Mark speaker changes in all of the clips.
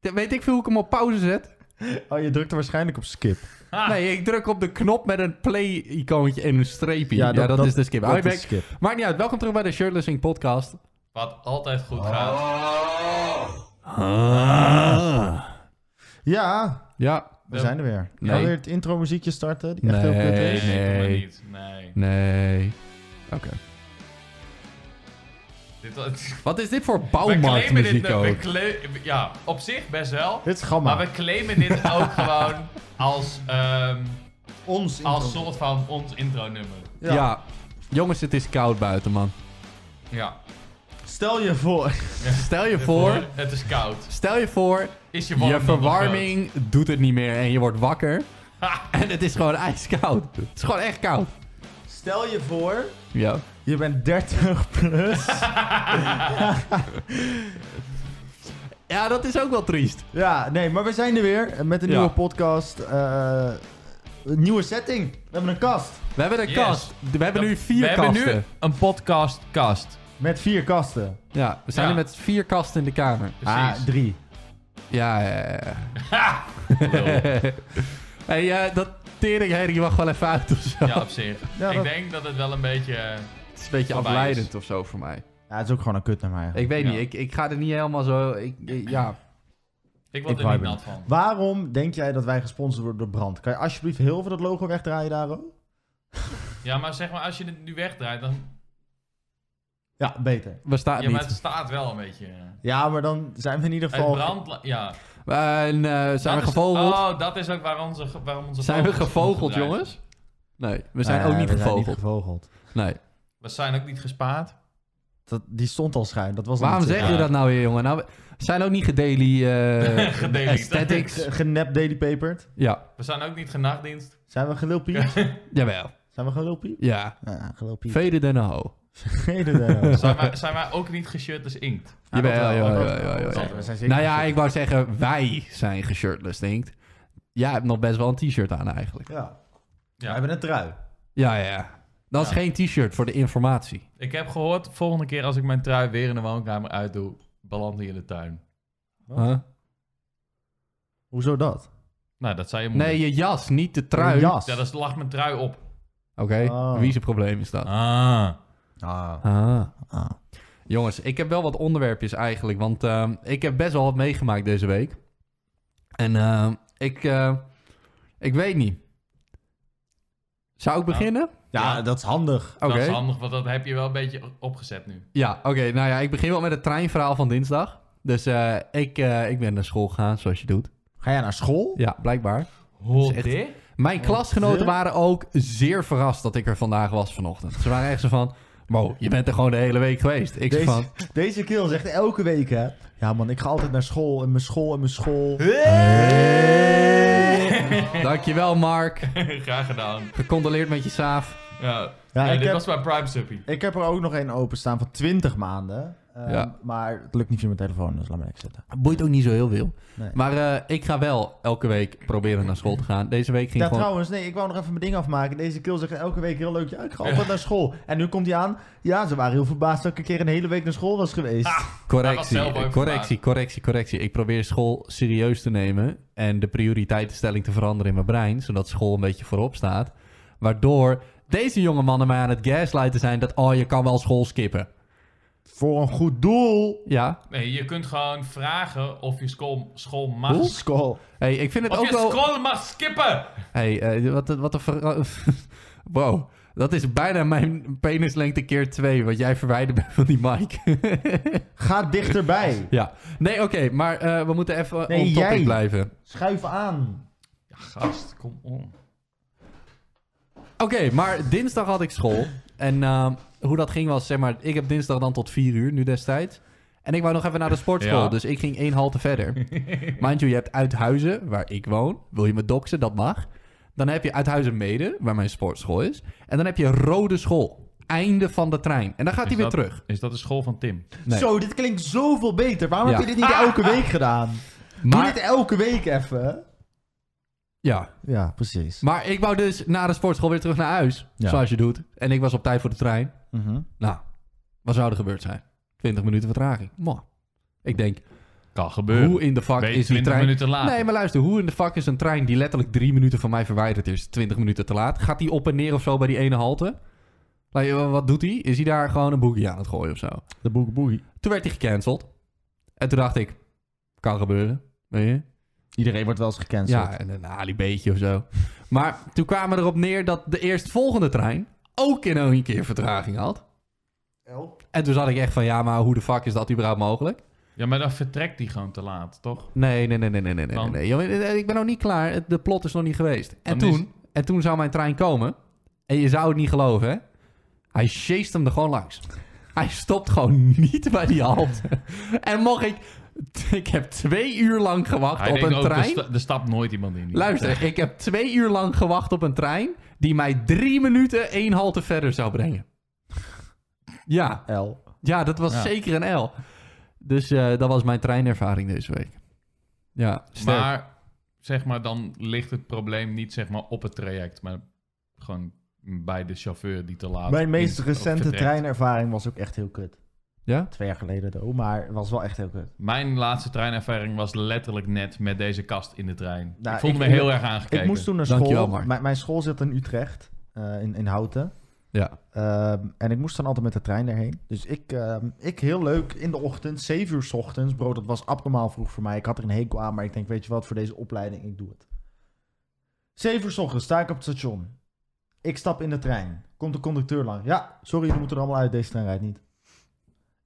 Speaker 1: Ja, weet ik veel hoe ik hem op pauze zet?
Speaker 2: Oh, je drukte waarschijnlijk op skip.
Speaker 3: Ah.
Speaker 1: Nee, ik druk op de knop met een play-icoontje en een streepje. Ja,
Speaker 2: Ja,
Speaker 1: dat,
Speaker 2: dat- dat-
Speaker 1: is de skip.
Speaker 2: dat
Speaker 1: Oh,
Speaker 2: is
Speaker 1: ik ben-
Speaker 2: skip.
Speaker 1: Maakt niet uit. Welkom terug bij de Shirtlessing podcast.
Speaker 3: Wat altijd
Speaker 1: Oh.
Speaker 3: goed gaat.
Speaker 2: Ah. Ja,
Speaker 1: Ja.
Speaker 2: we zijn er weer.
Speaker 1: Nee.
Speaker 2: Alweer het intro muziekje starten, die echt heel kut
Speaker 1: Nee.
Speaker 2: is.
Speaker 3: doe maar
Speaker 1: nee.
Speaker 3: niet. Nee.
Speaker 1: Nee. Oké.
Speaker 3: Dit, was-
Speaker 1: Wat is dit voor
Speaker 3: we claimen dit...
Speaker 1: bouwmarktmuziek
Speaker 3: nu- we
Speaker 1: Oh, ook?
Speaker 3: claim- ja, op zich best wel.
Speaker 2: Dit is gamma.
Speaker 3: Maar we claimen dit ook gewoon als, ehm,
Speaker 2: Ons
Speaker 3: als soort van ons intro-nummer.
Speaker 1: Ja. Jongens, het is koud buiten, man.
Speaker 3: Ja.
Speaker 2: Stel je voor.
Speaker 1: Stel je voor...
Speaker 3: Het is koud.
Speaker 1: Stel je voor,
Speaker 3: Is je, warm
Speaker 1: je
Speaker 3: dan nog
Speaker 1: verwarming doet het niet meer en je wordt wakker. En het is gewoon ijskoud. Het is gewoon echt koud.
Speaker 2: Stel je voor.
Speaker 1: Ja.
Speaker 2: Je bent 30 plus.
Speaker 1: Ja, dat is ook wel triest.
Speaker 2: ja, nee, maar we zijn er weer eh, met een
Speaker 1: Ja.
Speaker 2: nieuwe podcast. eh, een nieuwe setting. We hebben een kast.
Speaker 1: We hebben een
Speaker 3: Yes.
Speaker 1: kast. We hebben nu vier
Speaker 3: we
Speaker 1: kasten.
Speaker 3: hebben nu een podcast-kast.
Speaker 2: Met vier kasten.
Speaker 1: Ja, we zijn
Speaker 3: Ja. Dus-
Speaker 1: nu met vier kasten in de kamer.
Speaker 2: Ah,
Speaker 3: Precies.
Speaker 2: drie.
Speaker 1: Ja, ja, ja.
Speaker 3: Lul.
Speaker 1: hey, eh, dat tering, je mag wel even uit of zo.
Speaker 3: ja, op zich.
Speaker 2: Ja,
Speaker 3: ik
Speaker 2: dat-
Speaker 3: denk dat het wel een beetje... eh,
Speaker 1: Het is een beetje
Speaker 3: Voorbij
Speaker 1: afleidend of zo voor mij.
Speaker 2: Ja, het is ook gewoon een kut naar mij.
Speaker 1: Ik weet
Speaker 3: Ja.
Speaker 1: niet, ik, ik ga er niet helemaal zo... Ik, ik- ja.
Speaker 3: ik word
Speaker 2: Ik
Speaker 3: er niet
Speaker 2: vibe
Speaker 3: nat van.
Speaker 2: Waarom denk jij dat wij gesponsord worden door Brand? Kan je alsjeblieft heel veel dat logo wegdraaien, Daro?
Speaker 3: Ja, maar zeg maar, als je het nu wegdraait, dan...
Speaker 2: Ja, beter.
Speaker 1: We staan
Speaker 3: Ja, maar het
Speaker 1: niet.
Speaker 3: staat wel een beetje... eh,
Speaker 2: Ja, maar dan zijn we in ieder
Speaker 3: Uit
Speaker 2: geval...
Speaker 3: brand... Ja.
Speaker 1: En eh, zijn
Speaker 3: Dat
Speaker 1: we
Speaker 3: is-
Speaker 1: gevogeld?
Speaker 3: Oh, dat is ook waar onze, waarom onze
Speaker 1: Zijn we
Speaker 3: vogels
Speaker 1: gevogeld,
Speaker 3: opgedraaid.
Speaker 1: jongens? Nee, we zijn
Speaker 2: Nee,
Speaker 1: ook niet
Speaker 2: Nou we zijn
Speaker 1: gevogeld.
Speaker 2: gevogeld.
Speaker 1: Nee.
Speaker 3: We zijn ook niet gespaard.
Speaker 2: Dat, die stond al schuin. Dat was
Speaker 1: Waarom zeg je dat nou weer, jongen? Nou, we zijn ook niet gedaily eh
Speaker 3: Gedaily.
Speaker 1: aesthetics.
Speaker 2: Genep daily paperd.
Speaker 1: Ja,
Speaker 3: We zijn ook niet genachtdienst.
Speaker 2: Zijn we gelul Piep?
Speaker 1: jawel.
Speaker 2: Zijn we gelul Piep?
Speaker 1: Ja,
Speaker 2: Ja, gelul Piep.
Speaker 1: veden den ho.
Speaker 2: Vergeet het, eh.
Speaker 3: Zijn wij, zijn wij ook niet geshirt als inkt?
Speaker 2: Ja, dat
Speaker 1: Jawel,
Speaker 2: wel,
Speaker 1: jawel,
Speaker 2: dat
Speaker 1: jawel,
Speaker 2: wel.
Speaker 1: jawel,
Speaker 2: Dat
Speaker 1: jawel.
Speaker 2: wel, we zijn zeker
Speaker 1: Nou ja,
Speaker 2: gezet.
Speaker 1: ik wou zeggen, wij zijn geshirtless, denkt. Jij hebt nog best wel een t-shirt aan eigenlijk.
Speaker 2: Ja.
Speaker 3: Ja.
Speaker 2: We hebben een trui.
Speaker 1: Ja, ja, ja. Dat is
Speaker 3: Ja.
Speaker 1: geen t-shirt voor de informatie.
Speaker 3: Ik heb gehoord, volgende keer als ik mijn trui weer in de woonkamer uitdoe, beland die in de tuin.
Speaker 2: Wat?
Speaker 1: Huh?
Speaker 2: Hoezo dat?
Speaker 3: Nou, dat zei je moeder.
Speaker 1: Nee, je jas, niet de trui.
Speaker 2: Een jas.
Speaker 3: Ja, dat lag mijn trui op.
Speaker 1: Oké,
Speaker 2: Oh.
Speaker 1: wie zijn probleem is dat?
Speaker 3: Ah.
Speaker 2: Ah.
Speaker 1: Ah.
Speaker 2: Ah.
Speaker 1: Jongens, ik heb wel wat onderwerpjes eigenlijk. Want ehm, ik heb best wel wat meegemaakt deze week. En ehm, ik, eh, ik weet niet. Zou ik
Speaker 3: Nou,
Speaker 1: beginnen?
Speaker 2: Ja, dat is handig.
Speaker 1: Oké.
Speaker 3: Dat is handig, want dat heb je wel een beetje opgezet nu.
Speaker 1: Ja, oké. nou ja, ik begin wel met het treinverhaal van dinsdag. Dus eh, ik, eh, ik ben naar school gegaan, zoals je doet.
Speaker 2: Ga jij naar school?
Speaker 1: Ja, blijkbaar.
Speaker 3: Hoor
Speaker 1: echt-
Speaker 3: dit?
Speaker 2: Oh,
Speaker 1: Mijn klasgenoten
Speaker 2: de-
Speaker 1: waren ook zeer verrast dat ik er vandaag was vanochtend. Ze waren echt zo van... Wow, je bent er gewoon de hele week geweest. Ik zei van...
Speaker 2: Deze, deze kerel zegt elke week, hè. Ja, man, ik ga altijd naar school en mijn school en mijn school.
Speaker 1: Dankjewel, Mark.
Speaker 3: Graag gedaan.
Speaker 1: Gecondoleerd met je saaf.
Speaker 3: Ja.
Speaker 2: Ja,
Speaker 3: Ja,
Speaker 2: ik
Speaker 3: dit
Speaker 2: heb-
Speaker 3: was mijn prime suppie.
Speaker 2: Ik heb er ook nog één openstaan van 20 maanden. Ehm,
Speaker 1: Ja.
Speaker 2: Maar het lukt niet via mijn telefoon, dus laat me niks zitten.
Speaker 1: Boeit ook niet zo heel veel.
Speaker 2: Nee.
Speaker 1: Maar eh, ik ga wel elke week proberen naar school te gaan. Deze week ging
Speaker 2: Ja,
Speaker 1: gewoon...
Speaker 2: trouwens, nee, ik wou nog even mijn ding afmaken. Deze kill zegt elke week heel leuk, ja, ik ga altijd naar school. En nu komt hij aan, ja, ze waren heel verbaasd dat ik een keer een hele week naar school was geweest.
Speaker 1: Correctie,
Speaker 3: Hij was zelf ook
Speaker 1: correctie, correctie, correctie. Ik probeer school serieus te nemen en de prioriteitenstelling te veranderen in mijn brein, zodat school een beetje voorop staat. Waardoor deze jonge mannen mij aan het gaslighten zijn dat, oh, je kan wel school skippen.
Speaker 2: Voor een goed doel.
Speaker 1: Ja,
Speaker 3: Nee, je kunt gewoon vragen of je school, school
Speaker 2: Ah.
Speaker 3: mag.
Speaker 2: School.
Speaker 1: hey, ik vind het
Speaker 3: Of
Speaker 1: ook
Speaker 3: je
Speaker 1: wel...
Speaker 3: school mag skippen!
Speaker 1: hey, eh, wat, een- wat een... ver- wow, dat is bijna mijn penislengte keer twee, wat jij verwijderd bent van die mic.
Speaker 2: Ga dichterbij.
Speaker 1: ja, nee, oké, maar eh, we moeten even
Speaker 2: Nee,
Speaker 1: on topic
Speaker 2: jij.
Speaker 1: blijven.
Speaker 2: Schuif aan.
Speaker 3: Ja, gast, kom om.
Speaker 1: Oké, maar dinsdag had ik school. En ehm, hoe dat ging was, zeg maar, ik heb dinsdag dan tot 4 uur nu destijds. En ik wou nog even naar de sportschool,
Speaker 3: Ja.
Speaker 1: dus ik ging één halte verder. Mind you, je hebt Uithuizen, waar ik woon. Wil je me doxen? Dat mag. Dan heb je Uithuizen Mede, waar mijn sportschool is. En dan heb je Rode School. Einde van de trein. En dan gaat hij weer terug.
Speaker 3: Is dat de school van Tim?
Speaker 1: Nee.
Speaker 2: Zo, dit klinkt zoveel beter. Waarom
Speaker 1: Ja.
Speaker 2: heb je dit niet elke week gedaan? Doe
Speaker 1: Maar,
Speaker 2: dit elke week even.
Speaker 1: ja.
Speaker 2: Ja, precies.
Speaker 1: maar ik wou dus na de sportschool weer terug naar huis,
Speaker 2: Ja.
Speaker 1: zoals je doet. En ik was op tijd voor de trein.
Speaker 2: Mhm.
Speaker 1: Nou, wat zou er gebeurd zijn? 20 minuten vertraging. Mwah. Ik denk,
Speaker 3: Kan gebeuren.
Speaker 1: Hoe in de fuck
Speaker 3: Ben je
Speaker 1: is die
Speaker 3: 20
Speaker 1: trein...
Speaker 3: minuten later?
Speaker 1: Nee, maar luister, hoe in de fuck is een trein die letterlijk drie minuten van mij verwijderd is, 20 minuten te laat? Gaat die op en neer of zo bij die ene halte? Like, eh, wat doet hij? Is hij daar gewoon een boekje aan het gooien of zo?
Speaker 2: De boek boogie.
Speaker 1: Toen werd hij gecanceld. En toen dacht ik, kan gebeuren. Weet je?
Speaker 2: Iedereen wordt wel eens gecanceld.
Speaker 1: Ja, en een alibeetje of zo. Maar toen kwamen we erop neer dat de eerstvolgende trein ook in één keer vertraging had. En toen zat ik echt van, ja, maar hoe de fuck is dat überhaupt mogelijk?
Speaker 3: Ja, maar dan vertrekt die gewoon te laat, toch?
Speaker 1: Nee, nee, nee, nee, nee, nee, nee.
Speaker 3: Want?
Speaker 1: nee. Jongen, eh, ik ben nog niet klaar. Het- De plot is nog niet geweest. En
Speaker 3: Dan is-
Speaker 1: toen, en toen zou mijn trein komen. En je zou het niet geloven, hè? Hij chased hem er gewoon langs. Hij stopt gewoon niet bij die halt. en mocht ik... Ik heb twee uur lang gewacht
Speaker 3: Hij
Speaker 1: op
Speaker 3: denkt
Speaker 1: een
Speaker 3: ook, er
Speaker 1: trein.
Speaker 3: sta- Er, stapt nooit iemand in. die
Speaker 1: Luister, ik heb twee uur lang gewacht op een trein die mij drie minuten één halte verder zou brengen. Ja,
Speaker 2: L.
Speaker 1: ja dat was
Speaker 3: Ja.
Speaker 1: zeker een L. Dus eh, dat was mijn treinervaring deze week. Ja, sterk.
Speaker 3: Maar zeg maar, dan ligt het probleem niet zeg maar op het traject, maar gewoon bij de chauffeur die te laat.
Speaker 2: Mijn meest
Speaker 3: is of
Speaker 2: recente
Speaker 3: vertrekt.
Speaker 2: treinervaring was ook echt heel kut.
Speaker 1: ja?
Speaker 2: Twee jaar geleden though, maar het was wel echt heel kut.
Speaker 3: Mijn laatste treinervaring was letterlijk net met deze kast in de trein.
Speaker 2: Nou,
Speaker 3: ik voelde
Speaker 2: ik-
Speaker 3: me heel
Speaker 2: ik-
Speaker 3: erg aangekeken.
Speaker 2: Ik moest toen naar school.
Speaker 1: Dankjewel, Mark.
Speaker 2: Mijn- mijn school zit in Utrecht, eh, in, in Houten.
Speaker 1: Ja.
Speaker 2: Ehm, en ik moest dan altijd met de trein daarheen. Dus ik, ehm, ik heel leuk in de ochtend, 7 uur 's ochtends. Bro, dat was abnormaal vroeg voor mij. Ik had er een hekel aan, maar ik denk, weet je wat, voor deze opleiding, ik doe het. 7 uur 's ochtends sta ik op het station. Ik stap in de trein. Komt de conducteur lang. Ja, sorry, jullie moeten er allemaal uit. Deze trein rijdt niet.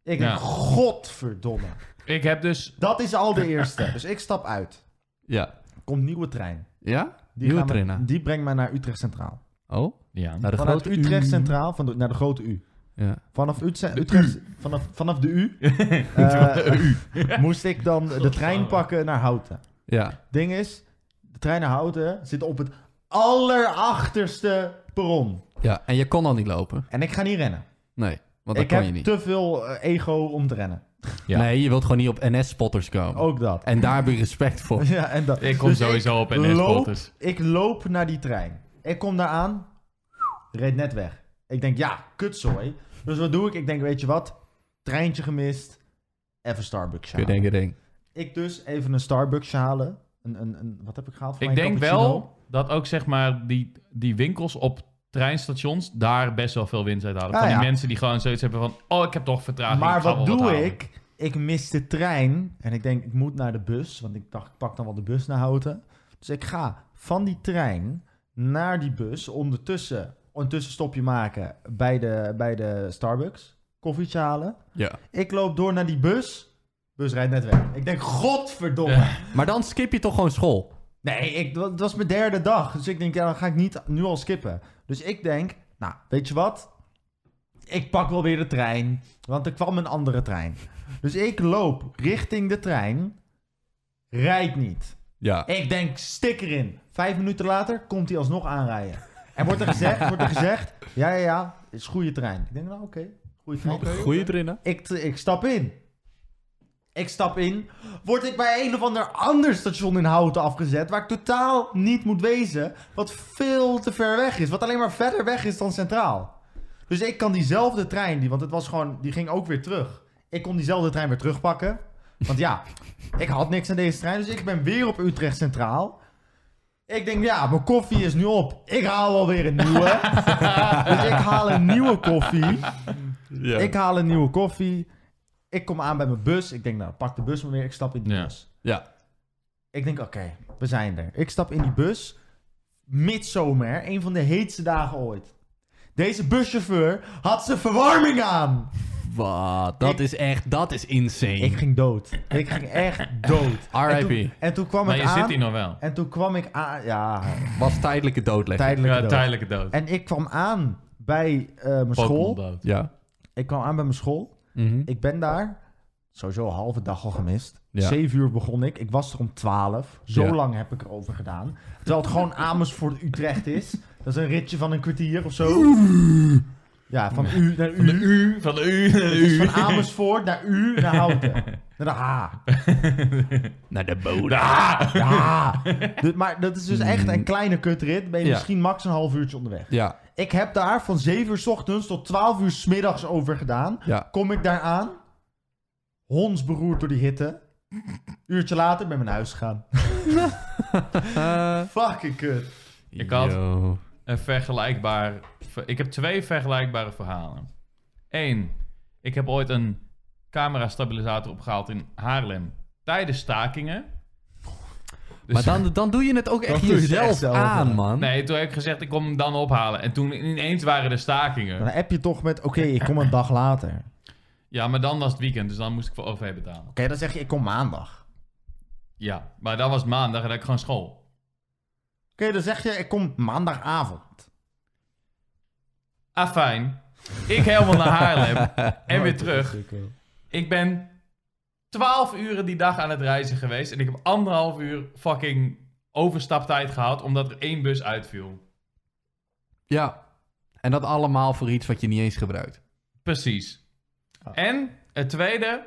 Speaker 2: Ik denk,
Speaker 3: Ja.
Speaker 2: godverdomme.
Speaker 3: Ik heb dus.
Speaker 2: Dat is al de eerste. Dus ik stap uit.
Speaker 1: Ja?
Speaker 2: Komt nieuwe trein.
Speaker 1: Ja?
Speaker 2: Die,
Speaker 1: Nieuwe
Speaker 2: gaan me-
Speaker 1: trein, hè?
Speaker 2: die brengt mij naar Utrecht Centraal.
Speaker 1: Oh?
Speaker 3: Ja.
Speaker 1: Naar de
Speaker 2: Vanuit
Speaker 1: grote U.
Speaker 2: Utrecht Centraal van de- naar de grote U.
Speaker 1: Ja.
Speaker 2: Vanaf Utrecht, Utrecht vanaf, vanaf de U, eh, moest ik dan de trein pakken naar Houten.
Speaker 1: ja.
Speaker 2: Ding is, de trein naar Houten zit op het allerachterste perron.
Speaker 1: Ja, en je kon al niet lopen.
Speaker 2: En ik ga niet rennen.
Speaker 1: Nee, want dat
Speaker 2: Ik
Speaker 1: kon
Speaker 2: heb
Speaker 1: je niet.
Speaker 2: te veel eh, ego om te rennen.
Speaker 3: Ja.
Speaker 1: Nee, je wilt gewoon niet op NS-spotters komen.
Speaker 2: Ook dat.
Speaker 1: En daar heb ik respect voor.
Speaker 2: Oh. Ja, en dat.
Speaker 3: Ik kom
Speaker 2: Dus
Speaker 3: sowieso op NS
Speaker 2: loop,
Speaker 3: spotters.
Speaker 2: ik loop naar die trein. Ik kom daar aan. Reed net weg. Ik denk, ja, kutzooi. Dus wat doe ik? Ik denk, weet je wat? Treintje gemist. Even Starbucks
Speaker 1: Kun je
Speaker 2: halen.
Speaker 1: denken, denk.
Speaker 2: Ik dus even een Starbucks halen. Een, een, een, wat heb ik gehaald? voor
Speaker 3: Ik
Speaker 2: mijn
Speaker 3: denk
Speaker 2: cappuccino?
Speaker 3: wel dat ook zeg maar die, die winkels op treinstations daar best wel veel winst uit halen.
Speaker 2: Ah,
Speaker 3: van die
Speaker 2: ja.
Speaker 3: mensen die gewoon zoiets hebben van, oh ik heb toch vertraging.
Speaker 2: Maar
Speaker 3: ik ga
Speaker 2: wat
Speaker 3: wel
Speaker 2: doe
Speaker 3: halen.
Speaker 2: ik? Ik mis de trein. En ik denk, ik moet naar de bus. Want ik dacht, ik pak dan wel de bus naar Houten. Dus ik ga van die trein naar die bus. Ondertussen een tussenstopje maken bij de, bij de Starbucks. Koffietje halen.
Speaker 1: Ja.
Speaker 2: Ik loop door naar die bus. Bus rijdt net weg. Ik denk, godverdomme.
Speaker 3: Ja.
Speaker 1: Maar dan skip je toch gewoon school.
Speaker 2: Nee, ik, dat was mijn derde dag. Dus ik denk, ja, dan ga ik niet nu al skippen. Dus ik denk, nou, weet je wat? Ik pak wel weer de trein. Want er kwam een andere trein. Dus ik loop richting de trein. Rijdt niet.
Speaker 1: Ja.
Speaker 2: Ik denk, stik erin. Vijf minuten later komt hij alsnog aanrijden. En wordt er gezegd, wordt er gezegd ja, ja, ja, is goede trein. Ik denk, nou, oké, goede trein.
Speaker 1: Goeie erin, hè?
Speaker 2: Ik, ik stap in. Ik stap in. Word ik bij een of ander ander station in Houten afgezet. Waar ik totaal niet moet wezen. Wat veel te ver weg is. Wat alleen maar verder weg is dan centraal. Dus ik kan diezelfde trein. Die, want het was gewoon. Die ging ook weer terug. Ik kon diezelfde trein weer terugpakken. Want ja, ik had niks aan deze trein. Dus ik ben weer op Utrecht Centraal. Ik denk, ja, mijn koffie is nu op. Ik haal alweer een nieuwe. dus ik haal een nieuwe koffie.
Speaker 1: Ja.
Speaker 2: Ik haal een nieuwe koffie. Ik kom aan bij mijn bus. Ik denk, nou, pak de bus maar weer. Ik stap in die
Speaker 3: Ja.
Speaker 2: bus.
Speaker 1: Ja.
Speaker 2: Ik denk, oké, we zijn er. Ik stap in die bus. Midzomer, een van de heetste dagen ooit. Deze buschauffeur had zijn verwarming aan.
Speaker 1: Wat? Dat
Speaker 2: Ik-
Speaker 1: is echt, dat is insane.
Speaker 2: Ik ging dood. Ik ging echt dood. En
Speaker 1: RIP.
Speaker 2: toen, en toen kwam
Speaker 3: Maar
Speaker 2: ik
Speaker 3: je
Speaker 2: aan.
Speaker 3: zit hier nog wel.
Speaker 2: En toen kwam ik aan. Ja,
Speaker 1: Was tijdelijke doodlegging.
Speaker 2: tijdelijk.
Speaker 3: Ja,
Speaker 2: dood.
Speaker 3: tijdelijke dood.
Speaker 2: En ik kwam aan bij eh, mijn
Speaker 3: Pokémon
Speaker 2: school.
Speaker 3: dood.
Speaker 1: Ja.
Speaker 2: Ik kwam aan bij mijn school.
Speaker 1: Mhm.
Speaker 2: Ik ben daar sowieso een halve dag al gemist.
Speaker 1: Ja.
Speaker 2: Zeven uur begon ik. Ik was er om twaalf. Zo
Speaker 1: Ja.
Speaker 2: lang heb ik erover gedaan. Terwijl het gewoon Amersfoort Utrecht is. Dat is een ritje van een kwartier of zo. Ja, van U naar
Speaker 3: Van de
Speaker 2: U.
Speaker 3: U, van de U, naar de
Speaker 2: Dus
Speaker 3: U.
Speaker 2: van Amersfoort naar U naar Houten. Naar de H.
Speaker 1: Naar de bodem.
Speaker 3: Ah!
Speaker 2: Ja. Dus- maar dat is dus echt een kleine kutrit. Ben je
Speaker 1: Ja.
Speaker 2: misschien max een half uurtje onderweg.
Speaker 1: Ja.
Speaker 2: Ik heb daar van 7 uur 's ochtends tot 12 uur 's middags over gedaan.
Speaker 1: Ja.
Speaker 2: Kom ik daar aan. Hondsberoerd door die hitte. Uurtje later ben ik naar huis gegaan.
Speaker 1: Eh,
Speaker 2: Fucking kut.
Speaker 3: Ik had-
Speaker 1: yo.
Speaker 3: een vergelijkbaar. ver- Ik heb twee vergelijkbare verhalen. Eén, ik heb ooit een camera-stabilisator opgehaald in Haarlem tijdens stakingen.
Speaker 1: Maar
Speaker 3: Dus-
Speaker 1: dan, dan doe je het ook echt
Speaker 2: doe je het
Speaker 1: jezelf
Speaker 2: echt zelf,
Speaker 1: aan,
Speaker 2: ja.
Speaker 1: man.
Speaker 3: Nee, toen heb ik gezegd, ik kom hem dan ophalen. En toen ineens waren de
Speaker 2: Dan
Speaker 3: stakingen.
Speaker 2: app je toch met, oké, ik kom een dag later. Oké,
Speaker 3: Ja, maar dan was het weekend, dus dan moest ik voor OV betalen.
Speaker 2: dan zeg je, ik kom maandag. Oké,
Speaker 3: Ja, maar dan was het maandag en dan had ik gewoon school.
Speaker 2: dan zeg je, ik kom maandagavond.
Speaker 3: Afijn, Ah, ik helemaal naar Haarlem en weer terug. Ik ben 12 uren die dag aan het reizen geweest. En ik heb anderhalf uur fucking overstaptijd gehad. Omdat er één bus uitviel.
Speaker 1: Ja. En dat allemaal voor iets wat je niet eens gebruikt.
Speaker 3: Precies.
Speaker 2: Ah.
Speaker 3: En het tweede.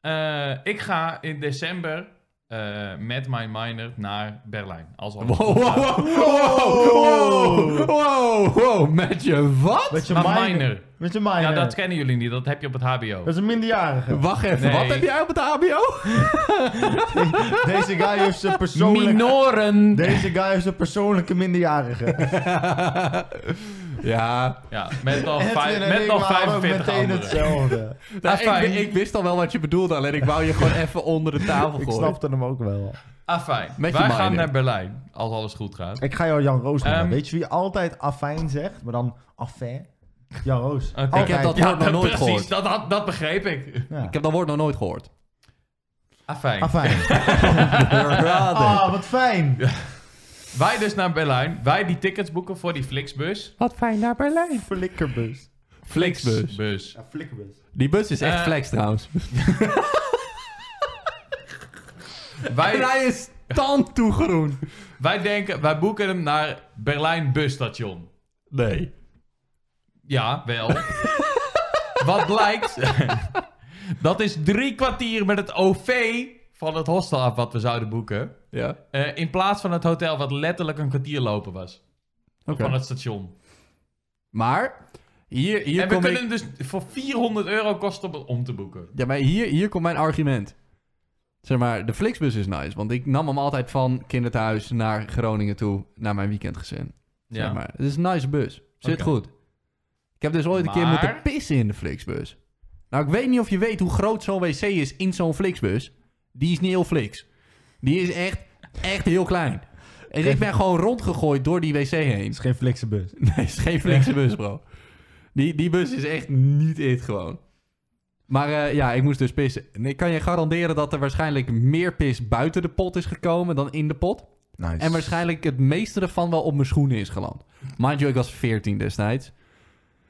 Speaker 3: eh, ik ga in december eh, met mijn minor naar Berlijn. Als al-
Speaker 1: Wow, wow, wow, wow, wow, wow, wow. Met je wat?
Speaker 2: Met je
Speaker 3: Naar
Speaker 2: minor.
Speaker 3: minor.
Speaker 2: Met je minor.
Speaker 3: Ja, dat kennen jullie niet. Dat heb je op het HBO.
Speaker 2: Dat is een minderjarige.
Speaker 1: Wacht even,
Speaker 3: Nee.
Speaker 1: wat heb jij op het HBO?
Speaker 2: Deze guy heeft zijn persoonlijke...
Speaker 1: Minoren.
Speaker 2: Deze guy heeft zijn persoonlijke minderjarige.
Speaker 1: ja,
Speaker 3: Ja, met nog,
Speaker 2: Edwin
Speaker 3: vijf,
Speaker 2: en
Speaker 3: met
Speaker 2: ik
Speaker 3: nog
Speaker 2: waren ook
Speaker 3: 45
Speaker 2: meteen
Speaker 3: anderen.
Speaker 2: hetzelfde.
Speaker 1: Nou,
Speaker 3: Afijn.
Speaker 1: ik, ik wist al wel wat je bedoelde, alleen ik wou je gewoon even onder de tafel
Speaker 2: Ik
Speaker 1: gooien.
Speaker 2: snapte hem ook wel.
Speaker 3: Afijn, Ah, wij
Speaker 1: Met je minor.
Speaker 3: gaan naar Berlijn. Als alles goed gaat.
Speaker 2: Ik ga jou Jan Roos noemen.
Speaker 3: Ehm.
Speaker 2: Weet je wie altijd afijn zegt, maar dan affair? Jan Roos.
Speaker 3: Oké.
Speaker 2: Altijd.
Speaker 1: Ik heb dat woord nog nooit
Speaker 3: precies.
Speaker 1: gehoord.
Speaker 3: Dat, had- dat begreep ik.
Speaker 2: Ja.
Speaker 1: Ik heb dat woord nog nooit gehoord.
Speaker 3: Afijn.
Speaker 2: Afijn. Ah, wat fijn.
Speaker 3: Wij dus naar Berlijn. Wij die tickets boeken voor die Flixbus.
Speaker 1: Wat fijn naar Berlijn.
Speaker 2: Flikkerbus.
Speaker 1: Flixbus.
Speaker 3: Bus.
Speaker 2: Ja, flikkerbus.
Speaker 1: Die bus is echt
Speaker 3: Eh,
Speaker 1: flex trouwens.
Speaker 3: Wij,
Speaker 1: Hij is tand toe groen.
Speaker 3: wij denken, wij boeken hem naar Berlijn busstation.
Speaker 1: Nee.
Speaker 3: Ja, wel. Wat blijkt? dat is drie kwartier met het OV van het hostel af wat we zouden boeken.
Speaker 1: Ja.
Speaker 3: Eh, in plaats van het hotel wat letterlijk een kwartier lopen was.
Speaker 1: Oké.
Speaker 3: Van het station.
Speaker 1: Maar hier, hier
Speaker 3: en we
Speaker 1: kom
Speaker 3: kunnen
Speaker 1: ik...
Speaker 3: hem dus voor 400 euro kosten om- om te boeken.
Speaker 1: Ja, maar hier, hier komt mijn argument. Zeg maar, de Flixbus is nice. Want ik nam hem altijd van kinderthuis naar Groningen toe. Naar mijn weekendgezin. Ja. Zeg maar. Het is een nice bus. Zit
Speaker 3: Oké.
Speaker 1: goed. Ik heb dus ooit een keer
Speaker 3: Maar-
Speaker 1: moeten pissen in de Flixbus. Nou, ik weet niet of je weet hoe groot zo'n wc is in zo'n Flixbus. Die is niet heel flix. Die is echt, echt heel klein. En ik ben gewoon rondgegooid door die wc heen.
Speaker 2: Het is geen flikkerbus.
Speaker 1: Nee, het is geen flexe bus, bro. Die, die bus is echt niet it gewoon. Maar eh, ja, ik moest dus pissen. En ik kan je garanderen dat er waarschijnlijk meer pis buiten de pot is gekomen dan in de pot.
Speaker 2: Nice.
Speaker 1: En waarschijnlijk het meeste ervan wel op mijn schoenen is geland. Mind you, ik was 14 destijds.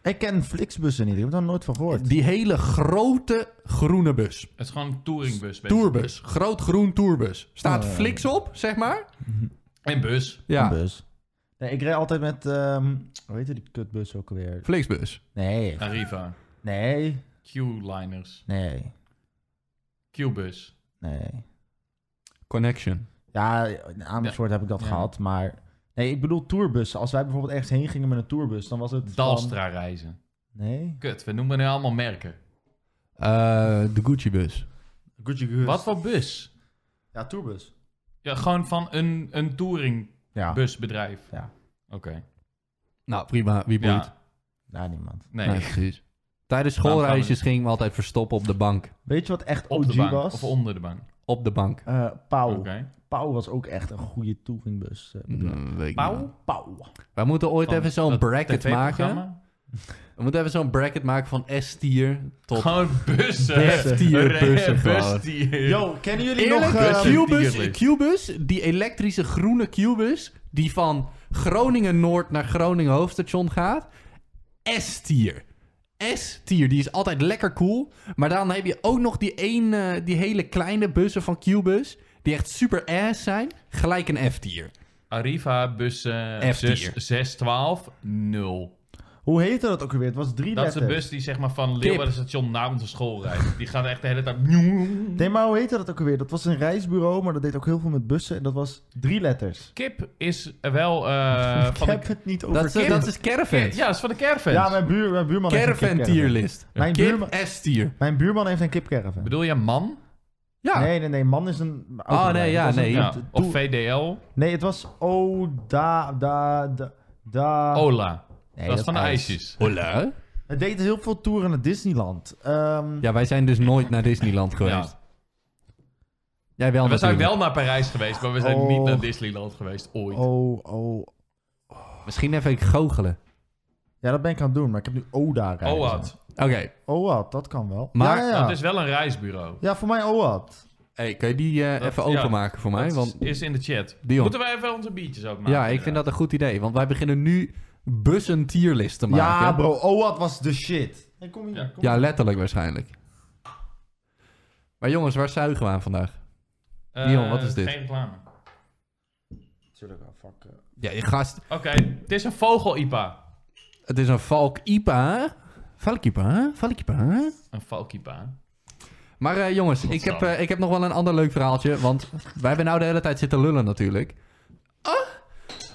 Speaker 2: Ik ken Flixbussen niet, ik heb daar nooit van gehoord.
Speaker 1: Die hele grote groene bus.
Speaker 3: Het is gewoon een touringbus. basically.
Speaker 1: Tourbus. Groot groen tourbus. Staat
Speaker 2: Oh, ja.
Speaker 1: fliks op, zeg maar.
Speaker 3: En bus.
Speaker 2: Een
Speaker 1: Ja,
Speaker 2: bus. Nee, ik reed altijd met, ehm hoe heette die kutbus ook alweer?
Speaker 1: flixbus.
Speaker 2: Nee,
Speaker 3: Arriva.
Speaker 2: nee,
Speaker 3: Q-liners.
Speaker 2: nee,
Speaker 3: Q-bus.
Speaker 2: nee.
Speaker 1: Connection.
Speaker 2: Ja, in Amersfoort heb ik dat
Speaker 3: Ja.
Speaker 2: gehad, maar... Nee, ik bedoel tourbussen. Als wij bijvoorbeeld ergens heen gingen met een tourbus, dan was het... van-
Speaker 3: Dalstra reizen.
Speaker 2: Nee.
Speaker 3: Kut, we noemen nu allemaal merken.
Speaker 1: Eh, de Gucci bus.
Speaker 2: Gucci Goose.
Speaker 3: Wat voor bus?
Speaker 2: Ja, tourbus.
Speaker 3: Ja, gewoon van een, een touringbusbedrijf.
Speaker 2: Ja. Ja.
Speaker 3: Oké.
Speaker 1: Nou, prima. Wie boeit.
Speaker 3: Ja,
Speaker 2: Ja, niemand.
Speaker 3: nee.
Speaker 1: Nee, precies. Tijdens
Speaker 3: gaan we-
Speaker 1: schoolreisjes gingen we altijd verstoppen op de bank.
Speaker 2: Weet je wat echt
Speaker 3: Op de Oh.
Speaker 2: OG
Speaker 3: bank.
Speaker 2: was?
Speaker 3: Of onder de bank.
Speaker 1: Op de bank.
Speaker 2: Eh, Pauw.
Speaker 3: Oké.
Speaker 2: Pauw was ook echt een goede touringbus. eh, bedrijf.
Speaker 1: Mm, weet ik niet.
Speaker 3: Pauw?
Speaker 2: Pauw.
Speaker 1: Wij moeten ooit
Speaker 3: Van
Speaker 1: even zo'n
Speaker 3: dat
Speaker 1: bracket
Speaker 3: TV-programma?
Speaker 1: maken. We moeten even zo'n bracket maken van S-tier tot...
Speaker 3: Gewoon bussen.
Speaker 1: Heftier bussen gewoon.
Speaker 3: Bustier.
Speaker 2: Yo, kennen jullie
Speaker 1: Eerlijk,
Speaker 2: nog... eh,
Speaker 3: Gucci.
Speaker 1: Q-bus,
Speaker 3: tierlist.
Speaker 1: Q-bus, die elektrische groene Q-bus... die van Groningen-Noord naar Groningen Hoofdstation gaat. S-tier. S-tier, die is altijd lekker cool. Maar dan heb je ook nog die, een, eh, die hele kleine bussen van Q-bus... die echt super ass zijn. Gelijk een F-tier.
Speaker 3: Arriva bussen
Speaker 1: F-tier.
Speaker 3: 6, 612 0.
Speaker 2: Hoe heette dat ook alweer? Het was drie
Speaker 3: Dat is de
Speaker 2: letters.
Speaker 3: bus die zeg maar van Leeuwarden station naar onze school rijdt. Die gaat echt de hele tijd...
Speaker 2: Nee, maar hoe heette dat ook alweer? Dat was een reisbureau, maar dat deed ook heel veel met bussen. En dat was drie letters.
Speaker 3: Kip is wel eh,
Speaker 2: ik
Speaker 3: van
Speaker 2: heb
Speaker 3: de...
Speaker 2: het niet over
Speaker 1: Dat is, eh,
Speaker 2: kip.
Speaker 1: dat is caravans.
Speaker 3: Ja, dat is van de caravans.
Speaker 2: Ja, mijn, buur, mijn buurman heeft een
Speaker 1: Caravan
Speaker 2: kipcaravan.
Speaker 1: tierlist.
Speaker 2: Mijn
Speaker 1: Kip
Speaker 2: buurman,
Speaker 1: S-tier.
Speaker 2: mijn buurman heeft een kipcaravan.
Speaker 3: Bedoel je man?
Speaker 1: Ja.
Speaker 2: Nee, nee, nee. Man is een...
Speaker 1: Oh, nee, ja,
Speaker 2: Het was een-
Speaker 1: nee.
Speaker 3: Ja,
Speaker 2: Doe-
Speaker 3: of VDL.
Speaker 2: Nee, het was O, da, da, da, da.
Speaker 3: Ola.
Speaker 2: Nee,
Speaker 3: Oh, dat is van de
Speaker 2: ijs.
Speaker 3: ijsjes.
Speaker 1: Hola.
Speaker 2: Het deed heel veel toeren naar Disneyland. Ehm,
Speaker 1: Ja, wij zijn dus nooit naar Disneyland geweest. Jij wel
Speaker 3: We zijn
Speaker 1: natuurlijk.
Speaker 3: wel naar Parijs geweest, maar we zijn
Speaker 2: Oh.
Speaker 3: niet naar Disneyland geweest ooit.
Speaker 2: O, O.
Speaker 1: Misschien even goochelen.
Speaker 2: Ja, dat ben ik aan het doen, maar ik heb nu Oda rijden.
Speaker 3: OAT.
Speaker 1: Oké.
Speaker 2: OAT, dat kan wel.
Speaker 1: Maar-
Speaker 2: ja, ja, ja.
Speaker 3: Oh, Dat is wel een reisbureau.
Speaker 2: ja, voor mij OAT.
Speaker 1: Hey, kun je die eh,
Speaker 3: Dat-
Speaker 1: even
Speaker 3: ja.
Speaker 1: openmaken voor mij?
Speaker 3: Dat
Speaker 1: Want,
Speaker 3: is in de chat.
Speaker 1: Dion.
Speaker 3: Moeten wij even onze biertjes ook maken?
Speaker 1: ja, ik
Speaker 3: eh,
Speaker 1: vind dat een goed idee. Want wij beginnen nu bussen tierlist te maken.
Speaker 2: Ja, bro, OAT was de shit. Hey, kom hier,
Speaker 3: Ja.
Speaker 2: kom
Speaker 1: Ja, letterlijk waarschijnlijk. Maar jongens, waar zuigen we aan vandaag?
Speaker 3: Eh,
Speaker 1: Dion, wat is dit?
Speaker 3: Geen reclame.
Speaker 2: Tuurlijk, ah, fuck. eh.
Speaker 1: Ja, je gast.
Speaker 3: Oké, het is een vogel-IPA.
Speaker 1: Het is een valk IPA. Valk IPA, valk IPA.
Speaker 3: Een valk-IPA.
Speaker 1: Maar eh, jongens, ik heb,
Speaker 3: Godsamme.
Speaker 1: eh, ik heb nog wel een ander leuk verhaaltje. Want wij hebben nou de hele tijd zitten lullen natuurlijk. Ah!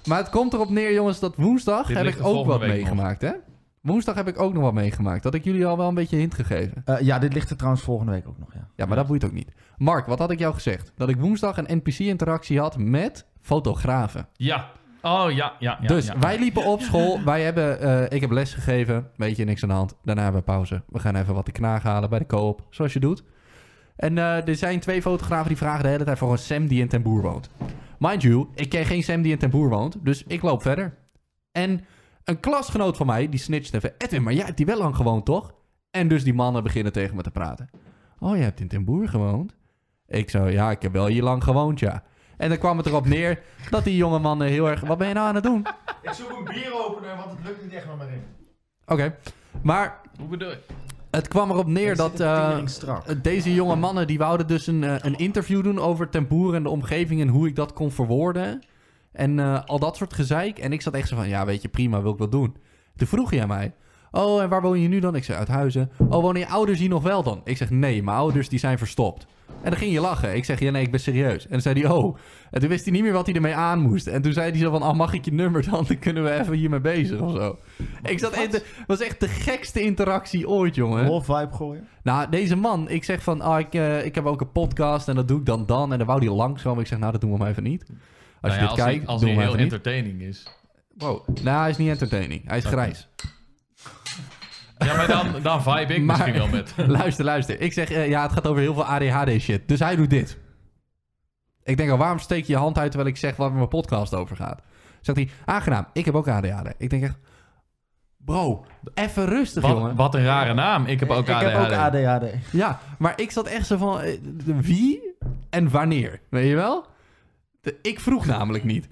Speaker 1: Maar het komt erop neer, jongens, dat woensdag
Speaker 3: Dit
Speaker 1: heb
Speaker 3: ligt
Speaker 1: ik
Speaker 3: er
Speaker 1: ook
Speaker 3: volgende
Speaker 1: wat
Speaker 3: week nog.
Speaker 1: meegemaakt, hè? Woensdag heb ik ook nog wat meegemaakt. Dat ik jullie al wel een beetje hint gegeven.
Speaker 2: Eh, ja, dit ligt er trouwens volgende week ook nog, ja.
Speaker 1: Ja, maar dat boeit ook niet. Mark, wat had ik jou gezegd? Dat ik woensdag een NPC-interactie had met fotografen.
Speaker 3: Ja. Oh, ja, ja, ja.
Speaker 1: dus
Speaker 3: ja.
Speaker 1: wij liepen op school. Wij hebben, eh, ik heb les gegeven. Beetje niks aan de hand. Daarna hebben we pauze. We gaan even wat te knaag halen bij de co-op. Zoals je doet. En eh, er zijn twee fotografen die vragen de hele tijd voor een Sam die in Ten Boer woont. Mind you, ik ken geen Sam die in Ten Boer woont. Dus ik loop verder. En een klasgenoot van mij, die snitcht even. Edwin, maar jij hebt die wel lang gewoond, toch? En dus die mannen beginnen tegen me te praten. Oh, jij hebt in Ten Boer gewoond? Ik zo, ja, ik heb wel hier lang gewoond, ja. En dan kwam het erop neer dat die jonge mannen heel erg... Wat ben je nou aan het doen?
Speaker 2: Ik zoek een bieropener, want het lukt niet echt met me in.
Speaker 1: Oké. Maar
Speaker 3: Hoe bedoel je?
Speaker 1: het kwam erop neer dat eh,
Speaker 2: strak.
Speaker 1: deze jonge mannen... die wouden dus een, eh, een interview doen over Tempoer en de omgeving... en hoe ik dat kon verwoorden. En eh, al dat soort gezeik. En ik zat echt zo van, ja weet je, prima, wil ik wel doen. Toen vroeg hij aan mij... Oh, en waar woon je nu dan? Ik zei, uit Huizen. Oh, wonen je ouders hier nog wel dan? Ik zeg, nee, mijn ouders die zijn verstopt. En dan ging je lachen. Ik zeg, ja nee, ik ben serieus. En toen zei hij, oh. En toen wist hij niet meer wat hij ermee aan moest. En toen zei hij zo van, oh, mag ik je nummer dan? Dan kunnen we even hiermee bezig of zo. Ik zat in de- was echt de gekste interactie ooit, jongen.
Speaker 2: Wolf vibe gooien.
Speaker 1: Nou, deze man, ik zeg van, ah, ik, eh, ik heb ook een podcast en dat doe ik dan dan. En dan wou hij langzaam. Ik zeg, nou, dat doen we maar even niet. Als
Speaker 3: Nou ja,
Speaker 1: je dit
Speaker 3: als
Speaker 1: kijkt,
Speaker 3: die- als
Speaker 1: doen
Speaker 3: die
Speaker 1: we maar
Speaker 3: heel
Speaker 1: even niet.
Speaker 3: entertaining is.
Speaker 1: Wow. Nou, hij is niet entertaining. Hij is
Speaker 3: Oké.
Speaker 1: grijs.
Speaker 3: Ja, maar dan, dan vibe ik
Speaker 1: Maar-
Speaker 3: misschien wel met.
Speaker 1: luister, luister. Ik zeg, eh, ja, het gaat over heel veel ADHD shit. Dus hij doet dit. Ik denk al, waarom steek je je hand uit terwijl ik zeg waar mijn podcast over gaat? Zegt hij, aangenaam, ik heb ook ADHD. Ik denk echt, bro, even rustig,
Speaker 3: Wat,
Speaker 1: jongen.
Speaker 3: wat een rare naam. Ik heb ook
Speaker 2: ik
Speaker 3: ADHD.
Speaker 2: heb ook ADHD.
Speaker 1: Ja, maar ik zat echt zo van, eh, wie en wanneer, weet je wel? De- ik vroeg namelijk niet.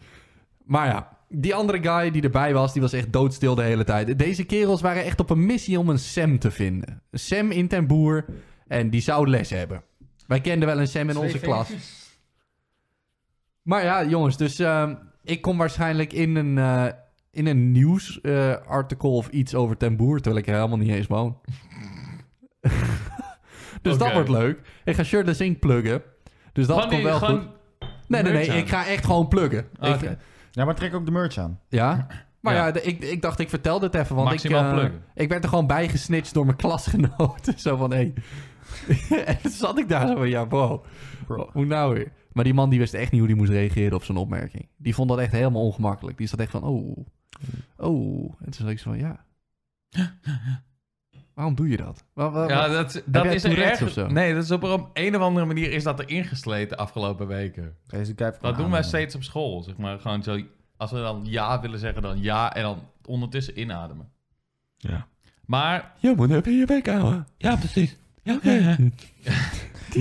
Speaker 1: Maar ja, die andere guy die erbij was, die was echt doodstil de hele tijd. Deze kerels waren echt op een missie om een Sam te vinden. Een Sam in ten boer en die zou les hebben. Wij kenden wel een Sam in onze klas. Maar ja, jongens, dus ehm, ik kom waarschijnlijk in een, eh, in een nieuwsartikel of iets over Ten Boer, terwijl ik er helemaal niet eens woon. dus dat
Speaker 3: Oké.
Speaker 1: wordt leuk. Ik ga Shirtless Inc. pluggen. Dus dat
Speaker 3: Gewoon
Speaker 1: komt
Speaker 3: die-
Speaker 1: wel
Speaker 3: gewoon
Speaker 1: goed. Nee, nee, nee,
Speaker 3: merch aan.
Speaker 1: ik ga echt gewoon pluggen.
Speaker 3: Ah,
Speaker 1: Ik-
Speaker 3: oké.
Speaker 2: Ja, maar trek ook de merch aan.
Speaker 1: ja? Maar ja,
Speaker 3: Ja.
Speaker 1: de- ik, ik dacht, ik vertel dit even, want ik,
Speaker 3: Maximaal
Speaker 1: eh,
Speaker 3: pluggen.
Speaker 1: ik werd er gewoon bij gesnitcht door mijn klasgenoten. zo van, hé. en toen zat ik daar zo van, ja, bro.
Speaker 2: Bro.
Speaker 1: Hoe nou weer? Maar die man die wist echt niet hoe die moest reageren op zijn opmerking. Die vond dat echt helemaal ongemakkelijk. Die zat echt van, oh, oh. En toen zat ik zo van, ja. Waarom doe je dat? Wa- wa-
Speaker 3: Ja,
Speaker 1: wa-
Speaker 3: dat, dat
Speaker 1: eh, jij
Speaker 3: is er
Speaker 1: Tourette's
Speaker 3: erg.
Speaker 1: of zo?
Speaker 3: Nee, dat is op een, een of andere manier is dat er ingesleten de afgelopen weken.
Speaker 2: Deze guy heeft
Speaker 3: Dat
Speaker 2: gewoon
Speaker 3: doen wij
Speaker 2: aan, Ah, man.
Speaker 3: steeds op school. Zeg maar gewoon zo. Als we dan ja willen zeggen, dan ja. En dan ondertussen inademen.
Speaker 2: Ja.
Speaker 3: Maar.
Speaker 1: Je moet even je bek houden.
Speaker 3: Ja, precies.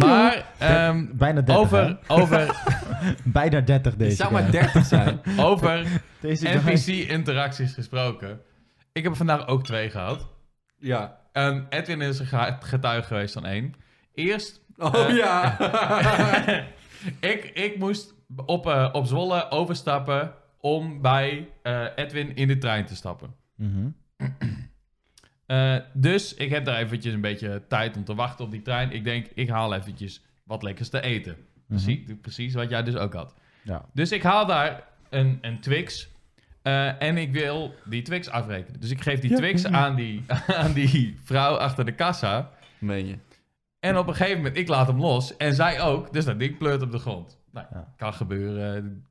Speaker 3: maar. ehm,
Speaker 2: eh, Bijna 30.
Speaker 3: over. Over.
Speaker 2: hè? Bijna 30
Speaker 1: Je
Speaker 2: deze.
Speaker 1: zou
Speaker 2: guy.
Speaker 1: maar 30 zijn.
Speaker 3: over
Speaker 2: Deze guy-
Speaker 3: NPC-interacties gesproken. Ik heb er vandaag ook twee gehad.
Speaker 1: ja.
Speaker 3: Ehm, Edwin is een ge- getuige geweest van één. Eerst
Speaker 1: Oh
Speaker 3: Eh.
Speaker 1: ja.
Speaker 3: ik, ik moest op, eh, op Zwolle overstappen om bij eh, Edwin in de trein te stappen.
Speaker 2: Mhm.
Speaker 3: Eh, dus ik heb daar eventjes een beetje tijd om te wachten op die trein. Ik denk, ik haal eventjes wat lekkers te eten. Precies, precies wat jij dus ook had.
Speaker 2: Ja.
Speaker 3: Dus ik haal daar een, een Twix. eh, en ik wil die Twix afrekenen. Dus ik geef die
Speaker 1: Ja,
Speaker 3: Twix
Speaker 1: ja.
Speaker 3: Aan, die, aan die vrouw achter de kassa.
Speaker 1: Meen je.
Speaker 3: En op een gegeven moment, ik laat hem los. En zij ook. Dus dat ding pleurt op de grond. Nou,
Speaker 2: Ja.
Speaker 3: kan gebeuren.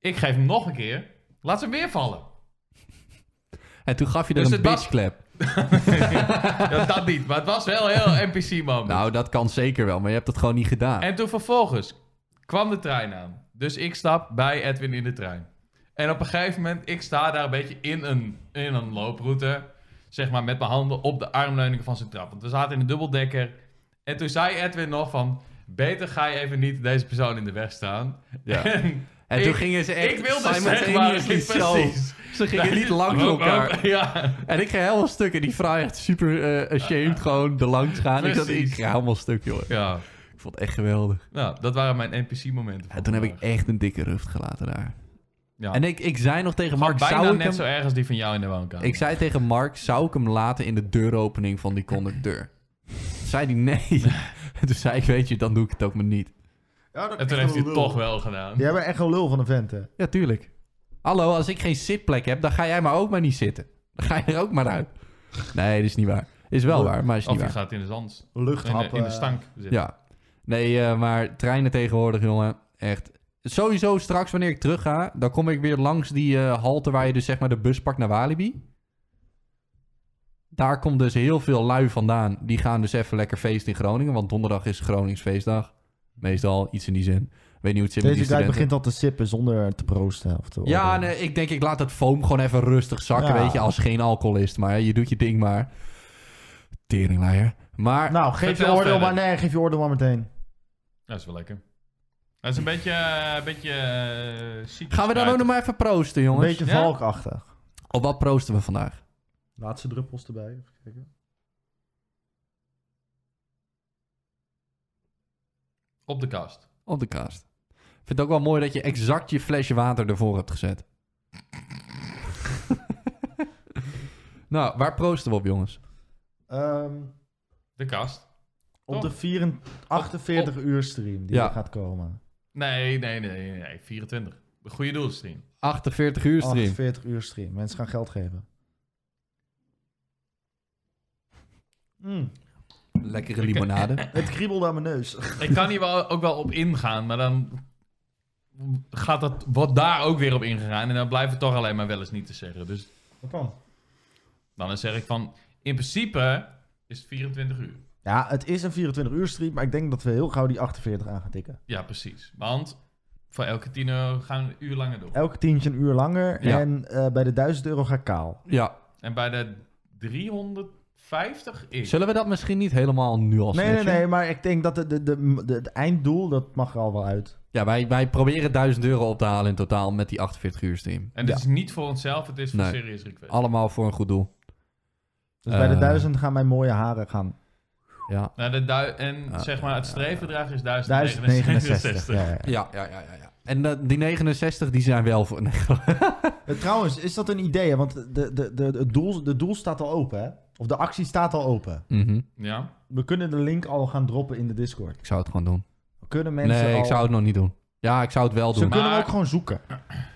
Speaker 3: Ik geef hem nog een keer. Laat ze hem weer vallen.
Speaker 1: En toen gaf je er
Speaker 3: Dus
Speaker 1: een
Speaker 3: het was-
Speaker 1: bitchclap.
Speaker 3: dat, dat niet. Maar het was wel een heel NPC moment.
Speaker 1: Nou, dat kan zeker wel, maar je hebt dat gewoon niet gedaan.
Speaker 3: En toen vervolgens kwam de trein aan. Dus ik stap bij Edwin in de trein. En op een gegeven moment, ik sta daar een beetje in een, in een looproute. Zeg maar met mijn handen op de armleuningen van zijn trap. Want we zaten in een dubbeldekker. En toen zei Edwin nog van... Beter ga je even niet deze persoon in de weg staan.
Speaker 1: Ja.
Speaker 3: En,
Speaker 1: En
Speaker 3: ik-
Speaker 1: toen gingen ze echt
Speaker 3: ik wilde zeg maar,
Speaker 1: simultaneously zo.
Speaker 3: precies.
Speaker 1: Ze gingen niet
Speaker 3: lang
Speaker 1: langs elkaar.
Speaker 3: Ja.
Speaker 1: En ik ga helemaal stuk. En die vrouw echt super eh, ashamed gewoon er langs gaan. Ik, dacht, ik
Speaker 3: Precies.
Speaker 1: ga helemaal stuk, joh.
Speaker 3: ja.
Speaker 1: Ik vond het echt geweldig.
Speaker 3: Nou, dat waren mijn NPC-momenten.
Speaker 1: En toen heb ik echt een dikke ruft gelaten daar.
Speaker 3: Ja.
Speaker 1: En ik, ik zei nog tegen
Speaker 3: Maar
Speaker 1: Mark,
Speaker 3: bijna
Speaker 1: zou ik
Speaker 3: net
Speaker 1: hem...
Speaker 3: zo erg als die van jou in de woonkamer.
Speaker 1: Ik zei tegen Mark, zou ik hem laten in de deuropening van die conducteur? Toen zei hij nee. En toen zei ik, weet je, dan doe ik het ook maar niet.
Speaker 2: Ja, dat
Speaker 3: en toen
Speaker 2: is
Speaker 3: heeft hij
Speaker 2: een
Speaker 3: het
Speaker 2: lul.
Speaker 3: toch wel gedaan.
Speaker 2: Jij bent echt een lul van de venten.
Speaker 1: Ja, tuurlijk. Hallo, als ik geen zitplek heb, dan ga jij maar ook maar niet zitten. Dan ga je er ook maar uit. Nee, dat is niet waar. Is wel waar, maar is niet
Speaker 3: Of je
Speaker 1: waar. eh,
Speaker 3: gaat in de zand. In de,
Speaker 2: Luchthappen.
Speaker 3: in de stank zitten.
Speaker 1: Ja. Nee, eh, maar treinen tegenwoordig, jongen. Echt. Sowieso straks, wanneer ik terug ga, dan kom ik weer langs die eh, halte waar je dus zeg maar de bus pakt naar Walibi. Daar komt dus heel veel lui vandaan. Die gaan dus even lekker feesten in Groningen, want donderdag is Gronings feestdag. Meestal, iets in die zin. Weet niet hoe het zit met die
Speaker 2: Deze guy
Speaker 1: studenten.
Speaker 2: begint al te sippen zonder te proosten. Of te
Speaker 1: Ja,
Speaker 2: ordenen.
Speaker 1: nee, ik denk ik laat het foam gewoon even rustig zakken,
Speaker 2: Ja.
Speaker 1: weet je, als geen alcoholist. Maar je doet je ding maar. Teringleier. Maar
Speaker 2: Nou, geef je
Speaker 3: Vertel
Speaker 2: oordeel
Speaker 3: verder.
Speaker 2: maar. Nee, geef je oordeel maar meteen.
Speaker 3: Dat is wel lekker. Dat is een beetje, eh, beetje eh, ziek.
Speaker 1: gaan we dan ook nog maar even proosten,
Speaker 2: Een
Speaker 1: jongens?
Speaker 2: beetje
Speaker 3: ja?
Speaker 2: valkachtig.
Speaker 1: Op wat proosten we vandaag?
Speaker 2: Laatste druppels erbij. Even kijken.
Speaker 3: Op de kast.
Speaker 1: Op de kaast. Ik vind het ook wel mooi dat je exact je flesje water ervoor hebt gezet. nou, waar proosten we op, jongens?
Speaker 2: Ehm,
Speaker 3: De kast.
Speaker 2: op de
Speaker 3: Toch?
Speaker 2: 4 48 uur stream die
Speaker 1: Ja.
Speaker 2: er gaat komen.
Speaker 3: Nee, nee, nee, nee. 24. De goede doelstream.
Speaker 1: 48 uur stream.
Speaker 2: 48 uur stream. Mensen gaan geld geven. Mm,
Speaker 1: Lekkere limonade.
Speaker 2: het kriebelde aan mijn neus.
Speaker 3: Ik kan hier wel, ook wel op ingaan, maar dan gaat dat, wordt daar ook weer op ingegaan. En dan blijft het toch alleen maar wel eens niet te zeggen. Dus
Speaker 2: Dat kan.
Speaker 3: dan zeg ik van, in principe is het 24 uur.
Speaker 2: Ja, het is een 24 uur stream, maar ik denk dat we heel gauw die 48 aan gaan tikken.
Speaker 3: Ja, precies. Want voor elke tien euro gaan we een uur langer door.
Speaker 2: Elke tientje een uur langer
Speaker 1: Ja.
Speaker 2: en eh, bij de 1000 euro ga ik kaal.
Speaker 1: Ja,
Speaker 3: En bij de 350 is.
Speaker 1: zullen we dat misschien niet helemaal nu al
Speaker 2: Nee, nee,
Speaker 1: snitchen?
Speaker 2: nee, maar ik denk dat het de, de, de, het einddoel, dat mag er al wel uit.
Speaker 1: Ja, wij, wij proberen 1000 euro op te halen in totaal met die 48 uur stream.
Speaker 3: En dit
Speaker 2: Ja.
Speaker 3: is niet voor onszelf, het is voor
Speaker 1: Nee.
Speaker 3: Serious Request.
Speaker 1: Allemaal voor een goed doel.
Speaker 2: Dus bij de
Speaker 1: Eh.
Speaker 2: 1000 gaan mijn mooie haren gaan.
Speaker 1: Ja.
Speaker 3: Nou, de du- en
Speaker 1: Ah,
Speaker 3: zeg maar, het streefbedrag is
Speaker 2: 1069.
Speaker 3: 1069.
Speaker 2: Ja, ja.
Speaker 1: Ja, ja, ja, ja. ja. En dat- die 69, die zijn wel voor... Nee,
Speaker 2: Eh, Trouwens, is dat een idee? hè? Want de, de, de, het doel, de doel staat al open, hè? Of de actie staat al open.
Speaker 1: Mhm.
Speaker 3: Ja.
Speaker 2: We kunnen de link al gaan droppen in de Discord.
Speaker 1: Ik zou het gewoon doen.
Speaker 2: Kunnen mensen
Speaker 1: nee,
Speaker 2: al...
Speaker 1: ik zou het nog niet doen. Ja, ik zou het wel
Speaker 2: Ze
Speaker 1: doen.
Speaker 2: kunnen hem
Speaker 3: Maar-
Speaker 2: ook gewoon zoeken.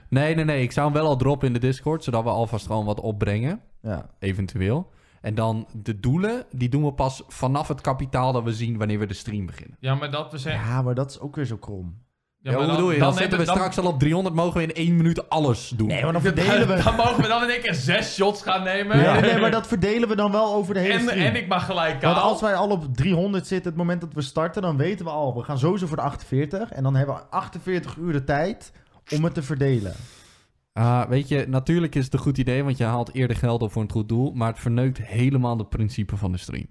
Speaker 1: Nee, nee, nee. Ik zou hem wel al droppen in de Discord, zodat we alvast gewoon wat opbrengen.
Speaker 2: Ja.
Speaker 1: eventueel. En dan de doelen, die doen we pas vanaf het kapitaal dat we zien wanneer we de stream beginnen.
Speaker 3: ja, maar dat we zeggen.
Speaker 2: ja, maar dat is ook weer zo krom.
Speaker 1: Ja, hoe bedoel je? Dan, zetten we straks al op 300, mogen we in één minuut alles doen.
Speaker 2: Nee, maar dan
Speaker 3: Dan,
Speaker 2: verdelen we...
Speaker 3: dan mogen we dan in één keer zes shots gaan nemen.
Speaker 2: Nee, nee, maar dat verdelen we dan wel over de hele
Speaker 3: en,
Speaker 2: stream.
Speaker 3: en ik mag gelijk
Speaker 2: Want
Speaker 3: kaal.
Speaker 2: als wij al op 300 zitten, het moment dat we starten, dan weten we al, we gaan sowieso voor de 48. En dan hebben we 48 uur de tijd om het te verdelen.
Speaker 1: Ah, weet je, natuurlijk is het een goed idee, want je haalt eerder geld op voor een goed doel. Maar het verneukt helemaal het principe van de stream.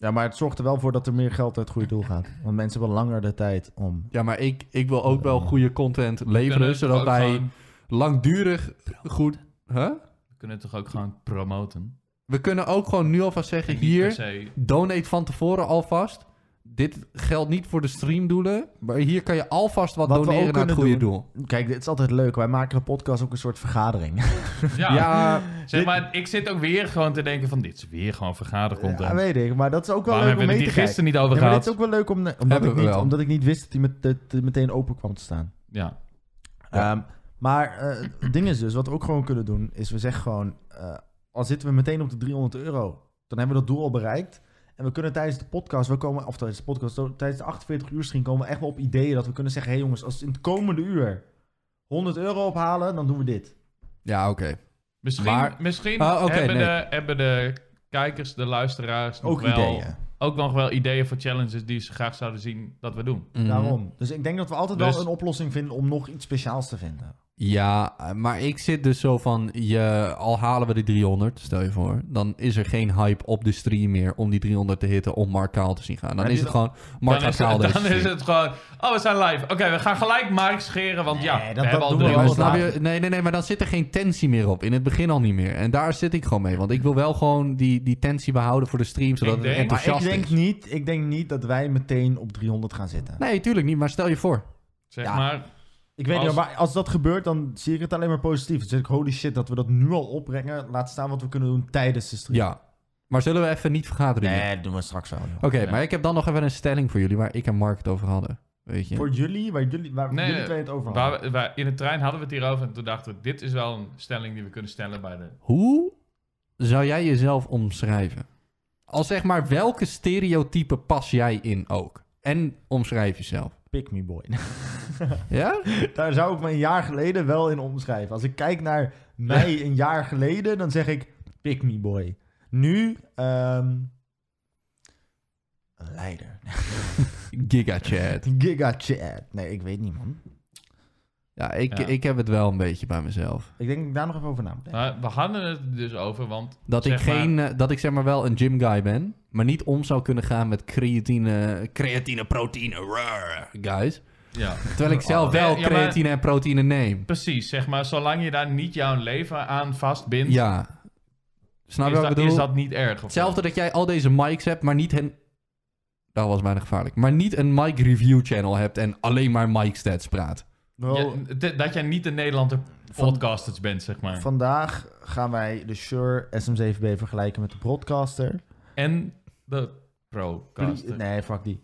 Speaker 2: Ja, maar het zorgt er wel voor dat er meer geld naar het goede doel gaat. Want mensen hebben langer de tijd om...
Speaker 1: Ja, maar ik, ik wil ook wel goede content
Speaker 3: We kunnen
Speaker 1: leveren,
Speaker 3: het
Speaker 1: zodat
Speaker 3: ook
Speaker 1: wij
Speaker 3: gewoon-
Speaker 1: langdurig goed... Huh?
Speaker 3: we kunnen het toch ook gewoon promoten?
Speaker 1: We kunnen ook gewoon nu alvast zeggen,
Speaker 3: En niet per
Speaker 1: hier,
Speaker 3: se.
Speaker 1: donate van tevoren alvast. Dit geldt niet voor de streamdoelen, maar hier kan je alvast wat,
Speaker 2: Wat we
Speaker 1: doneren
Speaker 2: ook
Speaker 1: naar het goede
Speaker 2: kunnen
Speaker 1: doel.
Speaker 2: Kijk, dit is altijd leuk. Wij maken de podcast ook een soort vergadering.
Speaker 3: Ja,
Speaker 1: ja,
Speaker 3: zeg maar, ik zit ook weer gewoon te denken: van dit is weer gewoon vergadercontent.
Speaker 2: Ja, weet ik. Maar dat is ook wel
Speaker 3: Waarom
Speaker 2: leuk om
Speaker 3: hebben we
Speaker 2: mee
Speaker 3: het
Speaker 2: te
Speaker 3: hier
Speaker 2: kijken.
Speaker 3: gisteren niet over
Speaker 2: Ja, maar dit
Speaker 3: gehad?
Speaker 2: is ook wel leuk om, omdat,
Speaker 1: Hebben
Speaker 2: ik
Speaker 1: we
Speaker 2: niet,
Speaker 1: wel.
Speaker 2: omdat ik niet wist dat hij met, dat hij meteen open kwam te staan.
Speaker 3: Ja.
Speaker 1: Ja.
Speaker 2: Ehm, maar eh, het ding is dus, wat we ook gewoon kunnen doen, is we zeggen gewoon, eh, al zitten we meteen op de 300 euro, dan hebben we dat doel al bereikt. En we kunnen tijdens de podcast, we komen, of tijdens de podcast, zo- tijdens de 48 uur misschien komen we echt wel op ideeën dat we kunnen zeggen: hé hey jongens, als in het komende uur 100 euro ophalen, dan doen we dit.
Speaker 1: Ja, oké.
Speaker 3: Misschien,
Speaker 1: Maar-
Speaker 3: misschien
Speaker 1: Ah, oké,
Speaker 3: hebben,
Speaker 1: nee.
Speaker 3: de, hebben de kijkers, de luisteraars nog
Speaker 2: Ook
Speaker 3: wel,
Speaker 2: ideeën.
Speaker 3: ook nog wel ideeën voor challenges die ze graag zouden zien dat we doen.
Speaker 1: Mhm.
Speaker 2: Daarom. Dus ik denk dat we altijd
Speaker 3: Dus-
Speaker 2: wel een oplossing vinden om nog iets speciaals te vinden.
Speaker 1: Ja, maar ik zit dus zo van, je, al halen we de 300, stel je voor, dan is er geen hype op de stream meer om die 300 te hitten om Mark Kaal te zien gaan. Dan
Speaker 3: Maar
Speaker 1: is
Speaker 3: die-
Speaker 1: het gewoon, Mark gaat
Speaker 3: dan is,
Speaker 1: Kaal
Speaker 3: het,
Speaker 1: deze
Speaker 3: dan is
Speaker 1: stream.
Speaker 3: het gewoon, oh we zijn live. Oké, we gaan gelijk Mark scheren, want ja,
Speaker 2: Nee, dat-
Speaker 3: we
Speaker 2: dat
Speaker 3: hebben al
Speaker 2: doen
Speaker 1: Nee,
Speaker 2: we
Speaker 3: drie
Speaker 1: maar
Speaker 2: wel.
Speaker 3: uur.
Speaker 1: snap
Speaker 2: later.
Speaker 1: je? Nee, nee, nee, maar dan zit er geen tensie meer op. In het begin al niet meer. En daar zit ik gewoon mee. Want ik wil wel gewoon die, die tensie behouden voor de stream, zodat
Speaker 3: Ik
Speaker 1: het
Speaker 3: denk-
Speaker 2: Maar ik
Speaker 1: enthousiast
Speaker 2: denk,
Speaker 1: is.
Speaker 2: niet, ik denk niet dat wij meteen op 300 gaan zitten.
Speaker 1: Nee, tuurlijk niet, maar stel je voor.
Speaker 3: Zeg
Speaker 2: Ja.
Speaker 3: maar,
Speaker 2: Ik weet
Speaker 3: Als-
Speaker 2: niet, maar als dat gebeurt, dan zie ik het alleen maar positief. Dan zeg ik, holy shit, dat we dat nu al opbrengen. Laat staan wat we kunnen doen tijdens de stream.
Speaker 1: Ja. Maar zullen we even niet vergaderen? hier?
Speaker 2: Nee, dat doen we straks wel. joh.
Speaker 1: Oké,
Speaker 3: Ja.
Speaker 1: maar ik heb dan nog even een stelling voor jullie waar ik en Mark het over hadden. Weet je?
Speaker 2: Voor jullie, waar jullie, waar
Speaker 3: Nee,
Speaker 2: jullie twee het over hadden.
Speaker 3: waar we- waar- in de trein hadden we het hierover en toen dachten we, dit is wel een stelling die we kunnen stellen bij de...
Speaker 1: Hoe zou jij jezelf omschrijven? Als zeg maar, welke stereotype pas jij in ook? En omschrijf jezelf.
Speaker 2: Pick me boy.
Speaker 1: Ja?
Speaker 2: Daar zou ik me een jaar geleden wel in omschrijven. Als ik kijk naar mij een jaar geleden, dan zeg ik pick me boy. Nu, ehm, een leider.
Speaker 1: Gigachat.
Speaker 2: Giga chat. Nee, ik weet niet, man.
Speaker 1: Ja, ik,
Speaker 3: Ja.
Speaker 1: ik heb het wel een beetje bij mezelf.
Speaker 2: Ik denk dat ik daar nog even over na moet denken.
Speaker 3: Maar we hadden het er dus over, want
Speaker 1: Dat ik
Speaker 3: Zeg maar-
Speaker 1: geen, eh, dat ik zeg maar wel een gym guy ben, maar niet om zou kunnen gaan met creatine, creatine, proteïne, rrr, guys.
Speaker 3: ja,
Speaker 1: Terwijl ik zelf wel
Speaker 3: Nee, Oh. ja, maar-
Speaker 1: creatine en proteïne neem.
Speaker 3: precies, zeg maar, zolang je daar niet jouw leven aan vastbindt,
Speaker 1: Ja. Snap je
Speaker 3: is,
Speaker 1: wat ik
Speaker 3: dat,
Speaker 1: bedoel?
Speaker 3: is dat niet erg. of
Speaker 1: Hetzelfde dat jij al deze mics hebt, maar niet een... Dat was bijna gevaarlijk. Maar niet een mic review channel hebt en alleen maar mic stats praat.
Speaker 2: Wel,
Speaker 3: Ja, d- dat jij niet de Nederlander
Speaker 2: Van-
Speaker 3: podcasters bent, zeg maar.
Speaker 2: Vandaag gaan wij de Shure SM7B vergelijken met de Broadcaster.
Speaker 3: en de
Speaker 2: Ple-
Speaker 3: Procaster.
Speaker 2: nee, fuck die.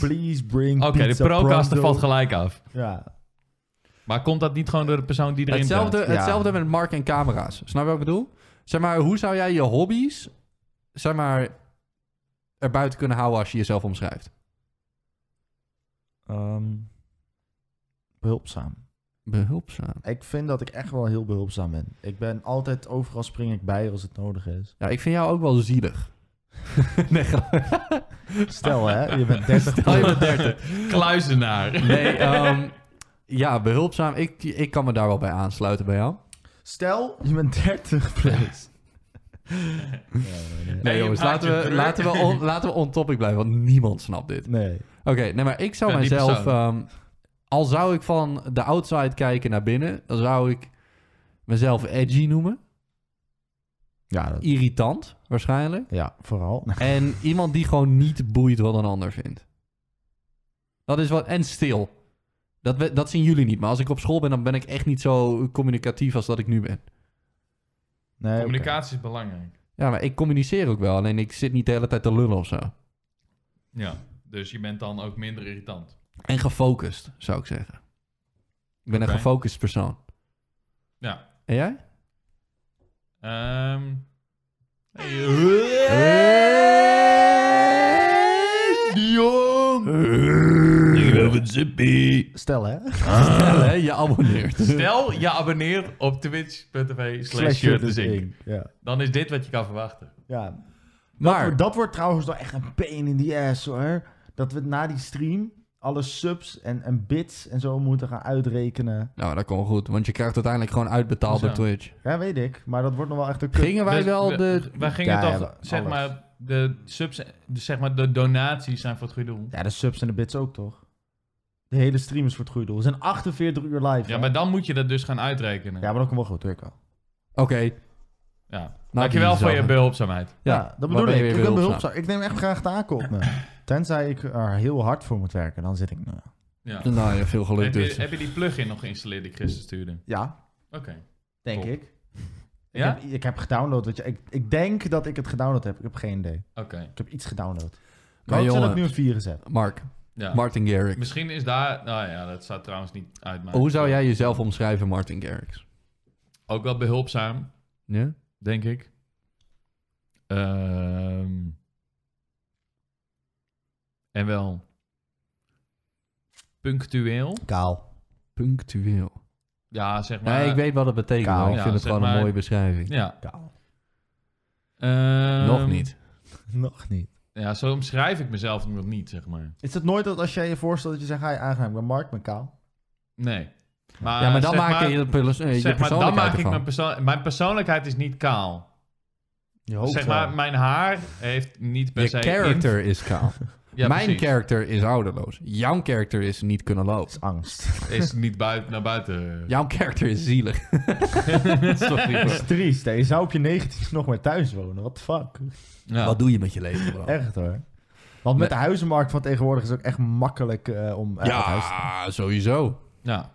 Speaker 2: Please bring
Speaker 3: Oké, de
Speaker 2: pizza
Speaker 3: Procaster
Speaker 2: pronto.
Speaker 3: valt gelijk af.
Speaker 2: Ja.
Speaker 3: Maar komt dat niet gewoon door de persoon die erin
Speaker 1: Hetzelfde,
Speaker 3: zit?
Speaker 2: ja.
Speaker 1: hetzelfde met Mark en camera's. Snap je wat ik bedoel? Zeg maar, hoe zou jij je hobby's, zeg maar, erbuiten kunnen houden als je jezelf omschrijft?
Speaker 2: Ehm, behulpzaam.
Speaker 1: Behulpzaam.
Speaker 2: Ik vind dat ik echt wel heel behulpzaam ben. Ik ben altijd overal spring ik bij als het nodig is.
Speaker 1: Ja, ik vind jou ook wel zielig. nee, grap.
Speaker 2: Stel hè, je bent 30
Speaker 1: Stel je
Speaker 2: plus.
Speaker 1: bent 30.
Speaker 3: Kluizenaar.
Speaker 1: Nee, ehm, ja, behulpzaam. Ik, ik kan me daar wel bij aansluiten bij jou.
Speaker 2: Stel, je bent 30 plus.
Speaker 1: Nee,
Speaker 3: je
Speaker 1: jongens,
Speaker 3: maakt je
Speaker 1: laten we,
Speaker 3: druk.
Speaker 1: laten, we on, laten we on topic blijven, want niemand snapt dit.
Speaker 2: Nee.
Speaker 1: Oké, nee, maar ik zou
Speaker 3: Ja, die
Speaker 1: mijzelf...
Speaker 3: persoon.
Speaker 1: ehm, al zou ik van de outside kijken naar binnen, dan zou ik mezelf edgy noemen.
Speaker 2: Ja, dat,
Speaker 1: Irritant, waarschijnlijk.
Speaker 2: ja, vooral.
Speaker 1: En iemand die gewoon niet boeit wat een ander vindt. Dat is wat... En stil. Dat, we- dat zien jullie niet, maar als ik op school ben, dan ben ik echt niet zo communicatief als dat ik nu ben.
Speaker 2: Nee, oké.
Speaker 3: Communicatie is belangrijk.
Speaker 1: Ja, maar ik communiceer ook wel, alleen ik zit niet de hele tijd te lullen of zo.
Speaker 3: Ja, dus je bent dan ook minder irritant.
Speaker 1: En gefocust, zou ik zeggen. Ik ben
Speaker 3: Oké.
Speaker 1: een gefocust persoon.
Speaker 3: Ja.
Speaker 1: En jij?
Speaker 3: Ehm
Speaker 1: Dion!
Speaker 3: een zippie.
Speaker 2: Stel hè.
Speaker 1: Je abonneert.
Speaker 3: Stel, je abonneert op twitch.tv slash
Speaker 2: Slash dus
Speaker 3: shirt is ik.
Speaker 2: Ja.
Speaker 3: Dan is dit wat je kan verwachten.
Speaker 2: ja,
Speaker 1: Maar,
Speaker 2: Dat wordt trouwens wel echt een pain in the ass hoor. Dat we na die stream alle subs en, en bits en zo moeten gaan uitrekenen.
Speaker 1: nou, dat komt goed, want je krijgt uiteindelijk gewoon uitbetaald
Speaker 3: Zo.
Speaker 1: door Twitch.
Speaker 2: Ja, weet ik. Maar dat wordt nog wel echt een kut.
Speaker 1: Gingen wij
Speaker 3: Dus
Speaker 1: wel
Speaker 3: we-
Speaker 1: de...
Speaker 3: Wij gingen
Speaker 2: Ja,
Speaker 3: toch,
Speaker 2: ja, we-
Speaker 3: zeg
Speaker 2: alles.
Speaker 3: maar, de subs, dus zeg maar, de donaties zijn voor het goede doel.
Speaker 2: Ja, de subs en de bits ook toch? De hele stream is voor het goede doel. We zijn 48 uur live.
Speaker 3: Ja,
Speaker 2: hè?
Speaker 3: maar dan moet je dat dus gaan uitrekenen.
Speaker 2: ja, maar dat komt wel goed, weet ik wel.
Speaker 1: Oké, nou,
Speaker 3: Ja. Dankjewel
Speaker 1: die
Speaker 3: voor je
Speaker 1: zagen.
Speaker 3: behulpzaamheid.
Speaker 1: ja.
Speaker 2: dat
Speaker 1: waar
Speaker 2: bedoel
Speaker 1: ben je
Speaker 2: ik.
Speaker 1: weer
Speaker 2: Ik ben
Speaker 1: behulpzaam?
Speaker 2: behulpzaam. Ik neem echt graag taken op me. Tenzij ik er heel hard voor moet werken, dan zit ik... Nou,
Speaker 3: Ja.
Speaker 1: Nou ja, veel geluk
Speaker 3: Heb je,
Speaker 1: dus.
Speaker 3: heb je die plugin nog geïnstalleerd die ik gisteren stuurde?
Speaker 2: ja,
Speaker 3: Oké.
Speaker 2: denk
Speaker 3: Top.
Speaker 2: ik. Ik,
Speaker 3: Ja?
Speaker 2: heb, ik heb gedownload. Weet je. Ik, ik denk dat ik het gedownload heb. Ik heb geen idee.
Speaker 3: Oké.
Speaker 2: Ik heb iets gedownload. Ik
Speaker 1: Maar
Speaker 2: hoop dat ik
Speaker 1: jongen,
Speaker 2: nu een virus heb.
Speaker 1: Mark,
Speaker 3: Ja.
Speaker 1: Martin Garrix.
Speaker 3: Misschien is daar... Nou ja, dat staat trouwens niet uit. Maar
Speaker 1: Hoe zou jij jezelf omschrijven, Martin Garrix?
Speaker 3: Ook wel behulpzaam,
Speaker 1: Ja?
Speaker 3: denk ik. Ehm, En wel punctueel.
Speaker 2: Kaal.
Speaker 1: Punctueel.
Speaker 3: Ja, zeg maar.
Speaker 1: Nee, ik weet wat het betekent.
Speaker 2: Kaal.
Speaker 1: maar ik
Speaker 3: Ja,
Speaker 1: vind het
Speaker 3: zeg
Speaker 1: gewoon een
Speaker 3: maar-
Speaker 1: mooie beschrijving.
Speaker 3: Ja.
Speaker 2: Kaal.
Speaker 3: Ehm,
Speaker 1: Nog niet.
Speaker 2: Nog niet.
Speaker 3: Ja, zo omschrijf ik mezelf nog niet, zeg maar.
Speaker 2: Is het nooit dat als jij je voorstelt dat je zegt, ga je aangenaam, ik ben Mark, ik ben kaal?
Speaker 3: Nee. Maar,
Speaker 1: ja, maar dan
Speaker 3: zeg
Speaker 1: maak je je, pers- eh, je
Speaker 3: zeg maar, dan
Speaker 1: persoonlijkheid
Speaker 3: maak ik
Speaker 1: ervan.
Speaker 3: mijn, persoon mijn persoonlijkheid is niet kaal.
Speaker 2: Je hoopt
Speaker 3: zeg
Speaker 2: wel.
Speaker 3: maar, mijn haar heeft niet per
Speaker 1: Je
Speaker 3: se...
Speaker 1: character is kaal.
Speaker 3: inv- Ja,
Speaker 1: mijn
Speaker 3: precies.
Speaker 1: character is ouderloos. Jouw character is niet kunnen
Speaker 2: Dat
Speaker 1: lopen.
Speaker 2: is angst.
Speaker 3: Is niet buiten, naar buiten.
Speaker 1: Jouw character is zielig. Sorry, bro.
Speaker 2: Dat is triest, hè. Je zou op je 19 nog maar thuis wonen. What the fuck?
Speaker 3: Ja.
Speaker 1: Wat doe je met je leven, bro?
Speaker 2: Echt hoor. Want met de huizenmarkt van tegenwoordig is het ook echt makkelijk eh, om... eh, uit huis te-
Speaker 1: Ja, sowieso.
Speaker 3: Ja.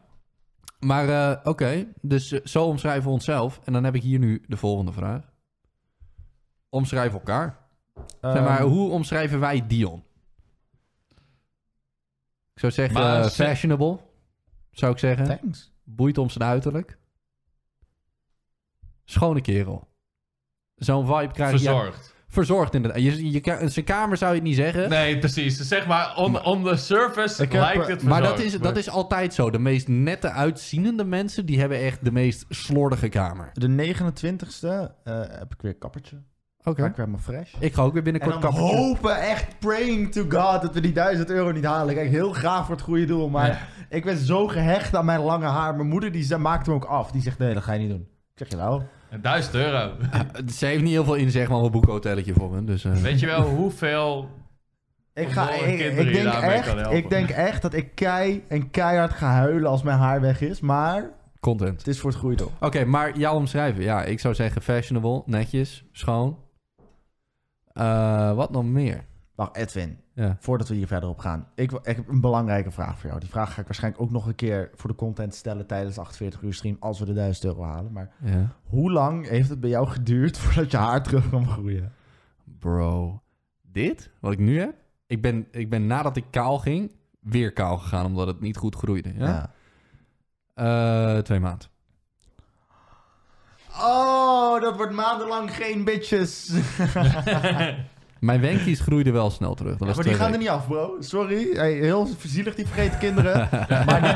Speaker 1: Maar eh, oké, dus eh, zo omschrijven we onszelf. En dan heb ik hier nu de volgende vraag. Omschrijf elkaar. zeg maar,
Speaker 2: Ehm,
Speaker 1: hoe omschrijven wij Dion? Ik zou zeggen
Speaker 3: Maar
Speaker 1: eh,
Speaker 3: ze-
Speaker 1: fashionable, zou ik zeggen.
Speaker 2: Thanks.
Speaker 1: Boeit om zijn uiterlijk. Schone kerel. Zo'n vibe krijg je. Ja,
Speaker 3: Verzorgd.
Speaker 1: verzorgd inderdaad. Je, je, ka- zijn kamer zou je het niet zeggen.
Speaker 3: Nee, precies. Dus Zeg maar, on, on the surface
Speaker 2: Ik heb,
Speaker 3: lijkt
Speaker 2: eh,
Speaker 3: het
Speaker 1: Maar dat
Speaker 3: verzorgd,
Speaker 1: is,
Speaker 3: maar-
Speaker 1: dat is altijd zo. De meest nette uitzienende mensen... die hebben echt de meest slordige kamer.
Speaker 2: De 29ste eh, heb ik weer een kappertje.
Speaker 1: Oké.
Speaker 2: Ga ik weer helemaal fresh.
Speaker 1: Ik ga ook weer binnenkort
Speaker 2: En dan
Speaker 1: kappertje.
Speaker 2: hopen, echt praying to God, dat we die 1000 euro niet halen. Kijk, heel graag voor het goede doel, maar ik ben zo gehecht aan mijn lange haar. Mijn moeder die ze- maakt hem ook af. Die zegt, nee, dat ga je niet doen. Ik zeg, je nou?
Speaker 3: 1000 euro.
Speaker 1: Ah, Ze heeft niet heel veel in, zeg maar. We boeken een hotelletje voor hem. Dus, eh.
Speaker 3: Weet je wel hoeveel...
Speaker 2: Ik, ga,
Speaker 3: Verdomme
Speaker 2: ik,
Speaker 3: kinderen
Speaker 2: ik,
Speaker 3: die
Speaker 2: denk
Speaker 3: daarmee kan
Speaker 2: echt,
Speaker 3: helpen.
Speaker 2: ik denk echt dat ik kei en keihard ga huilen als mijn haar weg is. Maar
Speaker 1: Content.
Speaker 2: het is voor het goede doel.
Speaker 1: Oké, maar jou omschrijven. Ja, ik zou zeggen fashionable, netjes, schoon. Eh, wat nog meer?
Speaker 2: Wacht, Edwin.
Speaker 1: Ja.
Speaker 2: Voordat we hier verder op gaan. Ik, wil- ik heb een belangrijke vraag voor jou. Die vraag ga ik waarschijnlijk ook nog een keer voor de content stellen tijdens de 48 uur stream. Als we de 1000 euro halen. Maar
Speaker 1: ja.
Speaker 2: Hoe lang heeft het bij jou geduurd voordat je haar terug kwam groeien?
Speaker 1: Bro, dit, wat ik nu heb? Ik ben, ik ben nadat ik kaal ging, weer kaal gegaan, omdat het niet goed groeide. Ja? Eh, twee maanden.
Speaker 2: Oh, dat wordt maandenlang geen bitches.
Speaker 1: Mijn wenkjes groeiden wel snel terug. Dat was
Speaker 2: maar die
Speaker 1: twee
Speaker 2: gaan er
Speaker 1: weken.
Speaker 2: niet af, bro. Sorry. Hey, heel zielig, die vergeten kinderen. maar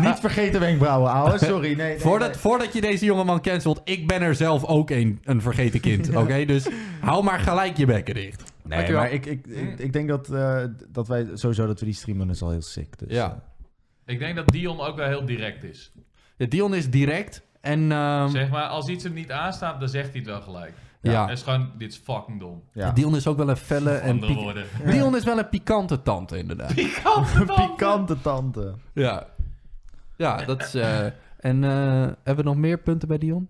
Speaker 2: niet, niet vergeten wenkbrauwen, ouwe. Sorry, nee. nee,
Speaker 1: Voordat,
Speaker 2: nee.
Speaker 1: voordat je deze jongeman cancelt, ik ben er zelf ook een, een vergeten kind. Oké, dus hou maar gelijk je bekken dicht.
Speaker 2: Nee, maar ik, ik, ik, ik denk dat, eh, dat wij sowieso dat we die streamen is al heel sick. Dus,
Speaker 1: Ja.
Speaker 2: eh,
Speaker 3: Ik denk dat Dion ook wel heel direct is.
Speaker 1: Ja, Dion is direct en... ehm,
Speaker 3: Zeg maar, als iets hem niet aanstaat, dan zegt hij het wel gelijk.
Speaker 1: ja.
Speaker 3: Het is gewoon, dit is fucking dom.
Speaker 2: ja.
Speaker 1: Dion is ook wel een felle en
Speaker 3: Andere
Speaker 1: pik-
Speaker 3: woorden.
Speaker 1: Dion is wel een pikante tante, inderdaad.
Speaker 2: Pikante tante.
Speaker 1: Ja. Ja, dat is... eh, en eh, hebben we nog meer punten bij Dion?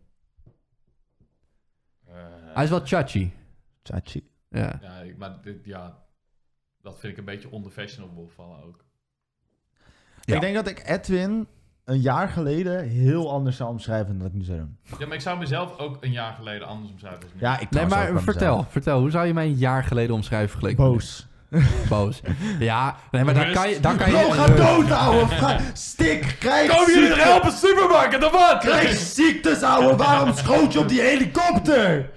Speaker 3: Eh,
Speaker 2: Eh.
Speaker 1: Hij is wel chachi.
Speaker 2: Chachi.
Speaker 1: Ja.
Speaker 3: ja, ik- maar dit, ja, dat vind ik een beetje onfashionable vallen ook.
Speaker 1: Ja.
Speaker 2: Ik denk dat ik Edwin een jaar geleden heel anders zou omschrijven dan dat ik nu zou doen.
Speaker 3: Ja, maar ik zou mezelf ook een jaar geleden anders omschrijven. als nu.
Speaker 2: Ja, ik
Speaker 1: Nee,
Speaker 2: trouwens ook
Speaker 1: maar
Speaker 2: bij
Speaker 1: vertel,
Speaker 2: mezelf.
Speaker 1: vertel. Hoe zou je mij een jaar geleden omschrijven vergeleken? met
Speaker 2: Boos.
Speaker 1: nu? Boos. Ja, nee, maar dan
Speaker 3: Rust.
Speaker 1: kan je... Dan kan
Speaker 2: Bro,
Speaker 1: je
Speaker 2: ga dood, ouwe. Ga- Stik, krijg ziekte.
Speaker 3: supermarkt, of
Speaker 2: Krijg ziektes, ouwe. Waarom schoot je op die helikopter?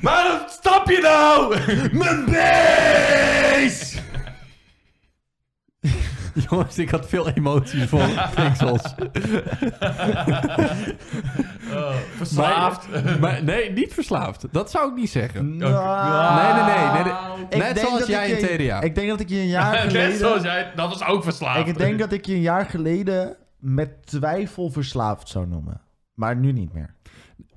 Speaker 3: Waarom stap je nou?
Speaker 2: Mijn beest!
Speaker 1: Jongens, ik had veel emoties voor pixels.
Speaker 3: Oh, verslaafd.
Speaker 1: Maar nee, niet verslaafd. Dat zou ik niet zeggen.
Speaker 2: Nou,
Speaker 1: nee, nee, nee, nee.
Speaker 2: ik
Speaker 1: Net
Speaker 2: denk
Speaker 1: zoals
Speaker 2: dat
Speaker 1: jij
Speaker 2: ik
Speaker 1: in
Speaker 2: je-
Speaker 1: TDA.
Speaker 2: Ik denk dat ik je een jaar
Speaker 3: Net zoals
Speaker 2: geleden...
Speaker 3: jij, dat was ook verslaafd.
Speaker 2: Ik denk dat ik je een jaar geleden met twijfel verslaafd zou noemen. Maar nu niet meer.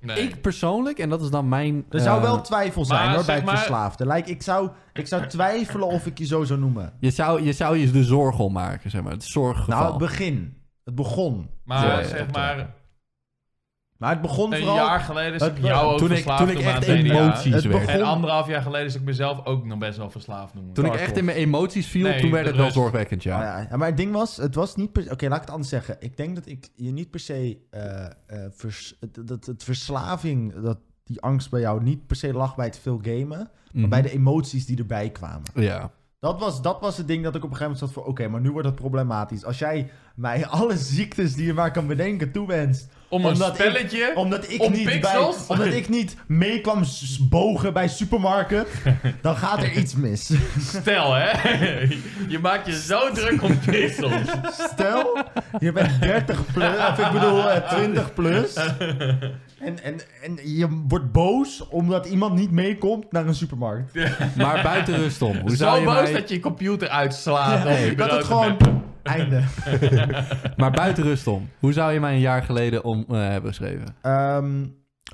Speaker 3: Nee.
Speaker 1: Ik persoonlijk, en dat is dan mijn...
Speaker 2: Er zou
Speaker 1: eh,
Speaker 2: wel twijfel zijn
Speaker 3: maar
Speaker 2: hoor, bij
Speaker 3: zeg
Speaker 2: het
Speaker 3: maar-
Speaker 2: verslaafde. Like, ik, zou, ik zou twijfelen of ik je zo zou noemen.
Speaker 1: Je zou, je zou je de zorgen om maken, zeg maar. Het zorggeval.
Speaker 2: Nou, het begin. Het begon.
Speaker 3: Maar
Speaker 1: Ja, ja,
Speaker 3: zeg
Speaker 1: ja.
Speaker 3: maar,
Speaker 2: Maar het begon
Speaker 3: een
Speaker 2: vooral...
Speaker 3: jaar geleden zat ik
Speaker 2: Het-
Speaker 3: jou ook
Speaker 1: toen ik,
Speaker 3: verslaafd
Speaker 1: toen ik
Speaker 3: noemen
Speaker 1: echt
Speaker 3: aan TDA.
Speaker 1: emoties
Speaker 2: Het
Speaker 1: werd.
Speaker 2: begon-
Speaker 3: En anderhalf jaar geleden is ik mezelf ook nog best wel verslaafd noemen.
Speaker 1: Toen ik echt in mijn emoties viel,
Speaker 3: Nee,
Speaker 1: toen werd
Speaker 3: de
Speaker 1: het wel
Speaker 3: rust.
Speaker 1: zorgwekkend, ja.
Speaker 2: Maar, ja, ja, maar het ding was, het was niet per Oké, laat ik het anders zeggen. Ik denk dat ik je niet per se... eh, eh, vers- dat, dat, dat verslaving, dat die angst bij jou niet per se lag bij het veel gamen.
Speaker 1: Mhm.
Speaker 2: Maar bij de emoties die erbij kwamen.
Speaker 1: Ja.
Speaker 2: Dat was, dat was het ding dat ik op een gegeven moment zat voor... Oké, maar nu wordt het problematisch. Als jij mij alle ziektes die je maar kan bedenken toewenst.
Speaker 3: Om een
Speaker 2: Omdat ik-
Speaker 3: spelletje.
Speaker 2: Omdat ik,
Speaker 3: Om
Speaker 2: niet bij,
Speaker 3: pixels?
Speaker 2: omdat ik niet mee kwam s- bogen bij supermarket, dan gaat er iets mis.
Speaker 3: Stel, hè. je maakt je zo druk om pixels.
Speaker 2: Stel, je bent 30 plus, of ik bedoel eh, 20 plus. En, en, en je wordt boos omdat iemand niet meekomt naar een supermarkt.
Speaker 1: Maar buiten rust om. Hoe zou
Speaker 3: Zo
Speaker 1: je
Speaker 3: boos
Speaker 1: mij...
Speaker 3: dat je je computer uitslaat.
Speaker 2: Ja,
Speaker 3: om
Speaker 2: dat
Speaker 3: je bureau
Speaker 2: het
Speaker 3: te
Speaker 2: gewoon
Speaker 3: mappen.
Speaker 2: einde.
Speaker 1: Maar buiten rust om. Hoe zou je mij een jaar geleden om eh, hebben geschreven?
Speaker 2: Ehm,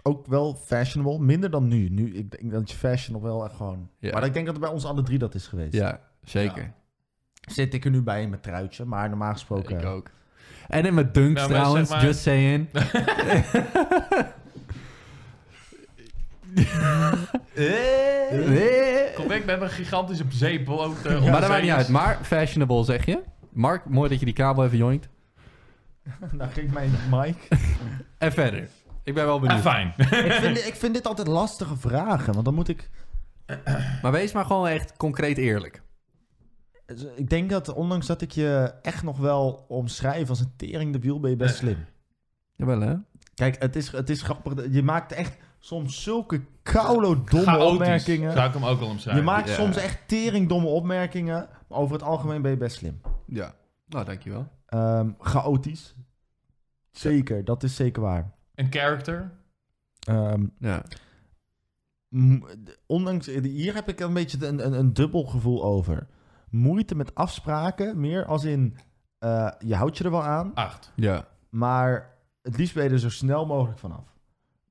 Speaker 2: ook wel fashionable, minder dan nu. Nu, ik denk dat je fashion nog wel echt gewoon...
Speaker 1: Ja.
Speaker 2: Maar ik denk dat het bij ons alle drie dat is geweest.
Speaker 1: Ja, zeker.
Speaker 2: Zit ik er nu bij in mijn truitje, maar normaal gesproken...
Speaker 1: Ik ook. En in mijn dunks
Speaker 3: Nou, maar
Speaker 1: trouwens,
Speaker 3: zeg maar-
Speaker 1: just saying. Eh.
Speaker 3: Kom weg, we hebben een gigantische zeepboot.
Speaker 1: maar dat
Speaker 3: eh,
Speaker 1: maakt niet
Speaker 3: onderzeeërs.
Speaker 1: uit. Maar fashionable zeg je. Mark, mooi dat je die kabel even joinkt.
Speaker 2: Nou, geef mij een mic.
Speaker 1: En verder. Ik ben wel
Speaker 3: Ah,
Speaker 1: benieuwd.
Speaker 3: fijn.
Speaker 2: ik, vind, ik vind dit altijd lastige vragen, want dan moet ik...
Speaker 1: Maar wees maar gewoon echt concreet eerlijk.
Speaker 2: Dus, eh, Ik denk dat ondanks dat ik je echt nog wel omschrijf als een tering de wiel, ben je best slim.
Speaker 1: Jawel hè?
Speaker 2: Kijk, het is, het is grappig. dat- Je maakt echt soms zulke koude domme
Speaker 3: Chaotisch.
Speaker 2: opmerkingen.
Speaker 3: Zou ik hem ook al
Speaker 2: Je
Speaker 3: omschrijven.
Speaker 2: maakt
Speaker 1: Ja.
Speaker 2: soms echt tering domme opmerkingen. Maar over het algemeen ben je best slim.
Speaker 1: Ja. Nou, dankjewel.
Speaker 2: Ehm, chaotisch. Zeker, dat is zeker waar.
Speaker 3: Een character.
Speaker 2: Ehm,
Speaker 1: Ja.
Speaker 2: m- ondanks, eh, hier heb ik een beetje een, een, een dubbel gevoel over. Moeite met afspraken, meer als in eh, je houdt je er wel aan.
Speaker 3: Acht.
Speaker 1: Ja.
Speaker 2: Maar het liefst ben je er zo snel mogelijk vanaf.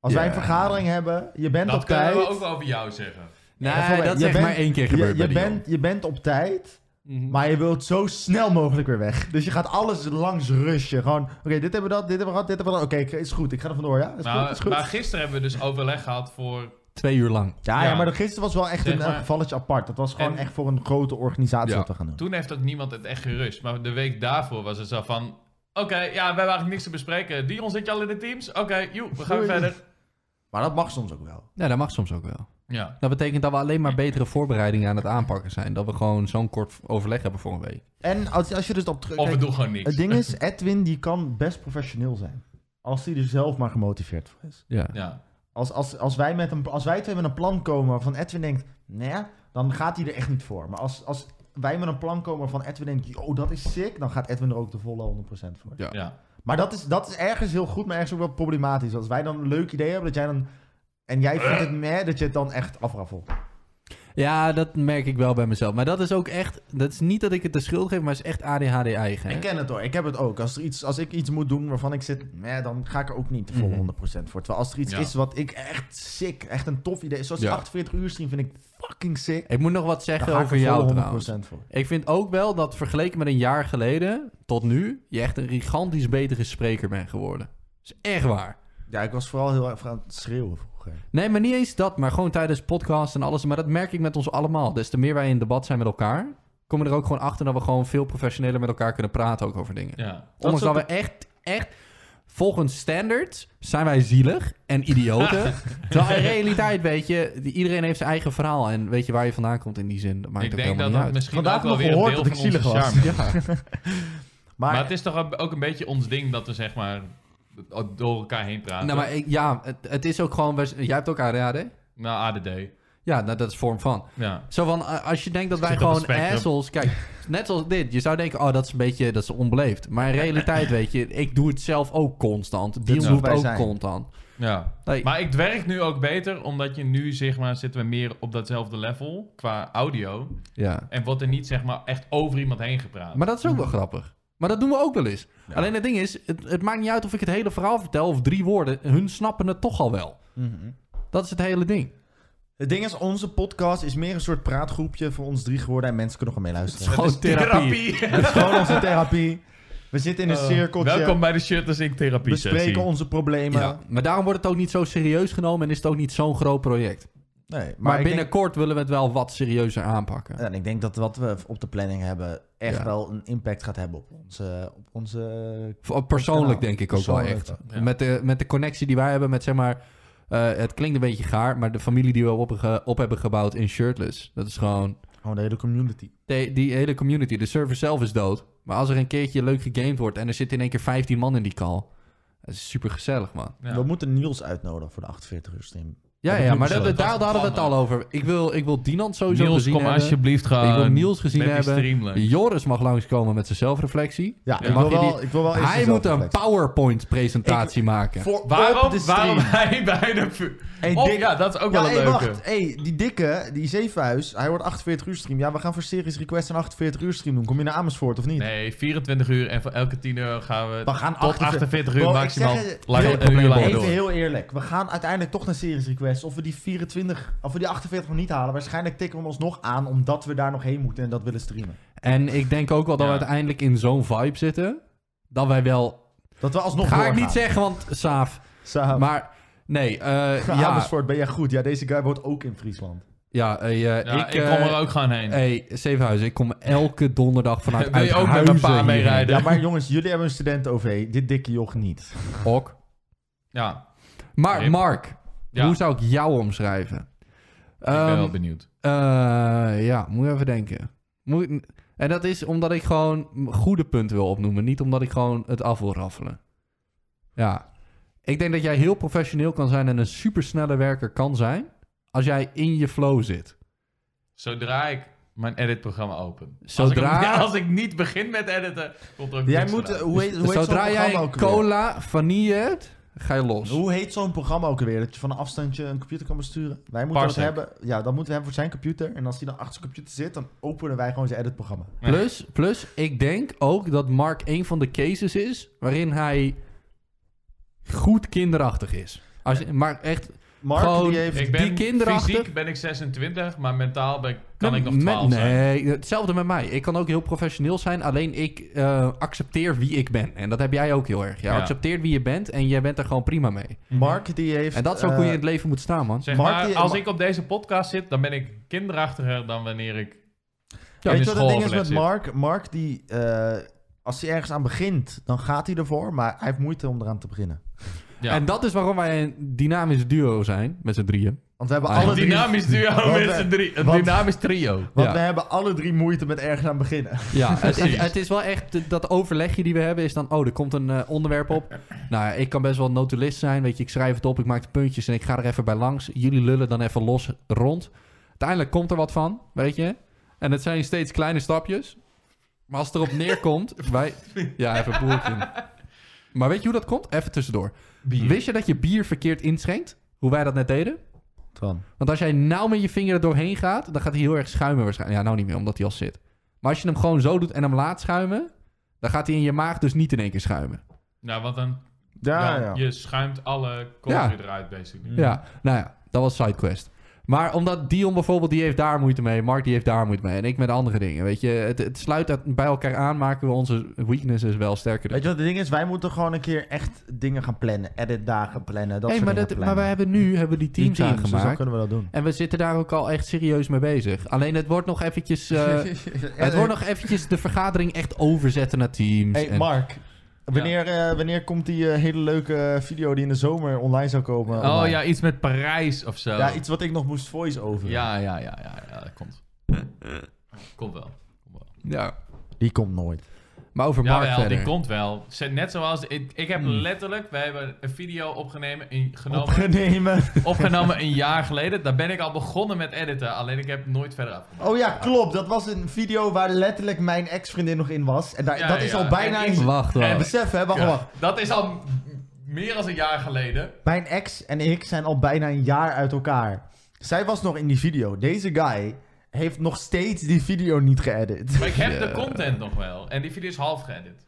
Speaker 2: Als wij
Speaker 1: Ja.
Speaker 2: een vergadering hebben, je bent
Speaker 3: dat
Speaker 2: op tijd.
Speaker 3: kunnen we ook wel over jou zeggen.
Speaker 1: Nee,
Speaker 2: Ja, dat
Speaker 1: dat
Speaker 2: je
Speaker 1: is echt
Speaker 2: bent-
Speaker 1: maar één keer
Speaker 2: je,
Speaker 1: gebeurd bij
Speaker 2: je,
Speaker 1: die jongen.
Speaker 2: bent, je bent op tijd,
Speaker 3: Mhm.
Speaker 2: maar je wilt zo snel mogelijk weer weg. Dus je gaat alles langs rushen. Gewoon, oké, dit hebben we dat, dit hebben we gehad, dit hebben we dat. Oké, ik- is goed, ik ga er vandoor, ja? Is
Speaker 3: Nou,
Speaker 2: goed, is goed.
Speaker 3: Maar gisteren hebben we dus overleg gehad voor...
Speaker 1: Twee uur lang.
Speaker 2: ja, ja,
Speaker 3: ja.
Speaker 2: maar dat gisteren was wel echt
Speaker 3: Zeg
Speaker 2: een,
Speaker 3: maar-
Speaker 2: een gevalletje apart. Dat was gewoon
Speaker 3: En-
Speaker 2: echt voor een grote organisatie
Speaker 1: Ja.
Speaker 2: wat we gaan doen.
Speaker 3: Toen heeft ook niemand het echt gerust. Maar de week daarvoor was het zo van... Oké, ja, we hebben eigenlijk niks te bespreken. Dion, zit je al in de teams? Oké, joe, we gaan weer
Speaker 2: Doei.
Speaker 3: verder.
Speaker 2: Maar dat mag soms ook wel.
Speaker 1: Ja, dat mag soms ook wel.
Speaker 3: Ja.
Speaker 1: Dat betekent dat we alleen maar betere voorbereidingen aan het aanpakken zijn. Dat we gewoon zo'n kort overleg hebben voor een week.
Speaker 2: En als, als je dus op terug...
Speaker 3: Of we
Speaker 2: kijk,
Speaker 3: doen gewoon niks.
Speaker 2: Het ding is, Edwin die kan best professioneel zijn. Als hij er zelf maar gemotiveerd voor is.
Speaker 1: Ja.
Speaker 3: Ja.
Speaker 2: Als, als, als, wij met een, als wij twee met een plan komen waarvan Edwin denkt, nee, dan gaat hij er echt niet voor. Maar als, als wij met een plan komen waarvan Edwin denkt, yo, dat is sick, dan gaat Edwin er ook de volle 100% voor.
Speaker 1: Ja.
Speaker 3: ja.
Speaker 2: Maar dat is, dat is ergens heel goed, maar ergens ook wel problematisch. Als wij dan een leuk idee hebben, dat jij dan... En jij vindt het meh, dat je het dan echt afraffelt.
Speaker 1: Ja, dat merk ik wel bij mezelf. Maar dat is ook echt... Dat is niet dat ik het de schuld geef, maar het is echt ADHD eigen. hè?
Speaker 2: Ik ken het hoor, ik heb het ook. Als, er iets, als ik iets moet doen waarvan ik zit, meh, dan ga ik er ook niet de volle
Speaker 1: Mhm.
Speaker 2: 100% voor. Terwijl als er iets
Speaker 3: Ja.
Speaker 2: is wat ik echt sick, echt een tof idee... Zoals die
Speaker 1: Ja.
Speaker 2: 48 uur stream vind ik fucking sick.
Speaker 1: Ik moet nog wat
Speaker 2: Dan
Speaker 1: zeggen
Speaker 2: ga ik
Speaker 1: over
Speaker 2: er
Speaker 1: jou
Speaker 2: volle 100%
Speaker 1: trouwens.
Speaker 2: voor.
Speaker 1: Ik vind ook wel dat vergeleken met een jaar geleden tot nu, je echt een gigantisch betere spreker bent geworden. Dat is echt waar.
Speaker 2: Ja, ik was vooral heel erg aan het schreeuwen vroeger.
Speaker 1: Nee, maar niet eens dat, maar gewoon tijdens podcasts en alles. Maar dat merk ik met ons allemaal. Des te meer wij in debat zijn met elkaar, komen we er ook gewoon achter dat we gewoon veel professioneler met elkaar kunnen praten ook over dingen.
Speaker 3: ja.
Speaker 2: Dat
Speaker 1: Ondanks
Speaker 2: is
Speaker 1: dat
Speaker 2: ook
Speaker 1: we echt, echt, volgens standards zijn wij zielig en idioten. Terwijl in realiteit, weet je, die- iedereen heeft zijn eigen verhaal. En weet je waar je vandaan komt in die zin, dat maakt
Speaker 3: Ik
Speaker 1: ook
Speaker 3: denk
Speaker 1: helemaal
Speaker 3: dat
Speaker 1: niet uit.
Speaker 3: dat misschien
Speaker 2: Vandaag
Speaker 3: ook wel
Speaker 2: nog
Speaker 3: weer een
Speaker 2: gehoord
Speaker 3: deel
Speaker 2: dat ik
Speaker 3: van onze
Speaker 2: zielig was.
Speaker 3: charme is.
Speaker 1: Ja.
Speaker 2: Maar,
Speaker 3: Maar het is toch ook een beetje ons ding dat we zeg maar door elkaar heen praten.
Speaker 1: Nou, maar ik- ja, het, het is ook gewoon... best- Jij hebt ook ADHD?
Speaker 3: Nou, ADD.
Speaker 1: Ja, nou, dat is vorm van.
Speaker 3: Ja.
Speaker 1: Zo van, a- als je denkt dat
Speaker 3: Ik
Speaker 1: wij
Speaker 3: zit op
Speaker 1: gewoon
Speaker 3: het spectrum.
Speaker 1: assholes... Kijk, net zoals dit. Je zou denken, oh, dat is een beetje dat is onbeleefd. Maar in realiteit, weet je, ik doe het zelf ook constant. Die
Speaker 2: is
Speaker 1: doet
Speaker 2: hoe wij
Speaker 1: ook
Speaker 2: zijn.
Speaker 1: constant.
Speaker 3: ja.
Speaker 1: Nee,
Speaker 3: Maar het werkt nu ook beter, omdat je nu zeg maar zitten we meer op datzelfde level qua audio.
Speaker 1: ja.
Speaker 3: En wordt er niet zeg maar echt over iemand heen gepraat.
Speaker 1: maar dat is ook wel grappig. Maar dat doen we ook wel eens.
Speaker 2: Ja.
Speaker 1: Alleen het ding is, het, het maakt niet uit of ik het hele verhaal vertel of drie woorden. Hun snappen het toch al wel.
Speaker 2: Mhm.
Speaker 1: Dat is het hele ding.
Speaker 2: Het ding is, onze podcast is meer een soort praatgroepje voor ons drie geworden. En mensen kunnen gewoon
Speaker 1: Het is
Speaker 2: meeluisteren.
Speaker 1: gewoon
Speaker 3: is
Speaker 1: therapie.
Speaker 2: Het is gewoon onze therapie. We zitten in een
Speaker 3: Eh,
Speaker 2: cirkeltje.
Speaker 3: Welkom bij de Shirt als ik therapie
Speaker 2: bespreken
Speaker 3: sessie.
Speaker 2: onze problemen.
Speaker 1: Ja. Maar daarom wordt het ook niet zo serieus genomen en is het ook niet zo'n groot project.
Speaker 2: Nee, maar
Speaker 1: Maar,
Speaker 2: ik denk-
Speaker 1: binnenkort willen we het wel wat serieuzer aanpakken.
Speaker 2: en ik denk dat wat we op de planning hebben echt
Speaker 1: Ja.
Speaker 2: wel een impact gaat hebben op onze... Op onze
Speaker 1: Voor- Persoonlijk
Speaker 2: Ja,
Speaker 1: denk ik ook wel
Speaker 2: persoonlijk
Speaker 1: echt.
Speaker 3: dan, ja.
Speaker 1: Met, de, met de connectie die wij hebben met, zeg maar... eh, het klinkt een beetje gaar, maar de familie die we op, ge- op hebben gebouwd in Shirtless... Dat is gewoon...
Speaker 2: gewoon de hele community.
Speaker 1: de- die hele community, de server zelf is dood. Maar als er een keertje leuk gegamed wordt en er zitten in één keer 15 man in die call. Dat is super gezellig, man.
Speaker 3: Ja.
Speaker 2: We moeten Niels uitnodigen voor de 48 uur stream.
Speaker 1: Ja,
Speaker 2: dat
Speaker 1: ja
Speaker 2: moet
Speaker 1: maar
Speaker 2: zo.
Speaker 1: daar, daar
Speaker 3: Dat is
Speaker 1: hadden we het
Speaker 3: plan,
Speaker 1: al over. Ik wil, ik wil Dinant sowieso
Speaker 3: Niels,
Speaker 1: gezien
Speaker 3: kom
Speaker 1: hebben.
Speaker 3: alsjeblieft gaan.
Speaker 1: Ik wil Niels gezien
Speaker 3: met die
Speaker 1: hebben.
Speaker 3: streamlijn.
Speaker 1: Joris mag langskomen met zijn zelfreflectie.
Speaker 2: Ja,
Speaker 3: Ja.
Speaker 2: Ik,
Speaker 1: Mag
Speaker 2: wil
Speaker 1: je
Speaker 2: wel, ik wil wel eerst
Speaker 1: Hij
Speaker 2: dezelfde
Speaker 1: moet een
Speaker 2: reflectie.
Speaker 1: PowerPoint-presentatie maken.
Speaker 2: Voor op
Speaker 3: Waarom,
Speaker 2: de stream.
Speaker 3: waarom hij bij de... vu-
Speaker 2: Hey,
Speaker 3: Oh,
Speaker 2: Dick-
Speaker 3: ja, dat is ook
Speaker 2: Ja,
Speaker 3: wel een
Speaker 2: hey,
Speaker 3: leuke.
Speaker 2: wacht. Hey, die dikke, die zeefuis, hij wordt 48 uur stream. Ja, we gaan voor series request een 48 uur stream doen. Kom je naar Amersfoort of niet?
Speaker 3: Nee, 24 uur en voor elke 10 euro gaan we,
Speaker 2: We gaan
Speaker 3: tot 48,
Speaker 2: 48
Speaker 3: uur
Speaker 2: Bro, ik
Speaker 3: maximaal
Speaker 2: zeg het,
Speaker 3: langer,
Speaker 1: heel
Speaker 3: een uur langer
Speaker 1: probleem.
Speaker 2: Even heel
Speaker 3: door.
Speaker 2: eerlijk, we gaan uiteindelijk toch naar series request. Of we die 24, of we die 48 nog niet halen. Waarschijnlijk tikken we ons nog aan omdat we daar nog heen moeten en dat willen streamen.
Speaker 1: En ik denk ook wel dat
Speaker 3: Ja.
Speaker 1: we uiteindelijk in zo'n vibe zitten. Dat wij wel...
Speaker 2: Dat we alsnog
Speaker 1: Ga ik
Speaker 2: doorgaan.
Speaker 1: niet zeggen, want Saaf.
Speaker 3: Ah.
Speaker 2: Samen.
Speaker 1: Maar nee, eh,
Speaker 2: Ja,
Speaker 1: ja,
Speaker 2: Amersfoort, ben jij goed? Ja, deze guy woont ook in Friesland.
Speaker 1: ja, eh, eh,
Speaker 3: Ja, ik,
Speaker 1: eh,
Speaker 3: kom er ook gewoon heen.
Speaker 1: Hey, Zevenhuizen, ik kom elke donderdag vanuit
Speaker 3: Wil je ook met mijn
Speaker 1: Uithuizen
Speaker 3: pa mee
Speaker 1: hierheen.
Speaker 3: rijden?
Speaker 2: Ja, maar jongens, jullie hebben een student OV. Dit dikke joch niet.
Speaker 1: Ok.
Speaker 3: Ja,
Speaker 1: Maar
Speaker 3: Rip.
Speaker 1: Mark,
Speaker 3: Ja.
Speaker 1: hoe zou ik jou omschrijven?
Speaker 3: ik ben
Speaker 1: Ehm,
Speaker 3: wel benieuwd.
Speaker 1: eh, ja, moet ik even denken. Moet ik- en dat is omdat ik gewoon m- goede punten wil opnoemen. Niet omdat ik gewoon het af wil raffelen. Ja. Ik denk dat jij heel professioneel kan zijn en een supersnelle werker kan zijn. Als jij in je flow zit.
Speaker 3: Zodra ik mijn editprogramma open.
Speaker 1: Zodra-
Speaker 3: Als ik, hem- als ik niet begin met editen, komt er ook
Speaker 2: Jij
Speaker 3: niks
Speaker 2: moet, eh,
Speaker 3: vandaan.
Speaker 2: hoe heet, hoe heet zo'n
Speaker 1: Dus Zodra
Speaker 2: programma
Speaker 1: jij
Speaker 2: ook weer?
Speaker 1: cola, vanille hebt, ga je los.
Speaker 2: Hoe heet zo'n programma ook alweer? Dat je van een afstandje een computer kan besturen? Wij moeten
Speaker 3: Parsec.
Speaker 2: dat hebben. Ja, dat moeten we hebben voor zijn computer. En als die dan achter zijn computer zit, dan openen wij gewoon zijn editprogramma.
Speaker 3: Nee.
Speaker 1: Plus, plus, ik denk ook dat Mark een van de cases is waarin hij goed kinderachtig is. Als, je- maar echt,
Speaker 2: Mark,
Speaker 1: Gewoon-
Speaker 2: die heeft...
Speaker 3: ik ben,
Speaker 1: die kinderachtig-
Speaker 3: Fysiek ben ik 26, maar mentaal ben, ik- kan ik nog
Speaker 1: met-
Speaker 3: 12 zijn.
Speaker 1: Nee, eh, hetzelfde met mij. Ik kan ook heel professioneel zijn, alleen ik eh, accepteer wie ik ben. En dat heb jij ook heel erg. Jij
Speaker 3: Ja.
Speaker 1: accepteert wie je bent en jij bent er gewoon prima mee.
Speaker 2: Mark, die heeft...
Speaker 1: En dat is ook hoe je
Speaker 2: eh,
Speaker 1: in het leven moet staan, man.
Speaker 3: Zeg
Speaker 2: Mark,
Speaker 3: maar,
Speaker 2: die-
Speaker 3: als
Speaker 2: Ma-
Speaker 3: ik op deze podcast zit, dan ben ik kinderachtiger dan wanneer ik...
Speaker 1: Ja,
Speaker 3: in
Speaker 2: Weet
Speaker 3: de
Speaker 2: je wat het ding is
Speaker 3: schooloverleg
Speaker 2: met
Speaker 3: zit.
Speaker 2: Mark? Mark, die, eh, als hij ergens aan begint, dan gaat hij ervoor. Maar hij heeft moeite om eraan te beginnen.
Speaker 3: Ja.
Speaker 1: En dat is waarom wij een dynamisch duo zijn, met z'n drieën.
Speaker 2: Want we hebben
Speaker 1: Ah,
Speaker 2: alle
Speaker 3: Een
Speaker 2: drie...
Speaker 3: dynamisch duo
Speaker 2: Want
Speaker 3: met
Speaker 2: wij-
Speaker 3: z'n drie. Een
Speaker 2: want-
Speaker 3: dynamisch trio.
Speaker 2: Want
Speaker 1: Ja.
Speaker 2: we hebben alle drie moeite met ergens aan beginnen.
Speaker 1: Ja, het,
Speaker 3: Precies.
Speaker 1: het, het is wel echt dat overlegje die we hebben. Is dan, oh, er komt een eh, onderwerp op. Nou ja, ik kan best wel een notulist zijn. Weet je, ik schrijf het op, ik maak de puntjes en ik ga er even bij langs. Jullie lullen dan even los rond. Uiteindelijk komt er wat van, weet je. En het zijn steeds kleine stapjes. Maar als het erop neerkomt, wij. Ja, even een boeltje. Maar weet je hoe dat komt? Even tussendoor.
Speaker 3: Bier.
Speaker 1: Wist je dat je bier verkeerd inschenkt? Hoe wij dat net deden?
Speaker 2: Twan.
Speaker 1: Want als jij nou met je vinger er doorheen gaat, dan gaat hij heel erg schuimen waarschijnlijk. Ja, nou niet meer, omdat hij al zit. Maar als je hem gewoon zo doet en hem laat schuimen, dan gaat hij in je maag dus niet in één keer schuimen.
Speaker 3: Nou, want dan,
Speaker 2: Ja,
Speaker 3: dan-
Speaker 2: ja.
Speaker 3: je schuimt alle koolzuur eruit, basically.
Speaker 1: Ja, nou ja, dat was sidequest. Maar omdat Dion bijvoorbeeld, die heeft daar moeite mee. Mark, die heeft daar moeite mee. En ik met andere dingen, weet je. Het, het sluit dat- bij elkaar aan, maken we onze weaknesses wel sterker.
Speaker 2: Weet je wat het ding is? Wij moeten gewoon een keer echt dingen gaan plannen. Editdagen plannen,
Speaker 1: hey,
Speaker 2: dat soort
Speaker 1: maar, dat,
Speaker 2: dingen
Speaker 1: maar
Speaker 2: plannen.
Speaker 1: we hebben nu hebben die
Speaker 2: Die
Speaker 1: teams,
Speaker 2: dus dan
Speaker 1: aangemaakt.
Speaker 2: kunnen we dat doen.
Speaker 1: En we zitten daar ook al echt serieus mee bezig. Alleen het wordt nog eventjes... eh, het wordt nog eventjes de vergadering echt overzetten naar teams.
Speaker 2: Hey
Speaker 1: en-
Speaker 2: Mark, wanneer, eh, wanneer komt die eh, hele leuke video die in de zomer online zou komen?
Speaker 3: Oh
Speaker 2: online?
Speaker 3: ja, iets met Parijs of zo.
Speaker 2: Ja, iets wat ik nog moest voice-over.
Speaker 3: Ja, ja, ja, ja, ja, dat komt. Komt wel. Komt wel.
Speaker 1: Ja.
Speaker 2: Die komt nooit.
Speaker 1: Maar over Mark
Speaker 3: Jawel,
Speaker 1: verder.
Speaker 3: die komt wel. Zet Net zoals... Ik, ik heb letterlijk... We hebben een video opgenomen, in, genomen,
Speaker 2: Hmm. Opgenomen.
Speaker 3: opgenomen een jaar geleden. Daar ben ik al begonnen met editen. Alleen ik heb nooit verder af.
Speaker 2: Oh ja, klopt. Dat was een video waar letterlijk mijn ex-vriendin nog in was. En daar,
Speaker 3: Ja,
Speaker 2: dat is
Speaker 3: ja.
Speaker 2: al bijna
Speaker 3: En
Speaker 2: een...
Speaker 3: ik-
Speaker 1: Wacht wel.
Speaker 2: En besef hè, wacht, wacht.
Speaker 3: Dat is al m- meer dan een jaar geleden.
Speaker 2: Mijn ex en ik zijn al bijna een jaar uit elkaar. Zij was nog in die video. Deze guy heeft nog steeds die video niet geëdit.
Speaker 3: Maar ik heb de
Speaker 1: Ja.
Speaker 3: content nog wel. En die video is half geëdit.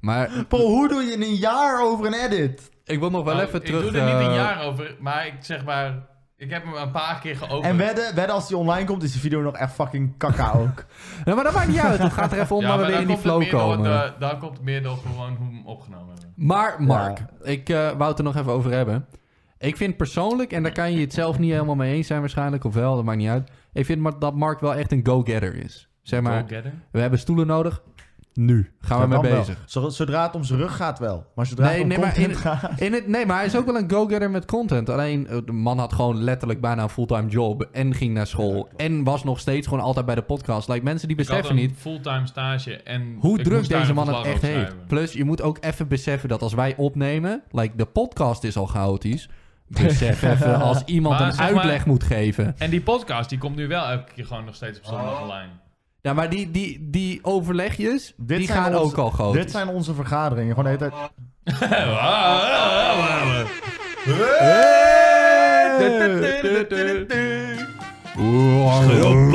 Speaker 1: Maar
Speaker 2: Paul, hoe doe je in een jaar over een edit?
Speaker 1: ik wil nog wel
Speaker 3: Nou,
Speaker 1: even
Speaker 3: ik
Speaker 1: terug...
Speaker 3: doe er niet
Speaker 1: eh,
Speaker 3: een jaar over. Maar ik zeg maar... Ik heb hem een paar keer geopend.
Speaker 2: En wedden, wedden als die online komt, is die video nog echt fucking kakka ook.
Speaker 1: Ja, maar dat maakt niet uit. Het gaat er even om
Speaker 3: Ja,
Speaker 1: dat we
Speaker 3: maar
Speaker 1: weer in die
Speaker 3: dan komt
Speaker 1: flow
Speaker 3: het eh, meer door
Speaker 1: komen.
Speaker 3: de- Dan komt het meer door gewoon hoe we hem opgenomen hebben.
Speaker 1: Maar Mark, ik eh, wou het er nog even over hebben. Ik vind persoonlijk, en daar kan je het zelf niet helemaal mee eens zijn waarschijnlijk, of wel, dat maakt niet uit. Ik vind maar dat Mark wel echt een go-getter is. Zeg maar,
Speaker 3: Go-getter.
Speaker 1: we hebben stoelen nodig. Nu. Gaan we
Speaker 2: Ja,
Speaker 1: mee
Speaker 2: dan wel.
Speaker 1: bezig.
Speaker 2: Zo- Zodra het om zijn rug gaat wel. Maar zodra
Speaker 1: Nee,
Speaker 2: het om
Speaker 1: nee, maar
Speaker 2: content
Speaker 1: in-
Speaker 2: gaat...
Speaker 1: In het, nee, maar hij is ook wel een go-getter met content. Alleen, eh, de man had gewoon letterlijk bijna een fulltime job. En ging naar school. en was nog steeds gewoon altijd bij de podcast. Like, mensen die
Speaker 3: Ik had
Speaker 1: beseffen
Speaker 3: een
Speaker 1: niet
Speaker 3: fulltime stage en...
Speaker 1: hoe
Speaker 3: ik
Speaker 1: druk
Speaker 3: moest daar
Speaker 1: deze
Speaker 3: een
Speaker 1: man het
Speaker 3: verslag
Speaker 1: echt
Speaker 3: over
Speaker 1: heeft.
Speaker 3: schrijven.
Speaker 1: Plus, je moet ook even beseffen dat als wij opnemen... Like, de podcast is al chaotisch. Besef even als iemand
Speaker 3: Maar
Speaker 1: een
Speaker 3: zeg maar-
Speaker 1: uitleg moet geven.
Speaker 3: En die podcast, die komt nu wel elke keer gewoon nog steeds op zondag online.
Speaker 1: Ja, maar die, die, die overlegjes,
Speaker 2: Dit
Speaker 1: die
Speaker 2: zijn
Speaker 1: gaan
Speaker 2: onze-
Speaker 1: ook al groot.
Speaker 2: Dit zijn onze vergaderingen. Gewoon de hele tijd...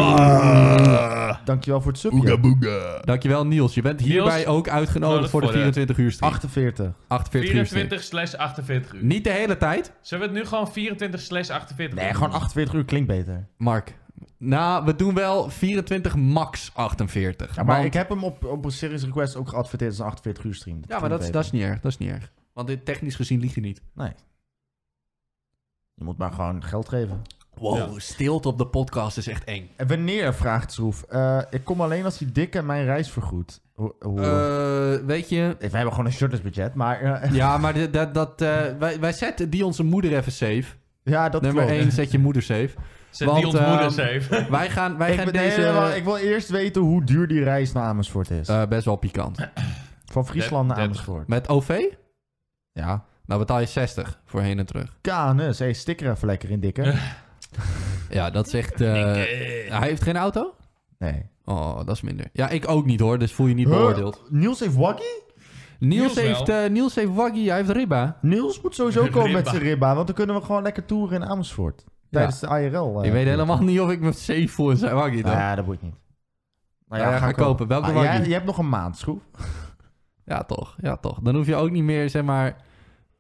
Speaker 2: "Ah, Dankjewel voor het subje.
Speaker 1: Dankjewel Niels. Je bent hierbij
Speaker 3: Niels,
Speaker 1: ook uitgenodigd
Speaker 3: nodig
Speaker 1: voor de
Speaker 3: voor de
Speaker 1: 24 uur stream.
Speaker 2: 48.
Speaker 1: 48 uur stream.
Speaker 3: 24 slash 48 uur.
Speaker 1: Niet de hele tijd,
Speaker 3: Zullen we het nu gewoon 24 slash 48 uur
Speaker 2: Nee, gewoon
Speaker 3: doen?
Speaker 2: 48 uur klinkt beter.
Speaker 1: Mark. Nou, we doen wel 24 max 48.
Speaker 2: Ja, maar
Speaker 1: Want-
Speaker 2: ik heb hem op, op een serious request ook geadverteerd als een 48 uur stream.
Speaker 1: ja, maar dat, is-
Speaker 2: klinkt
Speaker 1: dat is niet erg. Dat is niet erg. Want dit, technisch gezien lieg je niet.
Speaker 2: beter. Nee. Je moet maar gewoon geld geven.
Speaker 1: Wow, stilte op de podcast is echt eng.
Speaker 2: En wanneer, vraagt Schroef. eh, ik kom alleen als die dikke mijn reis vergoedt. Ho- hoe-
Speaker 1: Eh, weet je...
Speaker 2: We hebben gewoon een shortlisbudget, maar... eh,
Speaker 1: Ja, maar dit- dat, dat, eh, wij, wij zetten die onze moeder even safe.
Speaker 2: ja, dat
Speaker 1: Nummer
Speaker 2: klopt.
Speaker 1: 1, zet je moeder safe.
Speaker 3: Zet
Speaker 1: Want,
Speaker 3: die ontmoeder
Speaker 1: ehm,
Speaker 3: safe.
Speaker 1: Wij gaan, wij
Speaker 2: Ik,
Speaker 1: gaan
Speaker 2: ben- nee,
Speaker 1: deze...
Speaker 2: nee, maar ik wil eerst weten hoe duur die reis naar Amersfoort is.
Speaker 1: eh, best wel pikant.
Speaker 2: Van Friesland naar
Speaker 3: 30.
Speaker 2: Amersfoort.
Speaker 1: Met OV?
Speaker 2: Ja.
Speaker 1: Nou betaal je 60 voor heen en terug.
Speaker 2: KNS. Hey, sticker even lekker in, dikke.
Speaker 1: Ja, dat zegt... eh hij heeft geen auto?
Speaker 2: Nee.
Speaker 1: Oh, dat is minder. Ja, ik ook niet hoor, dus voel je niet beoordeeld.
Speaker 2: Huh? Niels heeft waggy?
Speaker 1: Niels,
Speaker 3: Niels wel.
Speaker 1: heeft, eh, Niels heeft Waggy, hij heeft Ribba.
Speaker 2: Niels moet sowieso komen met
Speaker 3: Ribba.
Speaker 2: zijn ribba, want dan kunnen we gewoon lekker toeren in Amersfoort. Tijdens de IRL. eh,
Speaker 1: ik weet
Speaker 2: tour.
Speaker 1: helemaal niet of ik me safe voel in zijn Waggy dan.
Speaker 2: Nou ja, dat boeit niet. Nou
Speaker 1: ja, ga
Speaker 2: ik
Speaker 1: kopen.
Speaker 2: ook.
Speaker 1: Welke
Speaker 2: Ah,
Speaker 1: wagyu?
Speaker 2: jij- Je hebt nog een maand, schroef.
Speaker 1: Ja, toch. Ja, toch. Dan hoef je ook niet meer, zeg maar...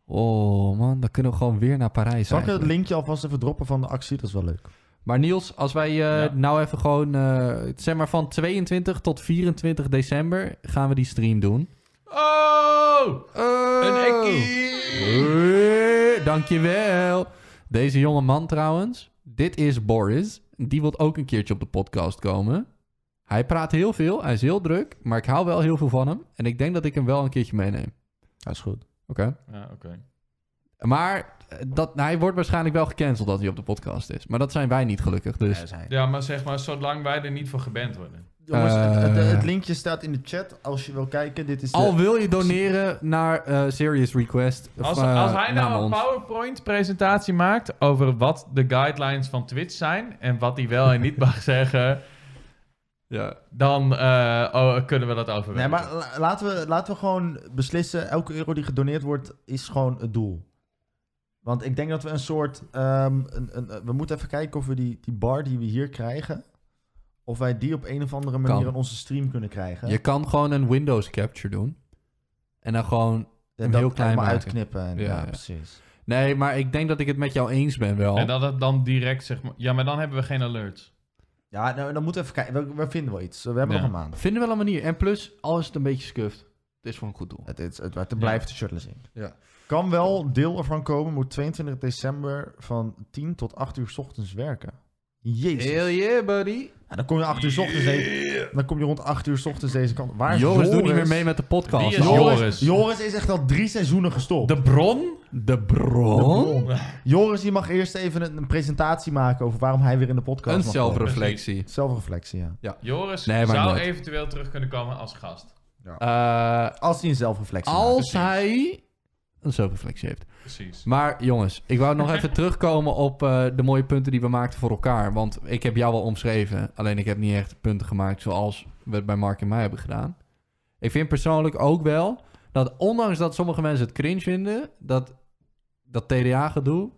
Speaker 1: Oh man, dan kunnen we gewoon weer naar Parijs
Speaker 2: Zal ik het
Speaker 1: eigenlijk.
Speaker 2: linkje alvast even droppen van de actie? Dat is wel leuk.
Speaker 1: Maar Niels, als wij eh,
Speaker 3: Ja.
Speaker 1: nou even gewoon... eh, zeg maar van 22 tot 24 december gaan we die stream doen.
Speaker 3: Oh! Een
Speaker 1: ekkie!
Speaker 3: ekkie!
Speaker 1: Dankjewel. Deze jonge man trouwens, dit is Boris. Die wil ook een keertje op de podcast komen. Hij praat heel veel, hij is heel druk, maar ik hou wel heel veel van hem. En ik denk dat ik hem wel een keertje meeneem.
Speaker 2: Dat is goed.
Speaker 1: Oké.
Speaker 3: Ja, oké.
Speaker 1: Maar eh, dat, hij wordt waarschijnlijk wel gecanceld dat hij op de podcast is. Maar dat zijn wij niet gelukkig. Dus
Speaker 2: Ja, zijn.
Speaker 3: Ja, maar zeg maar, zolang wij er niet voor geband worden.
Speaker 2: Jongens, het, het-
Speaker 1: Eh.
Speaker 2: het linkje staat in de chat als je wil kijken. Dit is de...
Speaker 1: al wil je doneren naar eh, Serious Request. of,
Speaker 3: Als,
Speaker 1: eh,
Speaker 3: als hij
Speaker 1: naar
Speaker 3: nou een
Speaker 1: ons.
Speaker 3: PowerPoint-presentatie maakt over wat de guidelines van Twitch zijn en wat hij wel en niet mag zeggen,
Speaker 1: Ja.
Speaker 3: dan eh, oh, kunnen we dat overwegen.
Speaker 2: Nee, maar la- laten we, laten we gewoon beslissen. Elke euro die gedoneerd wordt, is gewoon het doel. Want ik denk dat we een soort... ehm, een, een, een- we moeten even kijken of we die, die bar die we hier krijgen... of wij die op een of andere manier
Speaker 1: Kan.
Speaker 2: in onze stream kunnen krijgen.
Speaker 1: Je kan gewoon een Windows capture doen. En dan gewoon...
Speaker 2: En
Speaker 1: hem
Speaker 2: dat
Speaker 1: heel klein
Speaker 2: helemaal
Speaker 1: maken.
Speaker 2: uitknippen. En,
Speaker 1: Ja,
Speaker 2: ja,
Speaker 1: ja.
Speaker 2: precies.
Speaker 1: Nee, maar ik denk dat ik het met jou eens ben wel.
Speaker 3: En dat het dan direct zeg maar... Ja, maar dan hebben we geen alerts.
Speaker 2: Ja, nou, dan moeten we even kijken. We, we vinden wel iets. We hebben
Speaker 3: Ja.
Speaker 2: nog een maand.
Speaker 1: Vinden we wel een manier. En plus, alles een beetje scuft. Het is voor een goed doel.
Speaker 2: Het, is, het, het
Speaker 3: Ja.
Speaker 2: blijft de shirtless in.
Speaker 1: Ja.
Speaker 2: Kan wel deel ervan komen, moet 22 december van 10 tot 8 uur 's ochtends werken. Jezus.
Speaker 1: Hell yeah, buddy.
Speaker 2: Ja, dan kom je 8 uur 's ochtends heen- Dan kom je rond 8 uur 's ochtends deze kant. Waar is
Speaker 1: Joris doet niet meer mee met de
Speaker 3: Wie
Speaker 1: podcast.
Speaker 3: is
Speaker 1: Nou,
Speaker 3: Joris?
Speaker 2: Joris, Joris is echt al drie seizoenen gestopt.
Speaker 3: De bron?
Speaker 1: De bron?
Speaker 2: Joris die mag eerst even een, een presentatie maken over waarom hij weer in de podcast
Speaker 1: Een
Speaker 2: mag
Speaker 1: zelfreflectie.
Speaker 2: komen. Zelfreflectie, ja.
Speaker 3: Joris
Speaker 1: Nee, maar
Speaker 3: zou
Speaker 1: nooit.
Speaker 3: eventueel terug kunnen komen als gast.
Speaker 1: Eh,
Speaker 2: Als hij een zelfreflectie maakt.
Speaker 1: als
Speaker 3: precies.
Speaker 1: hij een zelfreflectie heeft.
Speaker 3: Precies.
Speaker 1: Maar jongens, ik wou nog even terugkomen op eh, de mooie punten die we maakten voor elkaar. Want ik heb jou wel omschreven. Alleen ik heb niet echt punten gemaakt zoals we het bij Mark en mij hebben gedaan. Ik vind persoonlijk ook wel dat ondanks dat sommige mensen het cringe vinden, dat, dat TDA-gedoe,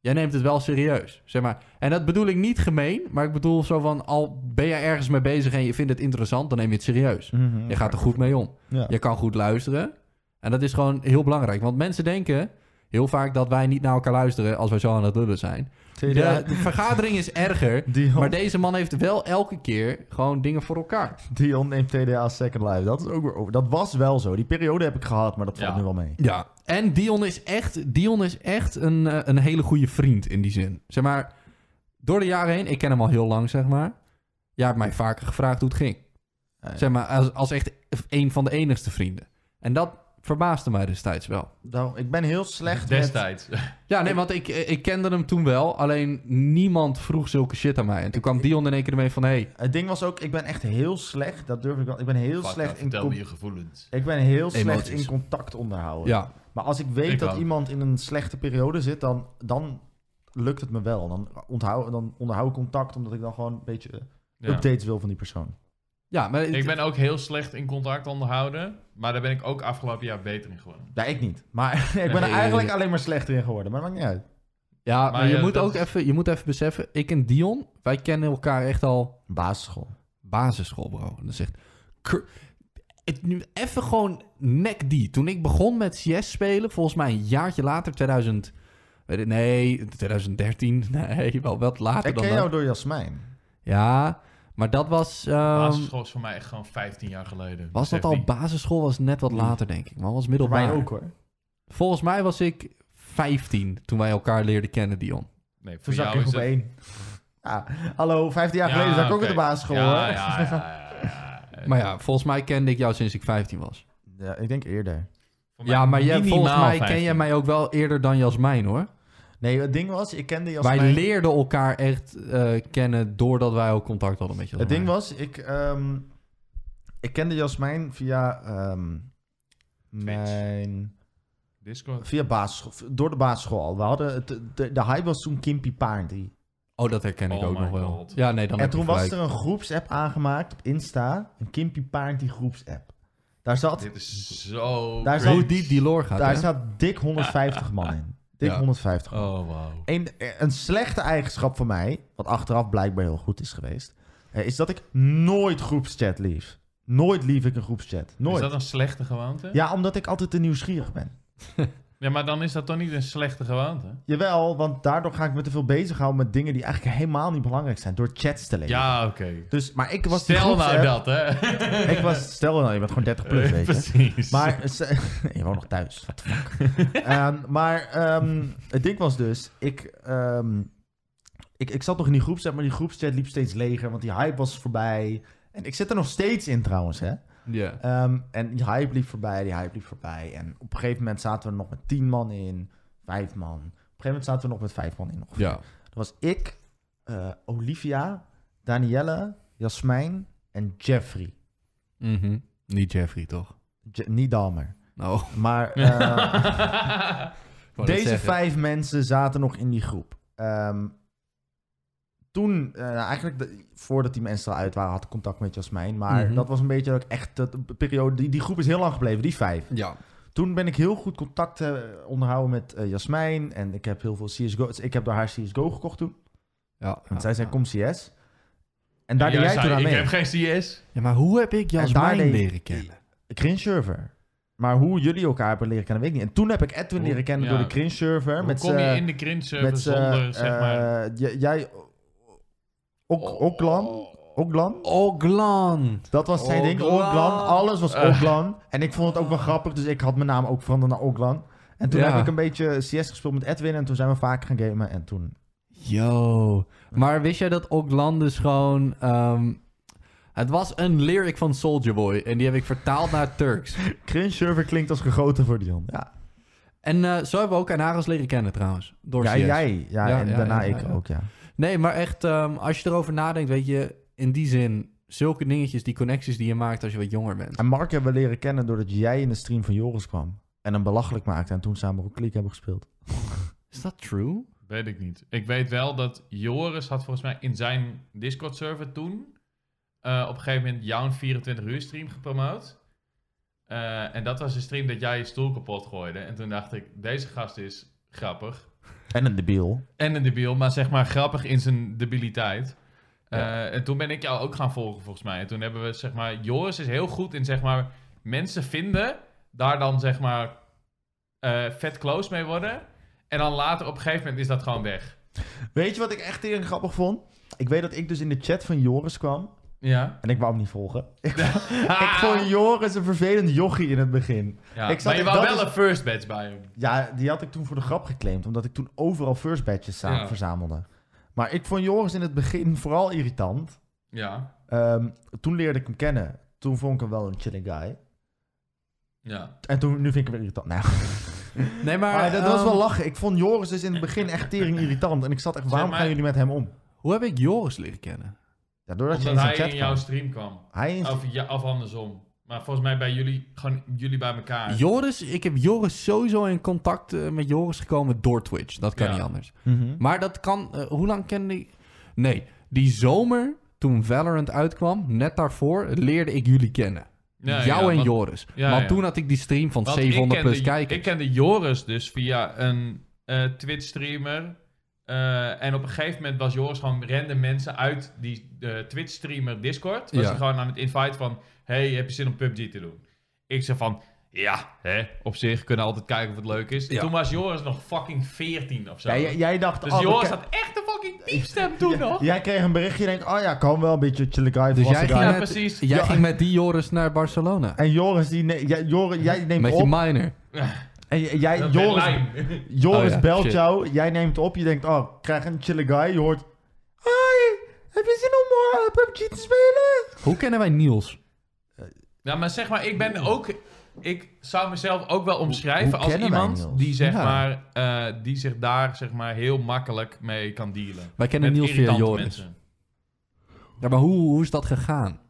Speaker 1: jij neemt het wel serieus. Zeg maar. En dat bedoel ik niet gemeen, maar ik bedoel zo van, al ben je ergens mee bezig en je vindt het interessant, dan neem je het serieus.
Speaker 2: Mhm.
Speaker 1: Je gaat er goed mee om.
Speaker 2: Ja.
Speaker 1: Je kan goed luisteren. En dat is gewoon heel belangrijk. Want mensen denken heel vaak dat wij niet naar elkaar luisteren als wij zo aan het lullen zijn. De,
Speaker 2: Ja,
Speaker 1: de vergadering is erger.
Speaker 2: Dion,
Speaker 1: Maar deze man heeft wel elke keer gewoon dingen voor elkaar.
Speaker 2: Dion neemt TDA als Second Life. Dat, is ook weer over. dat was wel zo. Die periode heb ik gehad, maar dat valt
Speaker 3: Ja.
Speaker 2: nu wel mee.
Speaker 1: Ja. En Dion is echt, Dion is echt een, eh, een hele goede vriend in die zin. Zeg maar, door de jaren heen, ik ken hem al heel lang, zeg maar. Jij hebt mij vaker gevraagd hoe het ging.
Speaker 2: Ja, ja.
Speaker 1: Zeg maar, als, als echt een van de enigste vrienden. En dat verbaasde mij destijds wel.
Speaker 2: Nou, ik ben heel slecht met...
Speaker 3: Destijds.
Speaker 1: Ja, nee, want ik, ik kende hem toen wel. Alleen niemand vroeg zulke shit aan mij. En toen kwam Dion in één keer ermee van... Hey,
Speaker 2: Het ding was ook, ik ben echt heel slecht, dat durf ik wel. Ik ben heel
Speaker 3: Fuck,
Speaker 2: slecht
Speaker 3: nou,
Speaker 2: in...
Speaker 3: vertel
Speaker 2: con-
Speaker 3: me je gevoelens.
Speaker 2: Ik ben heel slecht
Speaker 1: Emoties.
Speaker 2: in contact onderhouden.
Speaker 1: ja,
Speaker 2: Maar als ik weet
Speaker 3: Ik
Speaker 2: dat
Speaker 3: ook.
Speaker 2: iemand in een slechte periode zit, dan, dan lukt het me wel. Dan onthoud, dan onderhoud ik contact, omdat ik dan gewoon een beetje eh,
Speaker 3: Ja.
Speaker 2: updates wil van die persoon.
Speaker 1: ja maar...
Speaker 3: Ik ben ook heel slecht in contact onderhouden. Maar daar ben ik ook afgelopen jaar beter in geworden.
Speaker 2: Ja, ik niet. Maar ik ben er
Speaker 1: Nee.
Speaker 2: eigenlijk alleen maar slechter in geworden. Maar dat maakt niet uit.
Speaker 1: Ja, maar,
Speaker 3: Maar
Speaker 1: je
Speaker 3: ja,
Speaker 1: moet
Speaker 3: dat
Speaker 1: ook
Speaker 3: is-
Speaker 1: even, je moet even beseffen, ik en Dion, wij kennen elkaar echt al
Speaker 2: Basisschool.
Speaker 1: basisschool, bro. En dan zegt, cr- het nu even gewoon nek die. Toen ik begon met CS spelen, volgens mij een jaartje later, 2000, weet ik- nee, 2013, nee, wel wat later
Speaker 2: Ik
Speaker 1: dan
Speaker 2: ken
Speaker 1: dat.
Speaker 2: jou door Jasmijn.
Speaker 1: Ja, maar dat was, ehm,
Speaker 3: basisschool is voor mij echt gewoon 15 jaar geleden.
Speaker 1: was dat
Speaker 3: Besef
Speaker 1: al
Speaker 3: die.
Speaker 1: basisschool, was net
Speaker 2: Hmm.
Speaker 1: wat later denk ik, maar was
Speaker 2: Voor mij
Speaker 1: middelbaar.
Speaker 2: ook hoor.
Speaker 1: Volgens mij was ik 15 toen wij elkaar leerden kennen, Dion.
Speaker 3: Nee,
Speaker 2: Toen
Speaker 3: voor
Speaker 2: zag
Speaker 3: jou
Speaker 2: ik
Speaker 3: is
Speaker 2: op
Speaker 3: het...
Speaker 2: één. Ja, hallo, 15 jaar geleden zat ik ook
Speaker 3: oké.
Speaker 2: in de basisschool
Speaker 3: Ja,
Speaker 2: hoor.
Speaker 3: ja, ja, ja, ja.
Speaker 1: Maar ja, volgens mij kende ik jou sinds ik 15 was.
Speaker 2: Ja, ik denk eerder.
Speaker 3: Voor mij
Speaker 1: Ja, maar jij,
Speaker 3: minimaal
Speaker 1: volgens mij
Speaker 3: 15.
Speaker 1: ken jij mij ook wel eerder dan Jasmijn hoor.
Speaker 2: Nee, het ding was, ik kende Jasmijn.
Speaker 1: Wij leerden elkaar echt eh, kennen doordat wij ook contact hadden met
Speaker 2: Het
Speaker 1: Jasmijn.
Speaker 2: ding was, ik, ehm, ik kende Jasmijn via ehm, mijn...
Speaker 3: Discord.
Speaker 2: Via basisschool, door de basisschool al. We hadden, het- de, de hype was toen Kimpy Paardrie.
Speaker 1: Oh, dat herken ik
Speaker 3: Oh
Speaker 1: ook
Speaker 3: my
Speaker 1: nog wel.
Speaker 3: God.
Speaker 1: Ja, nee, dan
Speaker 2: En
Speaker 1: heb je
Speaker 2: toen was
Speaker 1: gelijk.
Speaker 2: er een groepsapp aangemaakt op Insta. Een Kimpy Paardrie groepsapp. Daar zat,
Speaker 3: Dit is zo...
Speaker 2: Daar
Speaker 3: cringe.
Speaker 1: Hoe diep die lore gaat,
Speaker 2: daar
Speaker 1: hè?
Speaker 2: zat dik 150 man in. Dik
Speaker 1: Ja.
Speaker 2: 150 man.
Speaker 3: Oh, wauw.
Speaker 2: Een, een slechte eigenschap van mij, wat achteraf blijkbaar heel goed is geweest, eh, is dat ik nooit groepschat lief. Nooit lief ik een groepschat.
Speaker 3: Is
Speaker 2: Nooit.
Speaker 3: dat een slechte gewoonte?
Speaker 2: Ja, omdat ik altijd te nieuwsgierig ben.
Speaker 3: Ja, maar dan is dat toch niet een slechte gewoonte?
Speaker 2: Jawel, want daardoor ga ik me te veel bezighouden met dingen die eigenlijk helemaal niet belangrijk zijn. Door chats te lezen.
Speaker 3: Ja, oké.
Speaker 2: Dus, maar ik was die
Speaker 3: Stel nou
Speaker 2: groepsapp-
Speaker 3: dat, hè?
Speaker 2: Ik was, stel nou, je bent gewoon 30 plus, weet je.
Speaker 3: Precies.
Speaker 2: Maar eh, ze- je woont nog thuis. What the fuck? Ehm, maar ehm, het ding was dus, ik, ehm, ik, ik zat nog in die groepschat, maar die groepschat liep steeds leger, want die hype was voorbij. En ik zit er nog steeds in trouwens, hè.
Speaker 1: Ja.
Speaker 2: Ehm, en die hype liep voorbij, die hype liep voorbij. En op een gegeven moment zaten we er nog met 10 man in, 5 man. Op een gegeven moment zaten we nog met 5 man in. Nog.
Speaker 1: ja.
Speaker 2: Dat was ik, eh, Olivia, Danielle, Jasmijn en Jeffrey.
Speaker 1: Mhm. Niet Jeffrey, toch?
Speaker 2: Je- niet Dalmer.
Speaker 1: Nou,
Speaker 2: Maar... eh,
Speaker 1: ik wou net
Speaker 2: Deze
Speaker 1: zeggen.
Speaker 2: vijf mensen zaten nog in die groep. Ehm, toen, eh, eigenlijk de- voordat die mensen eruit waren, had ik contact met Jasmijn. Maar
Speaker 1: Mhm.
Speaker 2: dat was een beetje dat ik echt dat de periode. Die, die groep is heel lang gebleven, die vijf.
Speaker 1: Ja.
Speaker 2: Toen ben ik heel goed contact eh, onderhouden met eh, Jasmijn. En ik heb heel veel CSGO. dus Ik heb door haar CSGO gekocht toen.
Speaker 1: Ja,
Speaker 2: Want
Speaker 1: ja,
Speaker 2: zij zei:
Speaker 1: ja.
Speaker 2: Kom CS. En daar deed
Speaker 3: Ja,
Speaker 2: jij toen aan
Speaker 3: Ik
Speaker 2: mee.
Speaker 3: heb geen CS.
Speaker 1: Ja, maar hoe heb ik Jasmijn
Speaker 2: deed-
Speaker 1: leren kennen?
Speaker 2: Cringe server. Maar hoe jullie elkaar hebben leren kennen, weet ik niet. En toen heb ik Edwin
Speaker 3: Hoe-
Speaker 2: leren kennen
Speaker 3: ja.
Speaker 2: door de cringe server.
Speaker 3: Hoe
Speaker 2: met
Speaker 3: kom je
Speaker 2: z'n-
Speaker 3: in de cringe server
Speaker 2: met eh,
Speaker 3: zonder, zeg maar...
Speaker 2: jij.
Speaker 1: Oh.
Speaker 2: Ok, Oklan? Oklan?
Speaker 1: Oglan.
Speaker 2: Dat was zijn ding.
Speaker 1: Oklan.
Speaker 2: Oklan. Alles was
Speaker 3: Eh.
Speaker 2: Oklan. En ik vond het ook wel grappig, dus ik had mijn naam ook veranderd naar Oklan. En toen
Speaker 1: Ja.
Speaker 2: heb ik een beetje CS gespeeld met Edwin. En toen zijn we vaker gaan gamen. En toen.
Speaker 1: Yo. Maar wist jij dat Oglan dus gewoon... ehm, het was een lyric van Soldier Boy en die heb ik vertaald naar Turks.
Speaker 2: Cringe server klinkt als gegoten voor Dion. Ja,
Speaker 1: En eh, zo hebben we ook Anagos leren kennen trouwens. Door
Speaker 2: ja
Speaker 1: CS.
Speaker 2: jij. Ja,
Speaker 1: Ja,
Speaker 2: en
Speaker 1: ja,
Speaker 2: daarna
Speaker 1: ja,
Speaker 2: ik
Speaker 1: ja.
Speaker 2: ook, ja.
Speaker 1: Nee, maar echt, ehm, als je erover nadenkt, weet je, in die zin, zulke dingetjes, die connecties die je maakt als je wat jonger bent.
Speaker 2: En Mark hebben we leren kennen doordat jij in de stream van Joris kwam. En hem belachelijk maakte. En toen samen ook League hebben gespeeld.
Speaker 1: Is dat true?
Speaker 3: Weet ik niet. Ik weet wel dat Joris had volgens mij in zijn Discord-server toen... eh, op een gegeven moment jouw 24-uur stream gepromoot. Eh, en dat was de stream dat jij je stoel kapot gooide. En toen dacht ik, deze gast is grappig.
Speaker 2: En een debiel.
Speaker 3: en een debiel, maar zeg maar grappig in zijn debiliteit.
Speaker 1: Ja.
Speaker 3: Eh, en toen ben ik jou ook gaan volgen, volgens mij. En toen hebben we, zeg maar, Joris is heel goed in, zeg maar, mensen vinden, daar dan, zeg maar, eh, vet close mee worden. En dan later op een gegeven moment is dat gewoon weg.
Speaker 2: Weet je wat ik echt heel grappig vond? Ik weet dat ik dus in de chat van Joris kwam.
Speaker 3: Ja.
Speaker 2: En ik wou hem niet volgen. Ik, ik vond Joris een vervelend jochie in het begin.
Speaker 3: ja.
Speaker 2: ik zat-
Speaker 3: maar je wou
Speaker 2: dat
Speaker 3: wel
Speaker 2: is-
Speaker 3: een first badge bij hem.
Speaker 2: Ja, die had ik toen voor de grap geclaimd. Omdat ik toen overal first badges za-
Speaker 3: Ja.
Speaker 2: verzamelde. Maar ik vond Joris in het begin vooral irritant.
Speaker 3: Ja.
Speaker 2: Ehm, toen leerde ik hem kennen. Toen vond ik hem wel een chilling guy.
Speaker 3: Ja.
Speaker 2: En toen, nu vind ik hem weer irritant. Nou,
Speaker 1: Nee, maar...
Speaker 2: maar dat was
Speaker 1: ehm,
Speaker 2: wel lachen. Ik vond Joris dus in het begin echt tering irritant. En ik zat echt, waarom
Speaker 3: maar-
Speaker 2: gaan jullie met hem om?
Speaker 1: Hoe heb ik Joris leren kennen?
Speaker 2: Ja, doordat je
Speaker 3: Omdat
Speaker 2: in zijn
Speaker 3: hij
Speaker 2: chat
Speaker 3: in jouw Oh.
Speaker 2: kwam.
Speaker 3: stream kwam.
Speaker 2: Hij is...
Speaker 3: Of, ja, of andersom. Maar volgens mij bij jullie, gewoon jullie bij elkaar.
Speaker 1: Joris, ik heb Joris sowieso in contact eh, met Joris gekomen door Twitch. Dat kan
Speaker 3: Ja.
Speaker 1: niet anders.
Speaker 2: Mhm.
Speaker 1: Maar dat kan... eh, hoe lang kende ik... Nee, die zomer toen Valorant uitkwam, net daarvoor, leerde ik jullie kennen.
Speaker 3: Ja,
Speaker 1: Jou
Speaker 3: ja,
Speaker 1: en
Speaker 3: want-
Speaker 1: Joris.
Speaker 3: Ja,
Speaker 1: want
Speaker 3: ja.
Speaker 1: toen had ik die stream van
Speaker 3: want
Speaker 1: 700
Speaker 3: ik
Speaker 1: plus
Speaker 3: kende-
Speaker 1: kijkers.
Speaker 3: Ik kende Joris dus via een eh, Twitch-streamer. Eh, en op een gegeven moment was Joris gewoon random mensen uit die eh, Twitch-streamer Discord. Was
Speaker 1: Ja.
Speaker 3: hij gewoon aan het invite van... Hey, heb je zin om PUBG te doen? Ik zei van... Ja, hè, op zich kunnen we altijd kijken of het leuk is. En
Speaker 1: Ja.
Speaker 3: Toen was Joris nog fucking 14 of zo.
Speaker 2: Ja, jij, jij dacht...
Speaker 3: dus
Speaker 2: oh, we
Speaker 3: Joris
Speaker 2: ken-
Speaker 3: had echt een fucking piepstem toen nog.
Speaker 2: Jij kreeg een berichtje en denkt, oh ja, kan wel een beetje chillen guy,
Speaker 1: Dus
Speaker 2: dus
Speaker 1: jij ging,
Speaker 3: Ja,
Speaker 1: met,
Speaker 3: precies.
Speaker 1: jij
Speaker 2: Ja.
Speaker 1: ging met die Joris naar Barcelona.
Speaker 2: En Joris, die ne- jij, Joris, jij neemt
Speaker 1: Met je
Speaker 2: op.
Speaker 1: minor.
Speaker 2: En j- jij,
Speaker 3: Dat
Speaker 2: Joris,
Speaker 3: Berlijn.
Speaker 2: Joris
Speaker 1: Oh ja,
Speaker 2: belt
Speaker 1: shit.
Speaker 2: jou, jij neemt op, je denkt, oh, ik krijg een chille guy. Je hoort, hi, heb je zin om morgen PUBG te spelen?
Speaker 1: Hoe kennen wij Niels?
Speaker 3: Ja, maar zeg maar, ik ben ook. Ik zou mezelf ook wel omschrijven
Speaker 2: hoe
Speaker 3: als
Speaker 2: kennen wij
Speaker 3: iemand
Speaker 2: Niels?
Speaker 3: die, zeg
Speaker 1: Ja.
Speaker 3: maar, eh, die zich daar zeg maar, heel makkelijk mee kan dealen.
Speaker 1: Wij kennen Niels via
Speaker 3: irritante
Speaker 1: Joris.
Speaker 3: mensen.
Speaker 1: Ja, maar hoe, hoe is dat gegaan?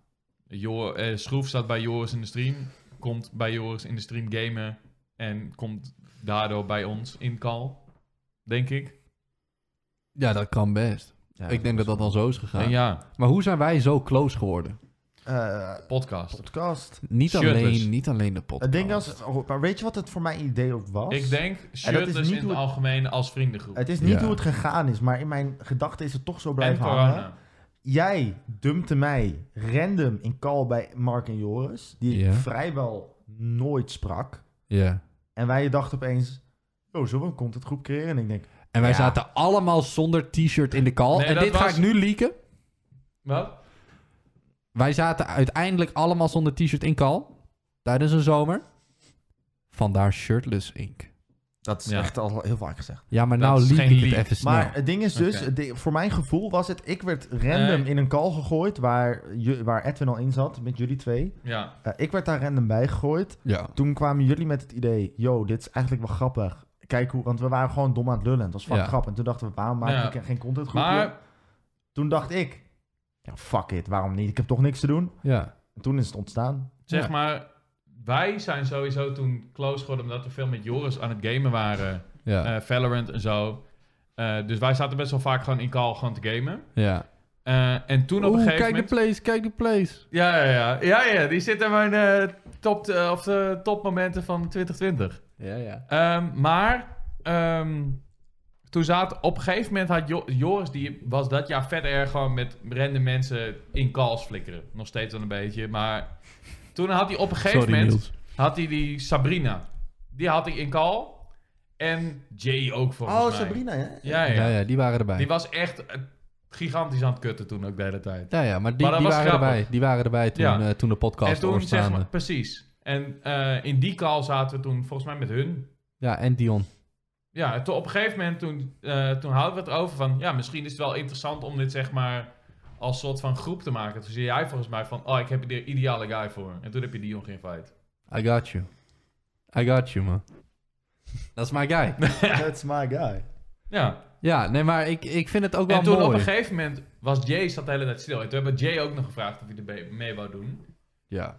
Speaker 3: Jo- eh, Schroef staat bij Joris in de stream, komt bij Joris in de stream gamen en komt daardoor bij ons in call, denk ik.
Speaker 1: Ja, dat kan best. ik denk dat dat dan zo is gegaan.
Speaker 3: En ja,
Speaker 1: Maar hoe zijn wij zo close geworden?
Speaker 2: Eh,
Speaker 3: podcast.
Speaker 2: podcast.
Speaker 1: Niet,
Speaker 3: Shirtless.
Speaker 1: alleen, niet alleen de podcast.
Speaker 2: Het ding was, oh, maar weet je wat het voor mijn idee ook was?
Speaker 3: Ik denk shirtless
Speaker 2: niet
Speaker 3: in het
Speaker 2: hoe het-
Speaker 3: algemeen als vriendengroep.
Speaker 2: Het is niet
Speaker 1: Ja.
Speaker 2: hoe het gegaan is, maar in mijn gedachten is het toch zo
Speaker 3: en
Speaker 2: blijven hangen.
Speaker 3: corona.
Speaker 2: Jij dumpte mij random in call bij Mark en Joris, die
Speaker 1: Ja.
Speaker 2: ik vrijwel nooit sprak.
Speaker 1: Ja.
Speaker 2: En wij dachten opeens, oh, zullen we een contentgroep creëren? En ik denk,
Speaker 1: En wij
Speaker 2: Ja.
Speaker 1: zaten allemaal zonder t-shirt in de call.
Speaker 3: Nee,
Speaker 1: en
Speaker 3: dat
Speaker 1: dit ga
Speaker 3: was-
Speaker 1: ik nu leaken.
Speaker 3: Wat?
Speaker 1: Wij zaten uiteindelijk allemaal zonder t-shirt in call. Tijdens een zomer. Vandaar Shirtless Inc.
Speaker 2: dat is
Speaker 3: Ja.
Speaker 2: echt al heel vaak gezegd.
Speaker 1: Ja, maar
Speaker 3: Dat
Speaker 1: nou
Speaker 3: is
Speaker 1: leak
Speaker 3: geen
Speaker 1: ik het
Speaker 3: leak.
Speaker 1: even snel.
Speaker 2: Maar het ding is dus,
Speaker 3: Oké.
Speaker 2: het ding- voor mijn gevoel was het, ik werd random
Speaker 3: Nee.
Speaker 2: in een call gegooid waar, ju- waar Edwin al in zat met jullie twee.
Speaker 3: Ja.
Speaker 2: Eh, ik werd daar random bij gegooid.
Speaker 1: Ja.
Speaker 2: Toen kwamen jullie met het idee, yo, dit is eigenlijk wel grappig. Kijk hoe, want we waren gewoon dom aan het lullen. Het was fucking
Speaker 1: Ja.
Speaker 2: grappig. En toen dachten we, waarom maken
Speaker 3: Ja.
Speaker 2: we geen content
Speaker 3: Maar
Speaker 2: Toen dacht ik, ja, fuck it, waarom niet? Ik heb toch niks te doen.
Speaker 1: ja.
Speaker 2: En toen is het ontstaan.
Speaker 3: Zeg
Speaker 1: Ja.
Speaker 3: maar, wij zijn sowieso toen close geworden omdat we veel met Joris aan het gamen waren.
Speaker 1: Ja.
Speaker 3: eh, Valorant en zo. Eh, dus wij zaten best wel vaak gewoon in call gewoon te gamen.
Speaker 1: ja.
Speaker 3: Eh, en toen op een
Speaker 1: Oeh,
Speaker 3: gegeven
Speaker 1: kijk
Speaker 3: moment...
Speaker 1: de place, kijk de place.
Speaker 3: Ja, ja, ja. Ja, ja, die zit in mijn eh, top, eh, of de topmomenten van 2020.
Speaker 1: Ja, ja.
Speaker 3: Ehm, maar ehm, toen zaten... Op een gegeven moment had Jo- Joris, die was dat jaar verder erg gewoon met random mensen in calls flikkeren. Nog steeds wel een beetje, maar... Toen had hij op een gegeven
Speaker 1: Sorry,
Speaker 3: moment...
Speaker 1: Niels.
Speaker 3: had hij die Sabrina. Die had ik in call. En Jay ook volgens
Speaker 2: Oh,
Speaker 3: mij.
Speaker 2: Sabrina, hè?
Speaker 3: Ja, ja.
Speaker 1: Ja, ja, die waren erbij.
Speaker 3: Die was echt eh, gigantisch aan het kutten toen ook de hele tijd.
Speaker 1: Ja, ja, maar die,
Speaker 3: Maar dat
Speaker 1: die
Speaker 3: was
Speaker 1: waren
Speaker 3: grappig.
Speaker 1: erbij. Die waren erbij toen,
Speaker 3: Ja.
Speaker 1: eh, toen de
Speaker 3: en
Speaker 1: podcast
Speaker 3: toen zeg
Speaker 1: ontstaande.
Speaker 3: maar, precies. En eh, in die call zaten we toen volgens mij met hun.
Speaker 1: Ja, en Dion.
Speaker 3: Ja, en toen op een gegeven moment toen, eh, toen hadden we het over van... Ja, misschien is het wel interessant om dit zeg maar als soort van groep te maken. Toen zei jij volgens mij van... Oh, ik heb de ideale guy voor. En toen heb je Dion geïnvite.
Speaker 1: I got you. I got you, man. Dat is my guy.
Speaker 2: That's my guy.
Speaker 3: Ja.
Speaker 1: ja, nee, maar ik, ik vind het ook wel
Speaker 3: En toen
Speaker 1: mooi.
Speaker 3: op een gegeven moment was Jay zat de hele tijd stil. En toen hebben we Jay ook nog gevraagd of hij er be- mee wou doen.
Speaker 1: ja,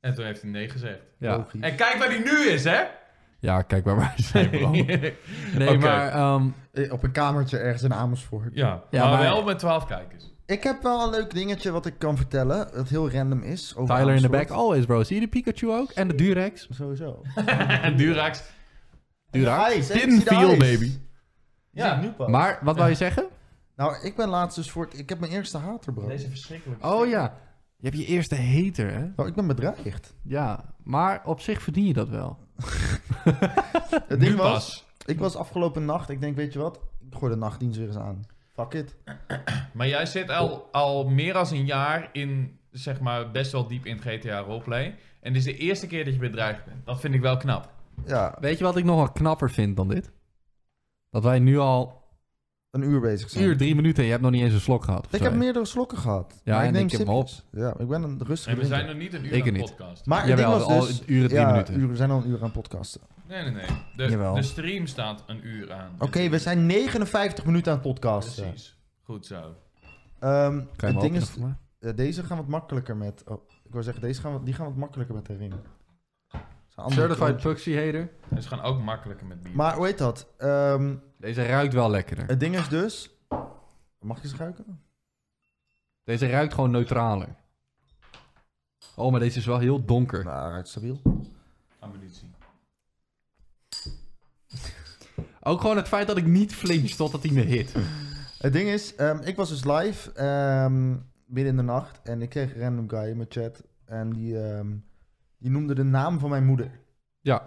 Speaker 3: En toen heeft hij nee gezegd.
Speaker 1: ja.
Speaker 2: Logisch.
Speaker 3: En kijk waar hij nu is, hè?
Speaker 1: ja, kijk waar wij zijn, bro. Nee,
Speaker 3: Oké.
Speaker 1: maar... ehm,
Speaker 2: Eh, Op een kamertje ergens in Amersfoort.
Speaker 3: ja,
Speaker 1: Ja,
Speaker 3: maar,
Speaker 1: maar-
Speaker 3: wel met 12 kijkers.
Speaker 2: Ik heb wel een leuk dingetje wat ik kan vertellen. Dat heel random is. over
Speaker 1: Tyler in the
Speaker 2: Amersfoort.
Speaker 1: back always, bro. Zie je de Pikachu ook? En de Durex?
Speaker 2: Sowieso.
Speaker 3: En Durax.
Speaker 1: Durex.
Speaker 2: Ice,
Speaker 3: Didn't
Speaker 2: ik zie de
Speaker 3: feel,
Speaker 2: ice.
Speaker 3: baby. Ja.
Speaker 2: Ja, nu pas.
Speaker 1: Maar, wat wou je zeggen?
Speaker 2: Nou, ik ben laatst dus voor het... Ik heb mijn eerste hater, bro.
Speaker 3: Deze verschrikkelijk.
Speaker 1: Oh ja, je hebt je eerste hater, hè?
Speaker 2: Nou, ik ben bedreigd.
Speaker 1: Ja, maar op zich verdien je dat wel.
Speaker 2: Het ding was, ik was afgelopen nacht. Ik denk, weet je wat? Ik gooi de nachtdienst weer eens aan. Fuck it.
Speaker 3: Maar jij zit al, al meer dan een jaar in, zeg maar, best wel diep in GTA roleplay. En dit is de eerste keer dat je bedreigd bent. Dat vind ik wel knap.
Speaker 2: Ja,
Speaker 1: Weet je wat ik nog wel knapper vind dan dit? Dat wij nu al
Speaker 2: een uur bezig
Speaker 1: Een
Speaker 2: zijn.
Speaker 1: uur, drie minuten en je hebt nog niet eens een slok gehad. of
Speaker 2: Ik
Speaker 1: zo.
Speaker 2: heb meerdere slokken gehad.
Speaker 1: Ja,
Speaker 2: Maar
Speaker 1: en ik heb hem
Speaker 2: sipjes. Ja, ik ben een rustige
Speaker 3: En we zijn
Speaker 2: drinker.
Speaker 3: nog niet een
Speaker 1: Ik
Speaker 3: uur aan de
Speaker 1: niet.
Speaker 3: podcast.
Speaker 2: Maar het
Speaker 1: Jawel,
Speaker 2: ding was
Speaker 1: al
Speaker 2: dus...
Speaker 1: een uur en drie
Speaker 2: ja,
Speaker 1: minuten.
Speaker 2: uur- we zijn al een uur aan het podcasten.
Speaker 3: Nee, nee, nee. De,
Speaker 2: Jawel.
Speaker 3: de stream staat een uur aan. Dus
Speaker 2: Oké, we zijn 59 minuten aan het podcasten.
Speaker 3: Precies. Goed zo.
Speaker 2: Ehm,
Speaker 1: Kan je
Speaker 2: het
Speaker 1: hem
Speaker 2: ding
Speaker 1: openen
Speaker 2: is,
Speaker 1: voor mij?
Speaker 2: eh, deze gaan wat makkelijker met... Oh, ik wil zeggen, deze gaan wat, die gaan wat makkelijker met herinneren. Dat is een andere
Speaker 1: Certified
Speaker 2: klantje.
Speaker 1: Puxy hater.
Speaker 3: En Dus ze gaan ook makkelijker met bier.
Speaker 2: Maar hoe heet dat? Ehm,
Speaker 1: Deze ruikt wel lekkerder.
Speaker 2: het ding is dus... Mag je ze ruiken?
Speaker 1: Deze ruikt gewoon neutraler. Oh, maar deze is wel heel donker.
Speaker 2: Nou, ruikt stabiel.
Speaker 3: Ammunitie.
Speaker 1: Ook gewoon het feit dat ik niet flinch totdat hij me hit.
Speaker 2: Het ding is, ehm, ik was dus live ehm, midden in de nacht en ik kreeg een random guy in mijn chat en die, ehm, die noemde de naam van mijn moeder.
Speaker 1: Ja.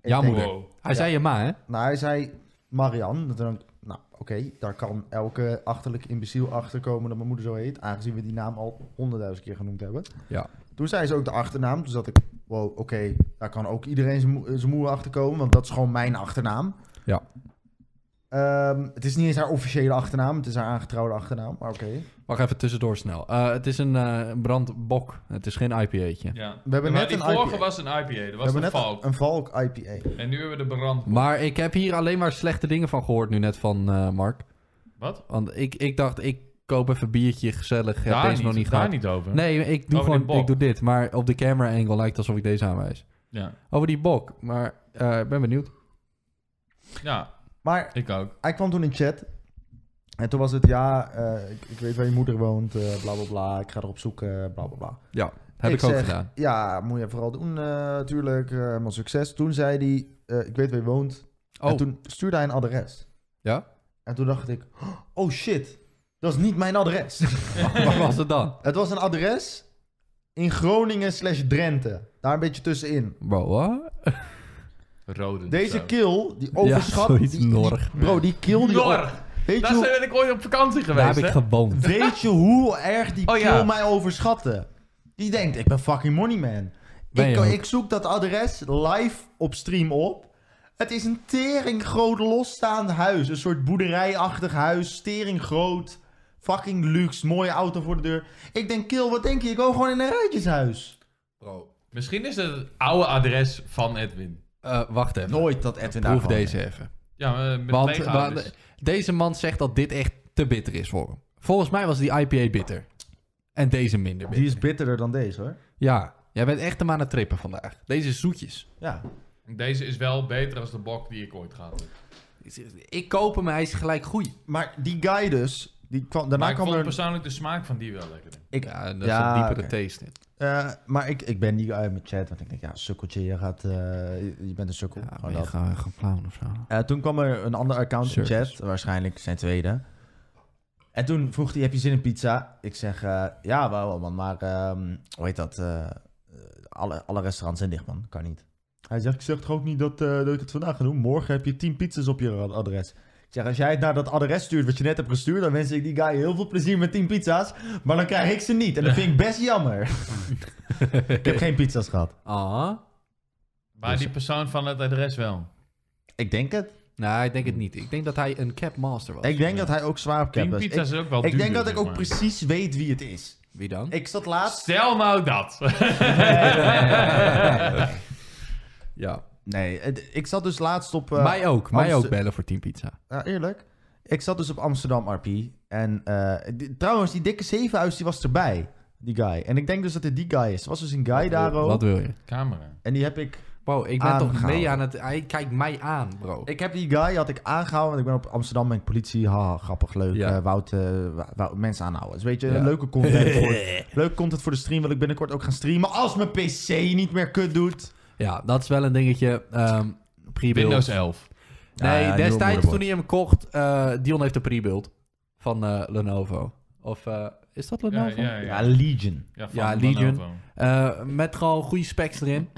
Speaker 2: Ik
Speaker 1: Ja,
Speaker 2: denk-
Speaker 1: moeder.
Speaker 3: Wow.
Speaker 1: Hij zei je ma, hè?
Speaker 2: Nou, hij zei Marianne. Dat dan, nou, oké, daar kan elke achterlijk imbeciel achterkomen dat mijn moeder zo heet, aangezien we die naam al honderdduizend keer genoemd hebben.
Speaker 1: Ja.
Speaker 2: Toen zei ze ook de achternaam, toen zat ik, wow, oké, daar kan ook iedereen zijn moe- zijn moeder achterkomen, want dat is gewoon mijn achternaam.
Speaker 1: Ja.
Speaker 2: Ehm, het is niet eens haar officiële achternaam, het is haar aangetrouwde achternaam, maar oké.
Speaker 1: Wacht even tussendoor snel. Eh, het is een eh, brandbok. Het is geen IPA'tje.
Speaker 3: Ja.
Speaker 2: We hebben
Speaker 3: maar
Speaker 2: net
Speaker 3: die
Speaker 2: een
Speaker 3: vorige
Speaker 2: IPA.
Speaker 3: was een IPA. Dat
Speaker 2: We
Speaker 3: was
Speaker 2: hebben
Speaker 3: een
Speaker 2: net
Speaker 3: valk.
Speaker 2: een Valk IPA.
Speaker 3: En nu hebben we de brand.
Speaker 1: Maar ik heb hier alleen maar slechte dingen van gehoord nu net van eh, Mark.
Speaker 3: Wat?
Speaker 1: Want ik, ik dacht, ik koop even een biertje gezellig. Heb
Speaker 3: daar
Speaker 1: deze
Speaker 3: niet,
Speaker 1: nog niet
Speaker 3: daar
Speaker 1: gehad.
Speaker 3: niet over.
Speaker 1: Nee, ik doe
Speaker 3: Over die
Speaker 1: gewoon
Speaker 3: bok.
Speaker 1: ik doe dit. Maar op de camera angle lijkt alsof ik deze aanwijs.
Speaker 3: Ja.
Speaker 1: Over die bok. Maar eh, ik ben benieuwd.
Speaker 3: ja,
Speaker 2: Maar
Speaker 3: ik ook.
Speaker 2: hij kwam toen in chat. En toen was het, ja, eh, ik, ik weet waar je moeder woont, eh, bla bla bla. Ik ga erop zoeken, bla bla bla.
Speaker 1: Ja, heb ik,
Speaker 2: Ik
Speaker 1: ook
Speaker 2: zeg-
Speaker 1: gedaan.
Speaker 2: Ja, moet je vooral doen eh, natuurlijk. eh, helemaal succes. Toen zei hij, eh, ik weet waar je woont.
Speaker 1: Oh,
Speaker 2: En toen stuurde hij een adres.
Speaker 1: Ja?
Speaker 2: En toen dacht ik, oh shit, dat is niet mijn adres.
Speaker 1: waar was het dan?
Speaker 2: het was een adres in Groningen slash Drenthe. Daar een beetje tussenin.
Speaker 1: Bro, wat?
Speaker 3: Rode.
Speaker 2: Deze kill, die
Speaker 1: Ja,
Speaker 2: overschat...
Speaker 1: zoiets
Speaker 2: die- die-
Speaker 1: norg.
Speaker 2: bro, die kill... Die
Speaker 3: Norg.
Speaker 2: Weet
Speaker 3: Daar
Speaker 2: je, hoe-
Speaker 3: ben ik ooit op vakantie
Speaker 1: Daar
Speaker 3: geweest.
Speaker 1: heb ik
Speaker 3: hè?
Speaker 1: gewoond.
Speaker 2: Weet je hoe erg die
Speaker 3: Oh,
Speaker 2: kill
Speaker 3: ja.
Speaker 2: mij overschatte? Die denkt, ik ben fucking money man.
Speaker 1: Ben je
Speaker 2: Ik, kan-
Speaker 1: ook.
Speaker 2: ik zoek dat adres live op stream op. Het is een tering groot losstaand huis. Een soort boerderijachtig huis. Tering groot. Fucking luxe. Mooie auto voor de deur. Ik denk, kill, wat denk je? Ik woon gewoon in een rijtjeshuis.
Speaker 1: Bro,
Speaker 3: Misschien is het het oude adres van Edwin.
Speaker 1: Eh, wacht even.
Speaker 2: Nooit dat Edwin daar
Speaker 1: Proef
Speaker 2: gewoon-
Speaker 1: deze even.
Speaker 3: Ja, maar met
Speaker 1: Want,
Speaker 3: lege
Speaker 1: want
Speaker 3: ouders.
Speaker 1: deze man zegt dat dit echt te bitter is voor hem. Volgens mij was die IPA bitter. En deze minder bitter.
Speaker 2: Die is bitterder dan deze hoor.
Speaker 1: Ja, jij bent echt hem aan het trippen vandaag. Deze is zoetjes.
Speaker 2: Ja.
Speaker 3: Deze is wel beter als de bok die ik ooit gehad heb.
Speaker 2: Nou,
Speaker 1: Ik koop hem, hij is gelijk goed.
Speaker 2: Maar die guy dus. Die kwam, daarna
Speaker 3: maar ik
Speaker 2: kwam
Speaker 3: vond
Speaker 2: er...
Speaker 3: persoonlijk de smaak van die wel lekker.
Speaker 2: Ik-
Speaker 1: ja, en daar
Speaker 2: ja,
Speaker 1: zit diepere
Speaker 2: oké.
Speaker 1: taste in.
Speaker 2: Eh, maar ik, ik ben die guy in mijn chat, want ik denk, ja, sukkeltje, je, gaat, eh, je, je bent een sukkel.
Speaker 1: Ja,
Speaker 2: Gewoon
Speaker 1: maar je
Speaker 2: dat.
Speaker 1: gaat gaan plauwen of zo.
Speaker 2: Eh, toen kwam er een ander account in
Speaker 1: Circus.
Speaker 2: chat, waarschijnlijk zijn tweede. En toen vroeg hij, heb je zin in pizza? Ik zeg, eh, ja, wel man, maar ehm, hoe heet dat? eh, eh, alle, alle restaurants zijn dicht man, kan niet. Hij zegt, ik zeg toch ook niet dat, eh, dat ik het vandaag ga doen? Morgen heb je 10 pizzas op je ad- adres. Ik zeg, als jij het naar dat adres stuurt wat je net hebt gestuurd, dan wens ik die guy heel veel plezier met 10 pizza's. Maar dan krijg ik ze niet. En dat vind ik best jammer. ik heb geen pizza's gehad.
Speaker 1: Ah?
Speaker 3: Maar die persoon van het adres wel.
Speaker 2: Ik denk het.
Speaker 1: Nee, Nou, ik denk het niet. Ik denk dat hij een capmaster was.
Speaker 2: Ik denk dat hij ook zwaar op cap
Speaker 3: Team
Speaker 2: was.
Speaker 3: pizza
Speaker 2: dus- Ik-
Speaker 3: is ook wel
Speaker 2: Ik
Speaker 3: duurder,
Speaker 2: denk dat ik
Speaker 3: zeg
Speaker 2: ook
Speaker 3: maar.
Speaker 2: precies weet wie het is.
Speaker 1: Wie dan?
Speaker 2: Ik zat laatst.
Speaker 3: Stel nou dat.
Speaker 1: Ja.
Speaker 2: Nee, het- ik zat dus laatst op. eh,
Speaker 1: mij ook. Mij
Speaker 2: Amster-
Speaker 1: ook bellen voor Team Pizza.
Speaker 2: Ja, eerlijk. Ik zat dus op Amsterdam RP. En eh, di- trouwens, die dikke zevenhuis die was erbij. Die guy. En ik denk dus dat dit die guy is. Er was dus een guy daar ook.
Speaker 1: Wat wil je?
Speaker 3: Camera.
Speaker 2: En die heb ik.
Speaker 1: Wow, ik ben toch
Speaker 2: Aangehouden.
Speaker 1: mee aan het... Hij kijkt mij aan, bro.
Speaker 2: Ik heb die guy had ik aangehouden. Want ik ben op Amsterdam met politie. Haha, grappig, leuk.
Speaker 1: Ja.
Speaker 2: Eh, Wout, eh, wou- wou- mensen aanhouden. Dus weet je,
Speaker 1: Ja.
Speaker 2: leuke content. voor, leuke content voor de stream. Wil ik binnenkort ook gaan streamen. Als mijn PC niet meer kut doet.
Speaker 1: Ja, dat is wel een dingetje. ehm pre-build.
Speaker 3: Windows 11.
Speaker 1: Nee,
Speaker 2: Ja, ja, nieuwe
Speaker 1: destijds
Speaker 2: moederbord.
Speaker 1: toen hij hem kocht, eh, Dion heeft een pre-build van eh, Lenovo. Of eh, is dat
Speaker 3: Ja,
Speaker 1: Lenovo?
Speaker 3: ja, ja.
Speaker 2: Ja, Legion.
Speaker 3: Ja, van
Speaker 1: Ja, Legion.
Speaker 3: Lenovo.
Speaker 1: Eh, met gewoon goede specs erin.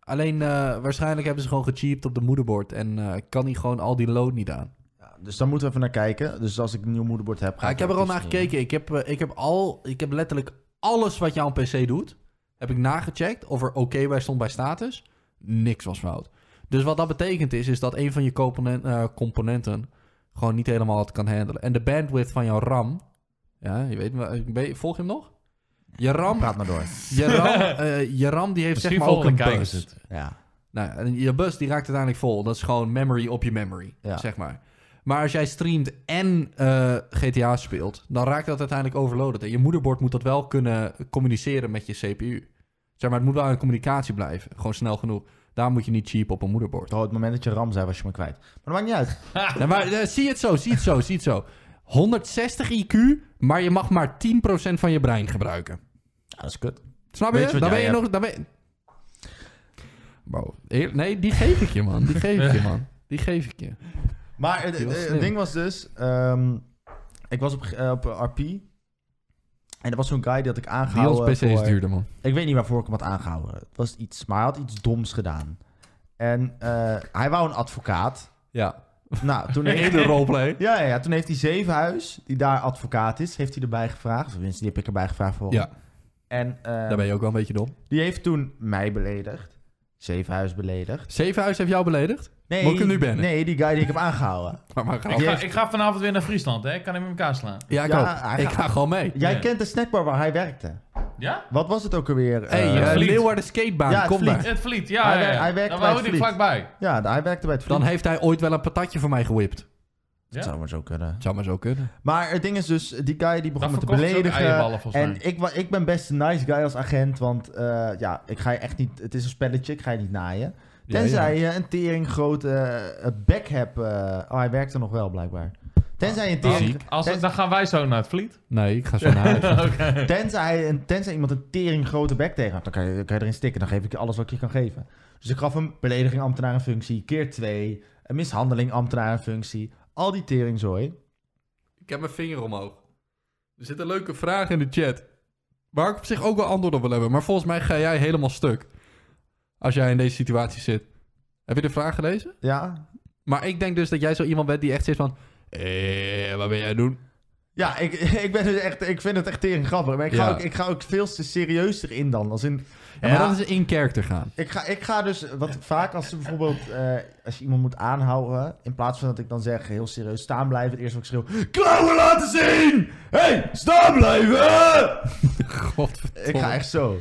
Speaker 1: Alleen eh, waarschijnlijk hebben ze gewoon gecheapt op de moederbord en eh, kan hij gewoon al die load niet aan.
Speaker 2: Ja, dus daar moeten we even naar kijken. Dus als ik een nieuw moederbord heb, ga
Speaker 1: Ja, ik heb er al naar gekeken. Ik heb, eh, ik heb al, ik heb letterlijk alles wat je aan een PC doet, heb ik nagecheckt of er oké bij stond bij status. Niks was fout. Dus wat dat betekent is, is dat een van je componen- eh, componenten gewoon niet helemaal het kan handelen. En de bandwidth van jouw RAM. Ja, je weet, wel- ben je- volg je hem nog? Je RAM,
Speaker 2: Praat maar door.
Speaker 1: je RAM, eh, je RAM die heeft
Speaker 3: Misschien
Speaker 1: zeg maar ook
Speaker 3: volgende
Speaker 1: een
Speaker 3: kijkers
Speaker 1: bus.
Speaker 3: het.
Speaker 2: Ja.
Speaker 1: Nou, en je bus die raakt uiteindelijk vol. Dat is gewoon memory op je memory,
Speaker 2: Ja.
Speaker 1: zeg maar. Maar als jij streamt en eh, GTA speelt, dan raakt dat uiteindelijk overloaded. En je moederbord moet dat wel kunnen communiceren met je CPU. Zeg maar, het moet wel in communicatie blijven. Gewoon snel genoeg. Daar moet je niet cheap op een moederbord.
Speaker 2: Tot het moment dat je RAM zei, was je me kwijt. Maar dat maakt niet uit.
Speaker 1: Nee, maar eh, zie het zo, zie het zo, zie het zo. 160 IQ, maar je mag maar 10% van je brein gebruiken.
Speaker 2: Ja, dat is kut.
Speaker 1: Snap
Speaker 2: Weet je
Speaker 1: je?
Speaker 2: wat
Speaker 1: Dan ben
Speaker 2: jij
Speaker 1: je
Speaker 2: hebt?
Speaker 1: nog... Dan ben je... Bro, eer- nee, die geef ik je, man. Die geef ik je, man. Die geef ik je.
Speaker 2: Maar het-
Speaker 1: Die was
Speaker 2: het-
Speaker 1: slim.
Speaker 2: het ding was dus... ehm, ik was op, ge- eh, op RP. En er was zo'n guy die had ik aangehouden.
Speaker 1: Die ons PC is
Speaker 2: voor-
Speaker 1: duurder, man.
Speaker 2: Ik weet niet waarvoor ik hem had aangehouden. Het was iets, maar hij had iets doms gedaan. En eh, hij wou een advocaat.
Speaker 1: Ja.
Speaker 2: Nou, toen heeft,
Speaker 1: Eerder roleplay.
Speaker 2: ja, ja, ja, toen heeft hij Zevenhuis, die daar advocaat is, heeft hij erbij gevraagd. Of tenminste, die heb ik erbij gevraagd voor hem.
Speaker 1: Ja,
Speaker 2: En eh,
Speaker 1: daar ben je ook wel een beetje dom.
Speaker 2: die heeft toen mij beledigd. Zevenhuis beledigd.
Speaker 1: Zevenhuis heeft jou beledigd.
Speaker 2: Nee,
Speaker 1: Moet ik hem nu bannen?
Speaker 2: Nee, die guy die ik heb aangehouden.
Speaker 1: Maar, maar ga
Speaker 3: Ik ga, ik ga vanavond weer naar Friesland, hè? Ik kan hem in elkaar slaan.
Speaker 1: Ja, ik
Speaker 2: Ja,
Speaker 1: ook.
Speaker 2: hij
Speaker 1: Ik
Speaker 2: gaat-
Speaker 1: ga gewoon mee.
Speaker 2: Jij
Speaker 3: Ja.
Speaker 2: kent de snackbar waar hij werkte.
Speaker 3: Ja?
Speaker 2: Wat was het ook alweer?
Speaker 1: Hé,
Speaker 2: Eh,
Speaker 1: hey,
Speaker 3: Vliet.
Speaker 1: Leeuwarden skatebaan,
Speaker 2: Ja, het
Speaker 1: kom
Speaker 2: Vliet.
Speaker 1: daar.
Speaker 3: Het Vliet, ja.
Speaker 2: Hij
Speaker 3: ja,
Speaker 2: wer-
Speaker 3: ja.
Speaker 2: hij werkt
Speaker 3: Dan
Speaker 2: bij
Speaker 3: woont hij
Speaker 2: Vliet.
Speaker 3: vlakbij.
Speaker 2: ja, hij werkte bij het
Speaker 1: Dan
Speaker 2: Vliet.
Speaker 1: heeft hij ooit wel een patatje voor mij gewipt.
Speaker 2: Dat zou maar zo kunnen.
Speaker 1: Zou maar zo kunnen.
Speaker 2: Maar het ding is dus, die guy die begon
Speaker 3: Dan
Speaker 2: me te
Speaker 3: verkocht ze ook
Speaker 2: beledigen.
Speaker 3: eierballen, volgens
Speaker 2: En
Speaker 3: mij.
Speaker 2: ik, wa- ik ben best een nice guy als agent, want eh, ja, ik ga je echt niet, het is een spelletje, ik ga je niet naaien. Tenzij je een tering grote back hebt. eh, oh, hij werkt er nog wel blijkbaar. Tenzij je een
Speaker 3: Dan,
Speaker 2: tering,
Speaker 3: als,
Speaker 2: ten-
Speaker 3: dan gaan wij zo naar het Vliet.
Speaker 1: Nee, ik ga zo naar huis.
Speaker 2: tenzij, een- tenzij iemand een tering grote back tegen hebt, dan kan je, dan kan je erin stikken. Dan geef ik je alles wat ik je kan geven. Dus ik gaf hem belediging ambtenaar een functie, keer twee, een mishandeling ambtenaar een functie, al die teringzooi.
Speaker 1: Ik heb mijn vinger omhoog. Er zit een leuke vraag in de chat. Waar ik op zich ook wel antwoord op wil hebben. Maar volgens mij ga jij helemaal stuk. Als jij in deze situatie zit. Heb je de vraag gelezen?
Speaker 2: Ja,
Speaker 1: Maar ik denk dus dat jij zo iemand bent die echt zit van... Hé, wat ben jij aan het doen?
Speaker 2: Ja, ik, ik, ben dus echt, ik vind het echt tering grappig. Maar ik ga,
Speaker 1: Ja.
Speaker 2: ook, ik ga ook veel te serieuzer in dan. Als in,
Speaker 1: Ja, maar dat is in character gaan.
Speaker 2: ik, ga, ik ga dus wat vaak als ze bijvoorbeeld eh, als je iemand moet aanhouden. In plaats van dat ik dan zeg heel serieus staan blijven. Het eerste wat ik schreeuw. Klauwen laten zien! hey, staan blijven!
Speaker 1: Godverdomme.
Speaker 2: Ik ga echt zo.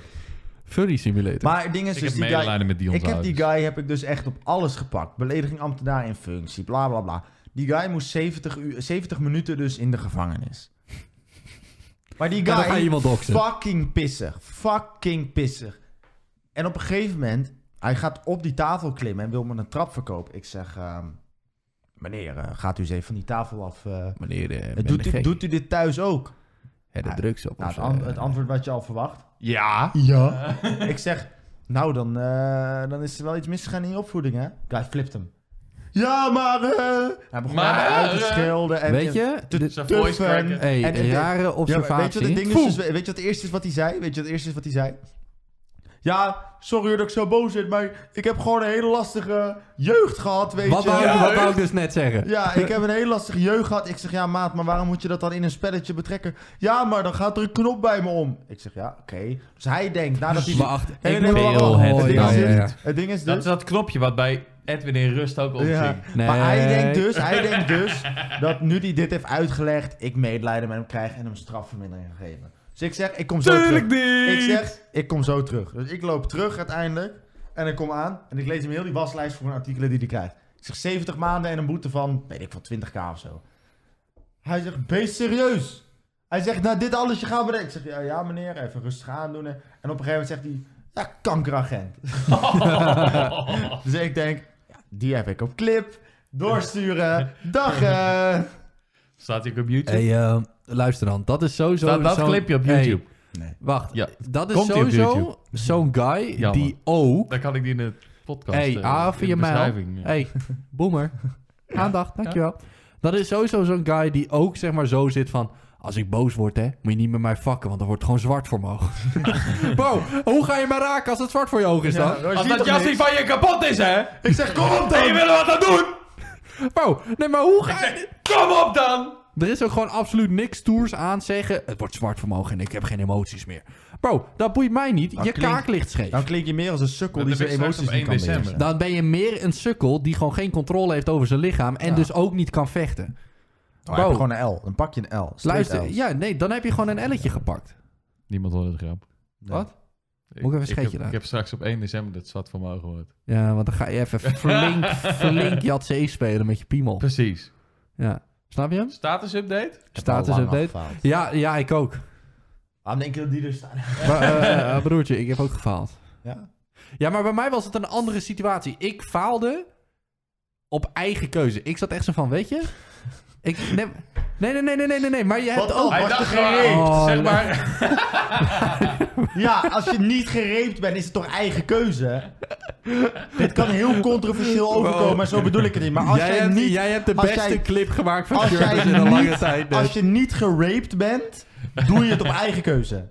Speaker 1: Furry simulator.
Speaker 2: Maar het ding is
Speaker 3: Ik
Speaker 2: dus
Speaker 3: heb
Speaker 2: die guy,
Speaker 3: medelijden met Dion
Speaker 2: Ik heb die
Speaker 3: trouwens.
Speaker 2: guy heb ik dus echt op alles gepakt. Belediging ambtenaar in functie, bla bla bla. Die guy moest 70, uur, 70 minuten dus in de gevangenis. Maar die
Speaker 1: Ja, dan
Speaker 2: guy...
Speaker 1: ga je iemand doxen.
Speaker 2: Fucking pissig. Fucking pissig. En op een gegeven moment... Hij gaat op die tafel klimmen en wil me een trap verkopen. Ik zeg... ehm, meneer, eh, gaat u eens even van die tafel af. eh.
Speaker 1: Meneer, eh, ben
Speaker 2: doet,
Speaker 1: je
Speaker 2: u,
Speaker 1: gek?
Speaker 2: doet u dit thuis ook?
Speaker 1: Ja, de
Speaker 2: Ah,
Speaker 1: drugs op
Speaker 2: Nou,
Speaker 1: ons,
Speaker 2: het, an-
Speaker 1: eh.
Speaker 2: het antwoord wat je al verwacht.
Speaker 3: Ja.
Speaker 2: Ja. ik zeg, nou dan, eh, dan is er wel iets misgegaan in je opvoeding, hè? Guy flipt hem. Ja, maar... eh Hij begon
Speaker 3: Maar,
Speaker 2: maar, uit te
Speaker 3: eh,
Speaker 2: schelden. En,
Speaker 1: Weet je?
Speaker 2: te-
Speaker 1: dit-
Speaker 3: Zijn
Speaker 2: Tuffen.
Speaker 3: voice cracker.
Speaker 1: hey,
Speaker 2: en- en-
Speaker 1: rare
Speaker 2: Ja, maar weet, je
Speaker 1: observatie.
Speaker 2: wat het ding is, dus, weet je wat het eerste is wat hij zei? Weet je wat het eerste is wat hij zei? Ja, sorry hoor dat ik zo boos ben, maar ik heb gewoon een hele lastige jeugd gehad, weet
Speaker 1: wat
Speaker 2: je.
Speaker 1: wou,
Speaker 3: Ja,
Speaker 1: ik- wat wou
Speaker 3: echt.
Speaker 1: ik dus net zeggen?
Speaker 2: Ja, ik heb een hele lastige jeugd gehad. Ik zeg, ja maat, maar waarom moet je dat dan in een spelletje betrekken? Ja, maar dan gaat er een knop bij me om. Ik zeg, ja, oké. Dus hij denkt, nadat hij...
Speaker 1: Wacht,
Speaker 2: Nee,
Speaker 1: ik
Speaker 2: nee, nee, wacht,
Speaker 1: wil
Speaker 2: wacht.
Speaker 1: het
Speaker 2: Het ding
Speaker 1: nou,
Speaker 2: is
Speaker 1: ja, ja.
Speaker 2: dit. Het ding is
Speaker 3: Dat is
Speaker 2: dus...
Speaker 3: dat knopje wat bij Edwin in rust ook opging.
Speaker 2: Ja.
Speaker 1: Nee.
Speaker 2: Maar hij denkt, dus, hij denkt dus dat nu hij dit heeft uitgelegd, ik medelijden met hem krijg en hem strafvermindering ga geven. Dus ik zeg, ik kom zo terug.
Speaker 3: niet!
Speaker 2: Ik zeg, ik kom zo terug. Dus ik loop terug uiteindelijk. En ik kom aan. En ik lees hem heel die waslijst voor mijn artikelen die hij krijgt. Ik zeg 70 maanden en een boete van, weet ik van 20k of zo. Hij zegt, wees serieus. Hij zegt, nou dit alles je gaat bedenken. Ik zeg, ja, ja meneer, even rustig aan doen. En op een gegeven moment zegt hij, ja, kankeragent. dus ik denk, ja, die heb ik op clip. Doorsturen. Dag. eh.
Speaker 3: Staat hij ook op YouTube?
Speaker 1: Hey, eh, luister dan, dat is sowieso...
Speaker 3: Staat dat
Speaker 1: zo'n-
Speaker 3: clipje op
Speaker 1: Hey,
Speaker 3: YouTube?
Speaker 1: wacht,
Speaker 3: Ja.
Speaker 1: dat is
Speaker 3: Komt die op
Speaker 1: sowieso
Speaker 3: YouTube?
Speaker 1: zo'n guy
Speaker 3: Jammer.
Speaker 1: die ook...
Speaker 3: Dan kan ik die in de podcast.
Speaker 1: Hey,
Speaker 3: eh,
Speaker 1: A
Speaker 3: in de
Speaker 1: via mij.
Speaker 3: beschrijving, ja.
Speaker 1: Hey, boomer. Aandacht, dankjewel. Dat is sowieso zo'n guy die ook zeg maar zo zit van... Als ik boos word, hè, moet je niet met mij fakken, want dan wordt het gewoon zwart voor mijn ogen. Bro, hoe ga je mij raken als het zwart voor je ogen is dan?
Speaker 2: Ja,
Speaker 3: Als
Speaker 2: zie
Speaker 3: dat
Speaker 2: toch
Speaker 3: jas
Speaker 2: niks?
Speaker 3: niet van je kapot is, hè?
Speaker 2: Ik zeg, kom op
Speaker 3: En je
Speaker 2: dan.
Speaker 3: wil er wat aan doen?
Speaker 1: Bro, nee, maar hoe ga je...
Speaker 3: Kom op dan!
Speaker 1: Er is ook gewoon absoluut niks toers aan zeggen. Het wordt zwart voor mijn ogen en ik heb geen emoties meer. Bro, dat boeit mij niet. je
Speaker 2: klinkt-
Speaker 1: kaak ligt scheef.
Speaker 2: Dan klink je meer als een sukkel
Speaker 3: Dat
Speaker 2: die
Speaker 3: heb
Speaker 2: zijn
Speaker 3: ik straks
Speaker 2: emoties
Speaker 3: op
Speaker 2: niet
Speaker 3: 1
Speaker 2: kan
Speaker 3: december.
Speaker 1: Dan
Speaker 2: beheersen.
Speaker 1: ben je meer een sukkel die gewoon geen controle heeft over zijn lichaam en dus ook niet kan vechten.
Speaker 2: Dan heb je
Speaker 1: Bro.
Speaker 2: Oh, gewoon een L. Dan pak je een L. Straight
Speaker 1: Luister,
Speaker 2: L's.
Speaker 1: ja, nee, dan heb je gewoon een elletje gepakt.
Speaker 4: Niemand hoorde de grap.
Speaker 2: Nee.
Speaker 1: Wat? Moet ik even een scheetje
Speaker 4: heb-
Speaker 1: laten?
Speaker 4: Ik heb straks op 1 december dat zwart van mogen gehoord.
Speaker 1: Ja, want dan ga je even flink, flink Jat C spelen met je piemel.
Speaker 3: Precies.
Speaker 1: Ja. Snap je hem?
Speaker 3: Status update?
Speaker 2: Ik heb al
Speaker 1: Status
Speaker 2: lang
Speaker 1: update.
Speaker 2: afgefaald.
Speaker 1: Ja, ja, ik ook.
Speaker 2: Waarom denk je dat die er staan?
Speaker 1: Maar, eh, eh, eh, broertje, ik heb ook gefaald.
Speaker 2: Ja?
Speaker 1: Ja, maar bij mij was het een andere situatie. Ik faalde op eigen keuze. Ik zat echt zo van, weet je? Ik, nee, nee, nee, nee, nee, nee, nee, nee. Maar je hebt
Speaker 2: Wat
Speaker 1: ook...
Speaker 2: dan?
Speaker 3: Hij
Speaker 2: was
Speaker 3: dacht
Speaker 2: de
Speaker 3: gewoon,
Speaker 1: gereed.
Speaker 3: zeg
Speaker 1: Oh,
Speaker 3: maar,
Speaker 2: Ja, als je niet gereept bent, is het toch eigen keuze? Dit kan heel controversieel overkomen, maar zo bedoel ik het niet. Maar als jij,
Speaker 1: jij, hebt,
Speaker 2: niet,
Speaker 1: jij hebt de
Speaker 2: als
Speaker 1: beste
Speaker 2: jij-
Speaker 1: clip gemaakt van
Speaker 2: als jij
Speaker 1: Jurgens in een lange
Speaker 2: niet-
Speaker 1: tijd. dus.
Speaker 2: als je niet geraped bent, doe je het op eigen keuze.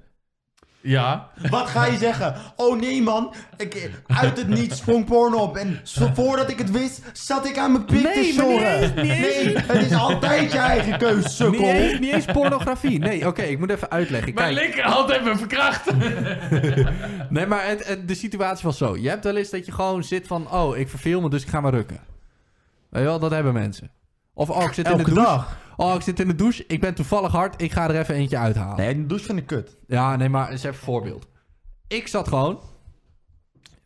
Speaker 3: ja,
Speaker 2: Wat ga je zeggen? Oh nee man, ik, uit het niets sprong porno op en zo- voordat ik het wist, zat ik aan mijn pik te
Speaker 1: Nee, maar niet
Speaker 2: snorren.
Speaker 1: eens, niet eens.
Speaker 2: nee, het is altijd je eigen keuze,
Speaker 1: niet,
Speaker 2: sukkel.
Speaker 1: eens, niet eens pornografie. Nee, oké, ik moet even uitleggen.
Speaker 3: mijn
Speaker 1: Kijk,
Speaker 3: linkerhand heeft me verkracht.
Speaker 1: nee, maar het, het- de situatie was zo. Je hebt wel eens dat je gewoon zit van... Oh, ik verveel me, dus ik ga maar rukken. Weet je wel, dat hebben mensen. Of oh, ik zit in de
Speaker 2: Elke
Speaker 1: douche.
Speaker 2: dag.
Speaker 1: Oh, ik zit in de douche. Ik ben toevallig hard. Ik ga er even eentje uithalen.
Speaker 2: Nee, de douche vind ik kut.
Speaker 1: Ja, nee, maar eens even een voorbeeld. Ik zat gewoon...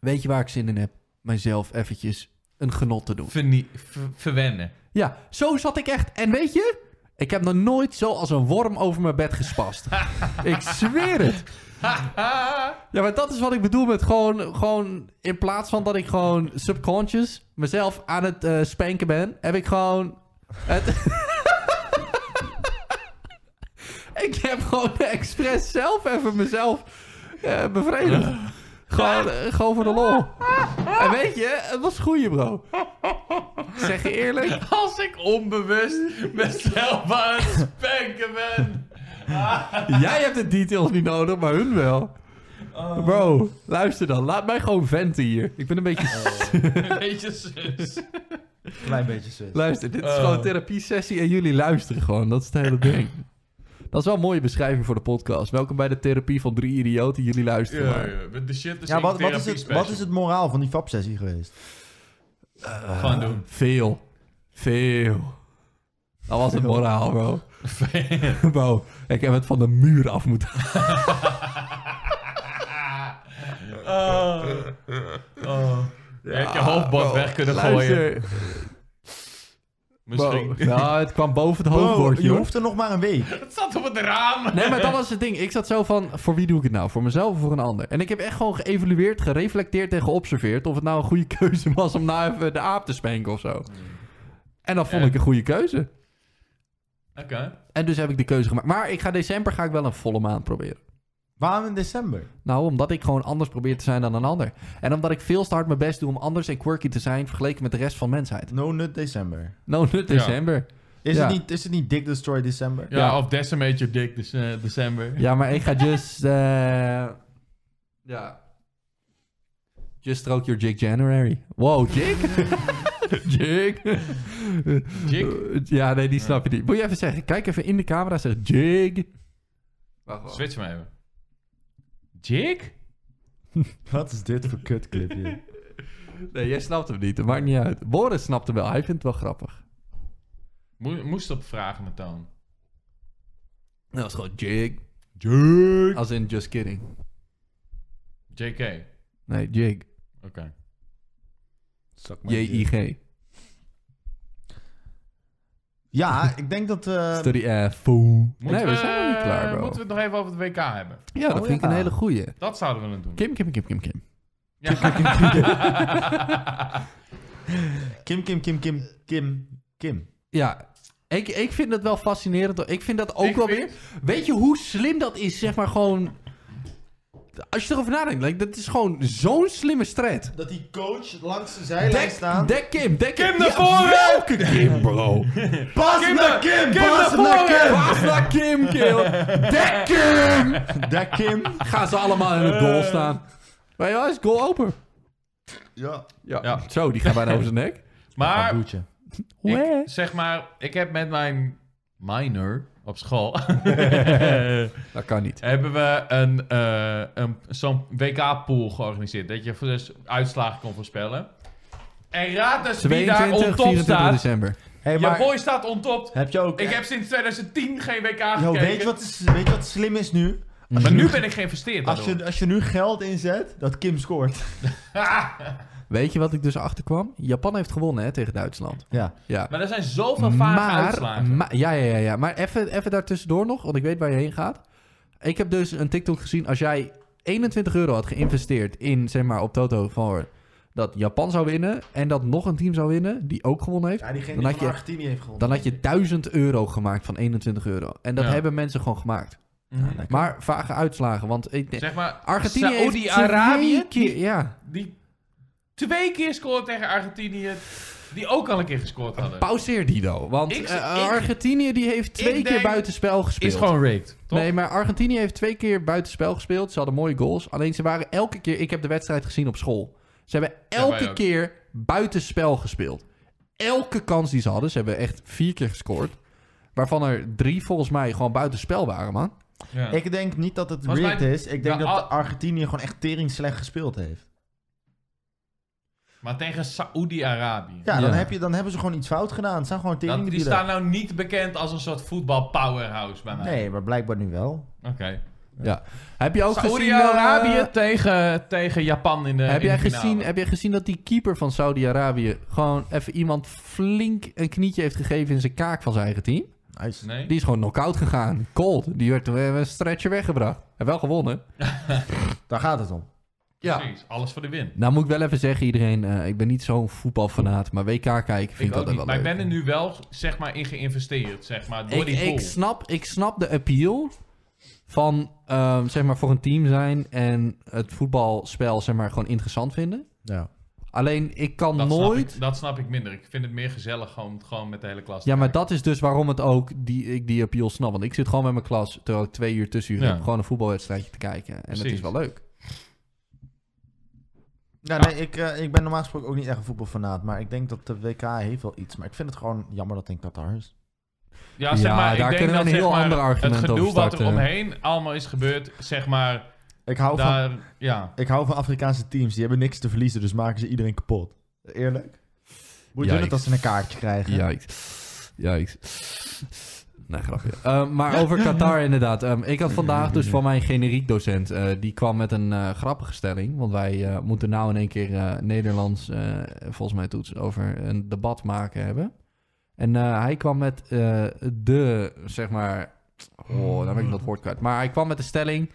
Speaker 1: Weet je waar ik zin in heb? Mijzelf eventjes een genot te doen.
Speaker 3: Vernie- ver- verwennen.
Speaker 1: Ja, zo zat ik echt. En weet je, ik heb nog nooit zo als een worm over mijn bed gespast. ik zweer het.
Speaker 3: Ah,
Speaker 1: Ja, maar dat is wat ik bedoel met gewoon, gewoon... In plaats van dat ik gewoon subconscious mezelf aan het eh, spanken ben... heb ik gewoon... Het... ik heb gewoon expres zelf even mezelf eh, bevredigd. Gewoon, eh, gewoon voor de lol. En weet je, het was goeie, bro. Ik zeg je eerlijk,
Speaker 3: Als ik onbewust mezelf aan het spanken ben.
Speaker 1: Jij hebt de details niet nodig, maar hun wel. Bro, luister dan. Laat mij gewoon venten hier. Ik ben een beetje...
Speaker 3: Weet je, zus.
Speaker 2: Klein beetje zus.
Speaker 1: Luister, dit is
Speaker 3: Oh.
Speaker 1: gewoon een therapie-sessie en jullie luisteren gewoon. Dat is het hele ding. Dat is wel een mooie beschrijving voor de podcast. Welkom bij de therapie van drie idioten. Jullie luisteren
Speaker 3: Ja,
Speaker 1: maar.
Speaker 3: ja, met de shit is
Speaker 2: Ja,
Speaker 3: een
Speaker 2: wat, wat, is
Speaker 3: therapie
Speaker 2: het, wat is het moraal van die fab-sessie geweest?
Speaker 3: special. Gewoon doen.
Speaker 1: Veel. Veel. Dat was het moraal, bro. Bro, ik heb het van de muur af moeten
Speaker 3: Oh. Oh. Je hebt je hoofdbord weg kunnen gooien.
Speaker 1: Luister,
Speaker 3: Misschien.
Speaker 1: bro. Nou, het kwam boven het
Speaker 2: Bro,
Speaker 1: hoofdbordje,
Speaker 2: Oh, je
Speaker 1: hoor.
Speaker 2: hoeft er nog maar een week.
Speaker 3: Het zat op het raam.
Speaker 1: Nee, maar dat was het ding. Ik zat zo van, voor wie doe ik het nou? Voor mezelf of voor een ander? En ik heb echt gewoon geëvalueerd, gereflecteerd en geobserveerd... of het nou een goede keuze was om nou even de aap te spanken of zo. En dat vond
Speaker 3: Ja.
Speaker 1: ik een goede keuze.
Speaker 3: Oké.
Speaker 1: En dus heb ik de keuze gemaakt. Maar ik ga december ga ik wel een volle maand proberen.
Speaker 2: Waarom in december?
Speaker 1: Nou, omdat ik gewoon anders probeer te zijn dan een ander. En omdat ik veel te hard mijn best doe om anders en quirky te zijn... vergeleken met de rest van mensheid.
Speaker 2: No nut december.
Speaker 1: No nut
Speaker 3: Ja.
Speaker 1: december.
Speaker 2: Is,
Speaker 1: Ja.
Speaker 2: het, niet, is het niet Dick Destroy december?
Speaker 3: Ja,
Speaker 1: Ja.
Speaker 3: of decimate your dick dus, eh, december.
Speaker 1: Ja, maar ik ga just... eh, ja. Just stroke your jig January. Wow, jig? jig?
Speaker 3: Jig?
Speaker 1: Ja, nee, die snap je niet. Moet je even zeggen, kijk even in de camera, zeg jig. Wacht, wacht.
Speaker 3: Switch maar even. Jig?
Speaker 2: Wat is dit voor kutclipje?
Speaker 1: Nee, jij snapt hem niet, het maakt niet uit. Boris snapt hem wel, hij vindt het wel grappig.
Speaker 3: Moe- Moest op vragen met toon.
Speaker 1: Dat was gewoon jig.
Speaker 2: Jake.
Speaker 1: Als in just kidding.
Speaker 3: JK. Oké.
Speaker 1: Nee, jig. J-I-G.
Speaker 2: Ja, ik denk dat... eh,
Speaker 1: Study F. Fool.
Speaker 3: Moeten
Speaker 1: Nee, we zijn nog niet klaar, bro.
Speaker 3: Moeten we het nog even over het WK hebben?
Speaker 1: Ja, dat
Speaker 2: Oh,
Speaker 1: vind ik
Speaker 2: ja.
Speaker 1: een hele goeie.
Speaker 3: Dat zouden we dan doen.
Speaker 1: Kim, Kim, Kim, Kim, Kim.
Speaker 2: Kim, Kim, Kim, Kim, Kim, Kim.
Speaker 1: Ja, ik, ik vind dat wel fascinerend. Ik vind dat ook
Speaker 3: Ik
Speaker 1: wel
Speaker 3: vind-
Speaker 1: weer... Weet je hoe slim dat is, zeg maar gewoon... Als je erover nadenkt, like, dat is gewoon zo'n slimme strat.
Speaker 2: Dat die coach langs de zijlijn
Speaker 1: Dek,
Speaker 2: staat.
Speaker 1: dek Kim, dek
Speaker 3: Kim
Speaker 1: Ja,
Speaker 3: naar voren!
Speaker 1: Welke Kim, bro?
Speaker 2: Pas
Speaker 3: Kim
Speaker 2: naar
Speaker 3: naar-
Speaker 2: Kim!
Speaker 3: Kim
Speaker 2: Pas
Speaker 3: naar
Speaker 2: naar
Speaker 3: voren!
Speaker 2: Kim!
Speaker 1: Pas naar Kim, kill. Dek Kim!
Speaker 2: Dek Kim.
Speaker 1: Gaan ze allemaal in het
Speaker 3: Eh.
Speaker 1: goal staan. Maar ja, is goal open.
Speaker 2: Ja.
Speaker 1: Ja.
Speaker 3: Ja.
Speaker 1: Zo, die gaat bijna over zijn nek.
Speaker 3: Maar
Speaker 2: Boetje.
Speaker 1: Wee.
Speaker 3: Ik, zeg maar, ik heb met mijn minor op school.
Speaker 1: Dat kan niet.
Speaker 3: hebben we een, eh, een, zo'n WK-pool georganiseerd. Dat je voor- dus uitslagen kon voorspellen. En raad dus wie daar on
Speaker 1: 22,
Speaker 3: top
Speaker 1: 24
Speaker 3: staat.
Speaker 1: december.
Speaker 5: Hey,
Speaker 3: Je
Speaker 5: maar
Speaker 3: boy staat ontopt.
Speaker 5: heb je ook...
Speaker 3: Ik heb sinds 2010 geen WK
Speaker 5: Yo,
Speaker 3: gekeken.
Speaker 5: weet, je wat, is- weet je wat slim is nu?
Speaker 3: Maar nu ben ik geïnvesteerd
Speaker 5: Als je, als je nu geld inzet, dat Kim scoort.
Speaker 1: Weet je wat ik dus achterkwam? Japan heeft gewonnen hè, tegen Duitsland.
Speaker 5: Ja.
Speaker 1: Ja.
Speaker 3: Maar er zijn zoveel vage uitslagen.
Speaker 1: maar- ja, ja, ja, ja. Maar even, even daartussendoor nog, want ik weet waar je heen gaat. Ik heb dus een TikTok gezien. Als jij 21 euro had geïnvesteerd in, zeg maar, op Toto voor dat Japan zou winnen en dat nog een team zou winnen die ook gewonnen heeft,
Speaker 2: Ja,
Speaker 1: Dan
Speaker 2: diegene die
Speaker 1: had
Speaker 2: van
Speaker 1: je-
Speaker 2: Argentinië heeft gewonnen.
Speaker 1: dan had je 1000 euro gemaakt van 21 euro. En dat
Speaker 3: Ja.
Speaker 1: hebben mensen gewoon gemaakt.
Speaker 3: Mhm.
Speaker 1: Maar vage uitslagen, want ik denk-
Speaker 3: Zeg maar,
Speaker 1: Argentinië heeft
Speaker 3: Saoedi-Arabië,
Speaker 1: twee keer, ja,
Speaker 3: die twee keer scoort tegen Argentinië, die ook al een keer gescoord hadden.
Speaker 1: pauzeer Dido, want
Speaker 3: Ik-
Speaker 1: eh,
Speaker 3: ik-
Speaker 1: Argentinië die heeft twee
Speaker 3: ik
Speaker 1: keer
Speaker 3: denk-
Speaker 1: buitenspel gespeeld.
Speaker 6: Is gewoon rigged, toch?
Speaker 1: Nee, maar Argentinië heeft twee keer buitenspel gespeeld. Ze hadden mooie goals. Alleen ze waren elke keer... Ik heb de wedstrijd gezien op school. Ze hebben elke
Speaker 3: wij ook.
Speaker 1: keer buitenspel gespeeld. Elke kans die ze hadden. Ze hebben echt vier keer gescoord. Waarvan er drie volgens mij gewoon buitenspel waren, man.
Speaker 3: Ja.
Speaker 2: Ik denk niet dat het
Speaker 3: Volgens mij-
Speaker 2: rigged is. Ik denk
Speaker 3: Ja, al-
Speaker 2: dat Argentinië gewoon echt tering slecht gespeeld heeft.
Speaker 3: Maar tegen Saoedi-Arabië.
Speaker 2: Ja, dan,
Speaker 1: Ja.
Speaker 2: Heb je, dan hebben ze gewoon iets fout gedaan. Het zijn gewoon
Speaker 3: Dat-
Speaker 2: tering
Speaker 3: die staan nou niet bekend als een soort voetbal-powerhouse bij mij.
Speaker 2: Nee, maar blijkbaar nu wel.
Speaker 3: Oké.
Speaker 1: Heb je ook gezien... eh,
Speaker 3: Saoedi-Arabië tegen, tegen Japan in de
Speaker 1: heb,
Speaker 3: in de
Speaker 1: jij
Speaker 3: finale.
Speaker 1: gezien, heb jij gezien dat die keeper van Saudi-Arabië... gewoon even iemand flink een knietje heeft gegeven... in zijn kaak van zijn eigen team?
Speaker 2: Nice.
Speaker 3: Nee?
Speaker 1: Die is gewoon knock-out gegaan. Cold. Die werd eh, een stretcher weggebracht. Hij wel gewonnen.
Speaker 2: Daar gaat het om.
Speaker 3: Precies, alles voor de win.
Speaker 1: Nou moet ik wel even zeggen, iedereen, eh, ik ben niet zo'n voetbalfanaat, maar WK kijken vind ik,
Speaker 3: Ik ook
Speaker 1: altijd
Speaker 3: niet,
Speaker 1: wel
Speaker 3: maar ik
Speaker 1: leuk.
Speaker 3: ben er nu wel zeg maar, in geïnvesteerd, zeg maar, door die
Speaker 1: ik,
Speaker 3: pool.
Speaker 1: ik snap, ik snap de appeal van ehm, zeg maar voor een team zijn en het voetbalspel zeg maar gewoon interessant vinden.
Speaker 2: Ja.
Speaker 1: Alleen ik kan
Speaker 3: Dat snap
Speaker 1: nooit.
Speaker 3: ik- dat snap ik minder. Ik vind het meer gezellig gewoon, gewoon met de hele klas. te
Speaker 1: Ja, maar
Speaker 3: kijken.
Speaker 1: dat is dus waarom het ook die, ik die appeal snap. Want ik zit gewoon met mijn klas terwijl ik twee uur tussenuur
Speaker 6: Ja.
Speaker 1: heb gewoon een voetbalwedstrijdje te kijken en dat
Speaker 3: Precies.
Speaker 1: is wel leuk.
Speaker 2: Ja, nee, ik, eh, ik ben normaal gesproken ook niet echt een voetbalfanaat. Maar ik denk dat de WK heeft wel iets. Maar ik vind het gewoon jammer dat het in Qatar is.
Speaker 3: Ja, zeg maar,
Speaker 1: Ja,
Speaker 3: ik
Speaker 1: daar
Speaker 3: denk
Speaker 1: kunnen we
Speaker 3: dat,
Speaker 1: een heel
Speaker 3: zeg maar,
Speaker 1: ander argument
Speaker 3: Het gedoe
Speaker 1: over
Speaker 3: wat er
Speaker 1: starten.
Speaker 3: omheen allemaal is gebeurd, zeg maar,
Speaker 2: Ik hou, van,
Speaker 3: daar, ja.
Speaker 2: ik hou van Afrikaanse teams. Die hebben niks te verliezen, dus maken ze iedereen kapot. Eerlijk? Hoe doen
Speaker 1: Yikes.
Speaker 2: het als ze een kaartje krijgen?
Speaker 1: Jijks. Jijks. Nee, grapje. Eh, maar over Qatar inderdaad. Ehm, ik had vandaag dus van mijn generiek docent... eh, die kwam met een eh, grappige stelling. Want wij eh, moeten nou in één keer eh, Nederlands... eh, volgens mij toets over een debat maken hebben. En eh, hij kwam met eh, de, zeg maar... Oh, dan ben ik dat woord kwijt. Maar hij kwam met de stelling...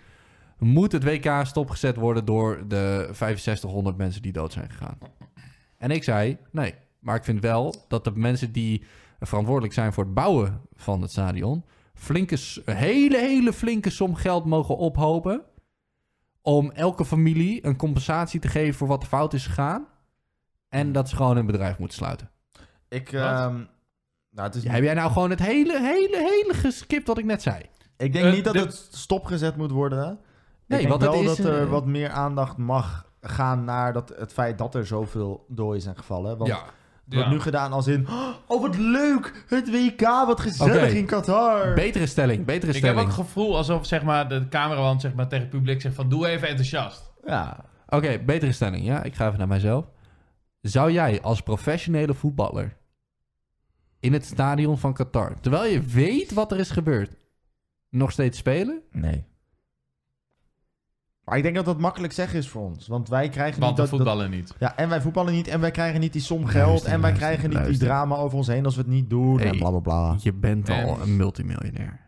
Speaker 1: Moet het WK stopgezet worden door de 6500 mensen die dood zijn gegaan? En ik zei, nee. Maar ik vind wel dat de mensen die verantwoordelijk zijn voor het bouwen van het stadion... Flinke, s- een hele, hele flinke som geld mogen ophopen... om elke familie een compensatie te geven voor wat er fout is gegaan. En dat ze gewoon hun bedrijf moeten sluiten.
Speaker 2: Ik,
Speaker 3: Wat?
Speaker 2: ehm, nou, het is
Speaker 1: Ja, heb jij nou gewoon het hele, hele, hele geskipt wat ik net zei?
Speaker 2: Ik denk
Speaker 3: Eh,
Speaker 2: niet dat
Speaker 3: de-
Speaker 2: het stopgezet moet worden.
Speaker 1: Nee,
Speaker 2: ik denk
Speaker 1: want het
Speaker 2: wel
Speaker 1: is eh,
Speaker 2: dat
Speaker 1: een-
Speaker 2: er wat meer aandacht mag gaan naar dat, het feit dat er zoveel dooi zijn gevallen. Want het wordt
Speaker 3: Ja.
Speaker 2: nu gedaan als in... Oh, wat leuk! Het WK, wat gezellig
Speaker 1: Oké.
Speaker 2: in Qatar!
Speaker 1: Betere stelling, betere
Speaker 3: Ik heb
Speaker 1: stelling.
Speaker 3: ook het gevoel alsof zeg maar, de cameraman zeg maar, tegen het publiek zegt van doe even enthousiast.
Speaker 2: ja.
Speaker 1: Oké, betere stelling. Ja, ik ga even naar mijzelf. Zou jij als professionele voetballer in het stadion van Qatar, terwijl je weet wat er is gebeurd, nog steeds spelen?
Speaker 2: Nee. Maar ik denk dat dat makkelijk zeggen is voor ons. Want wij krijgen
Speaker 3: Want
Speaker 2: niet
Speaker 3: we
Speaker 2: dat, dat-
Speaker 3: voetballen niet.
Speaker 2: Ja, en wij voetballen niet. En wij krijgen niet die som
Speaker 1: Luister,
Speaker 2: geld. en wij
Speaker 1: luister,
Speaker 2: krijgen niet
Speaker 1: luister.
Speaker 2: die drama over ons heen als we het niet doen.
Speaker 1: Hey.
Speaker 2: En bla bla bla.
Speaker 1: Je bent
Speaker 3: Nee.
Speaker 1: al een multimiljonair.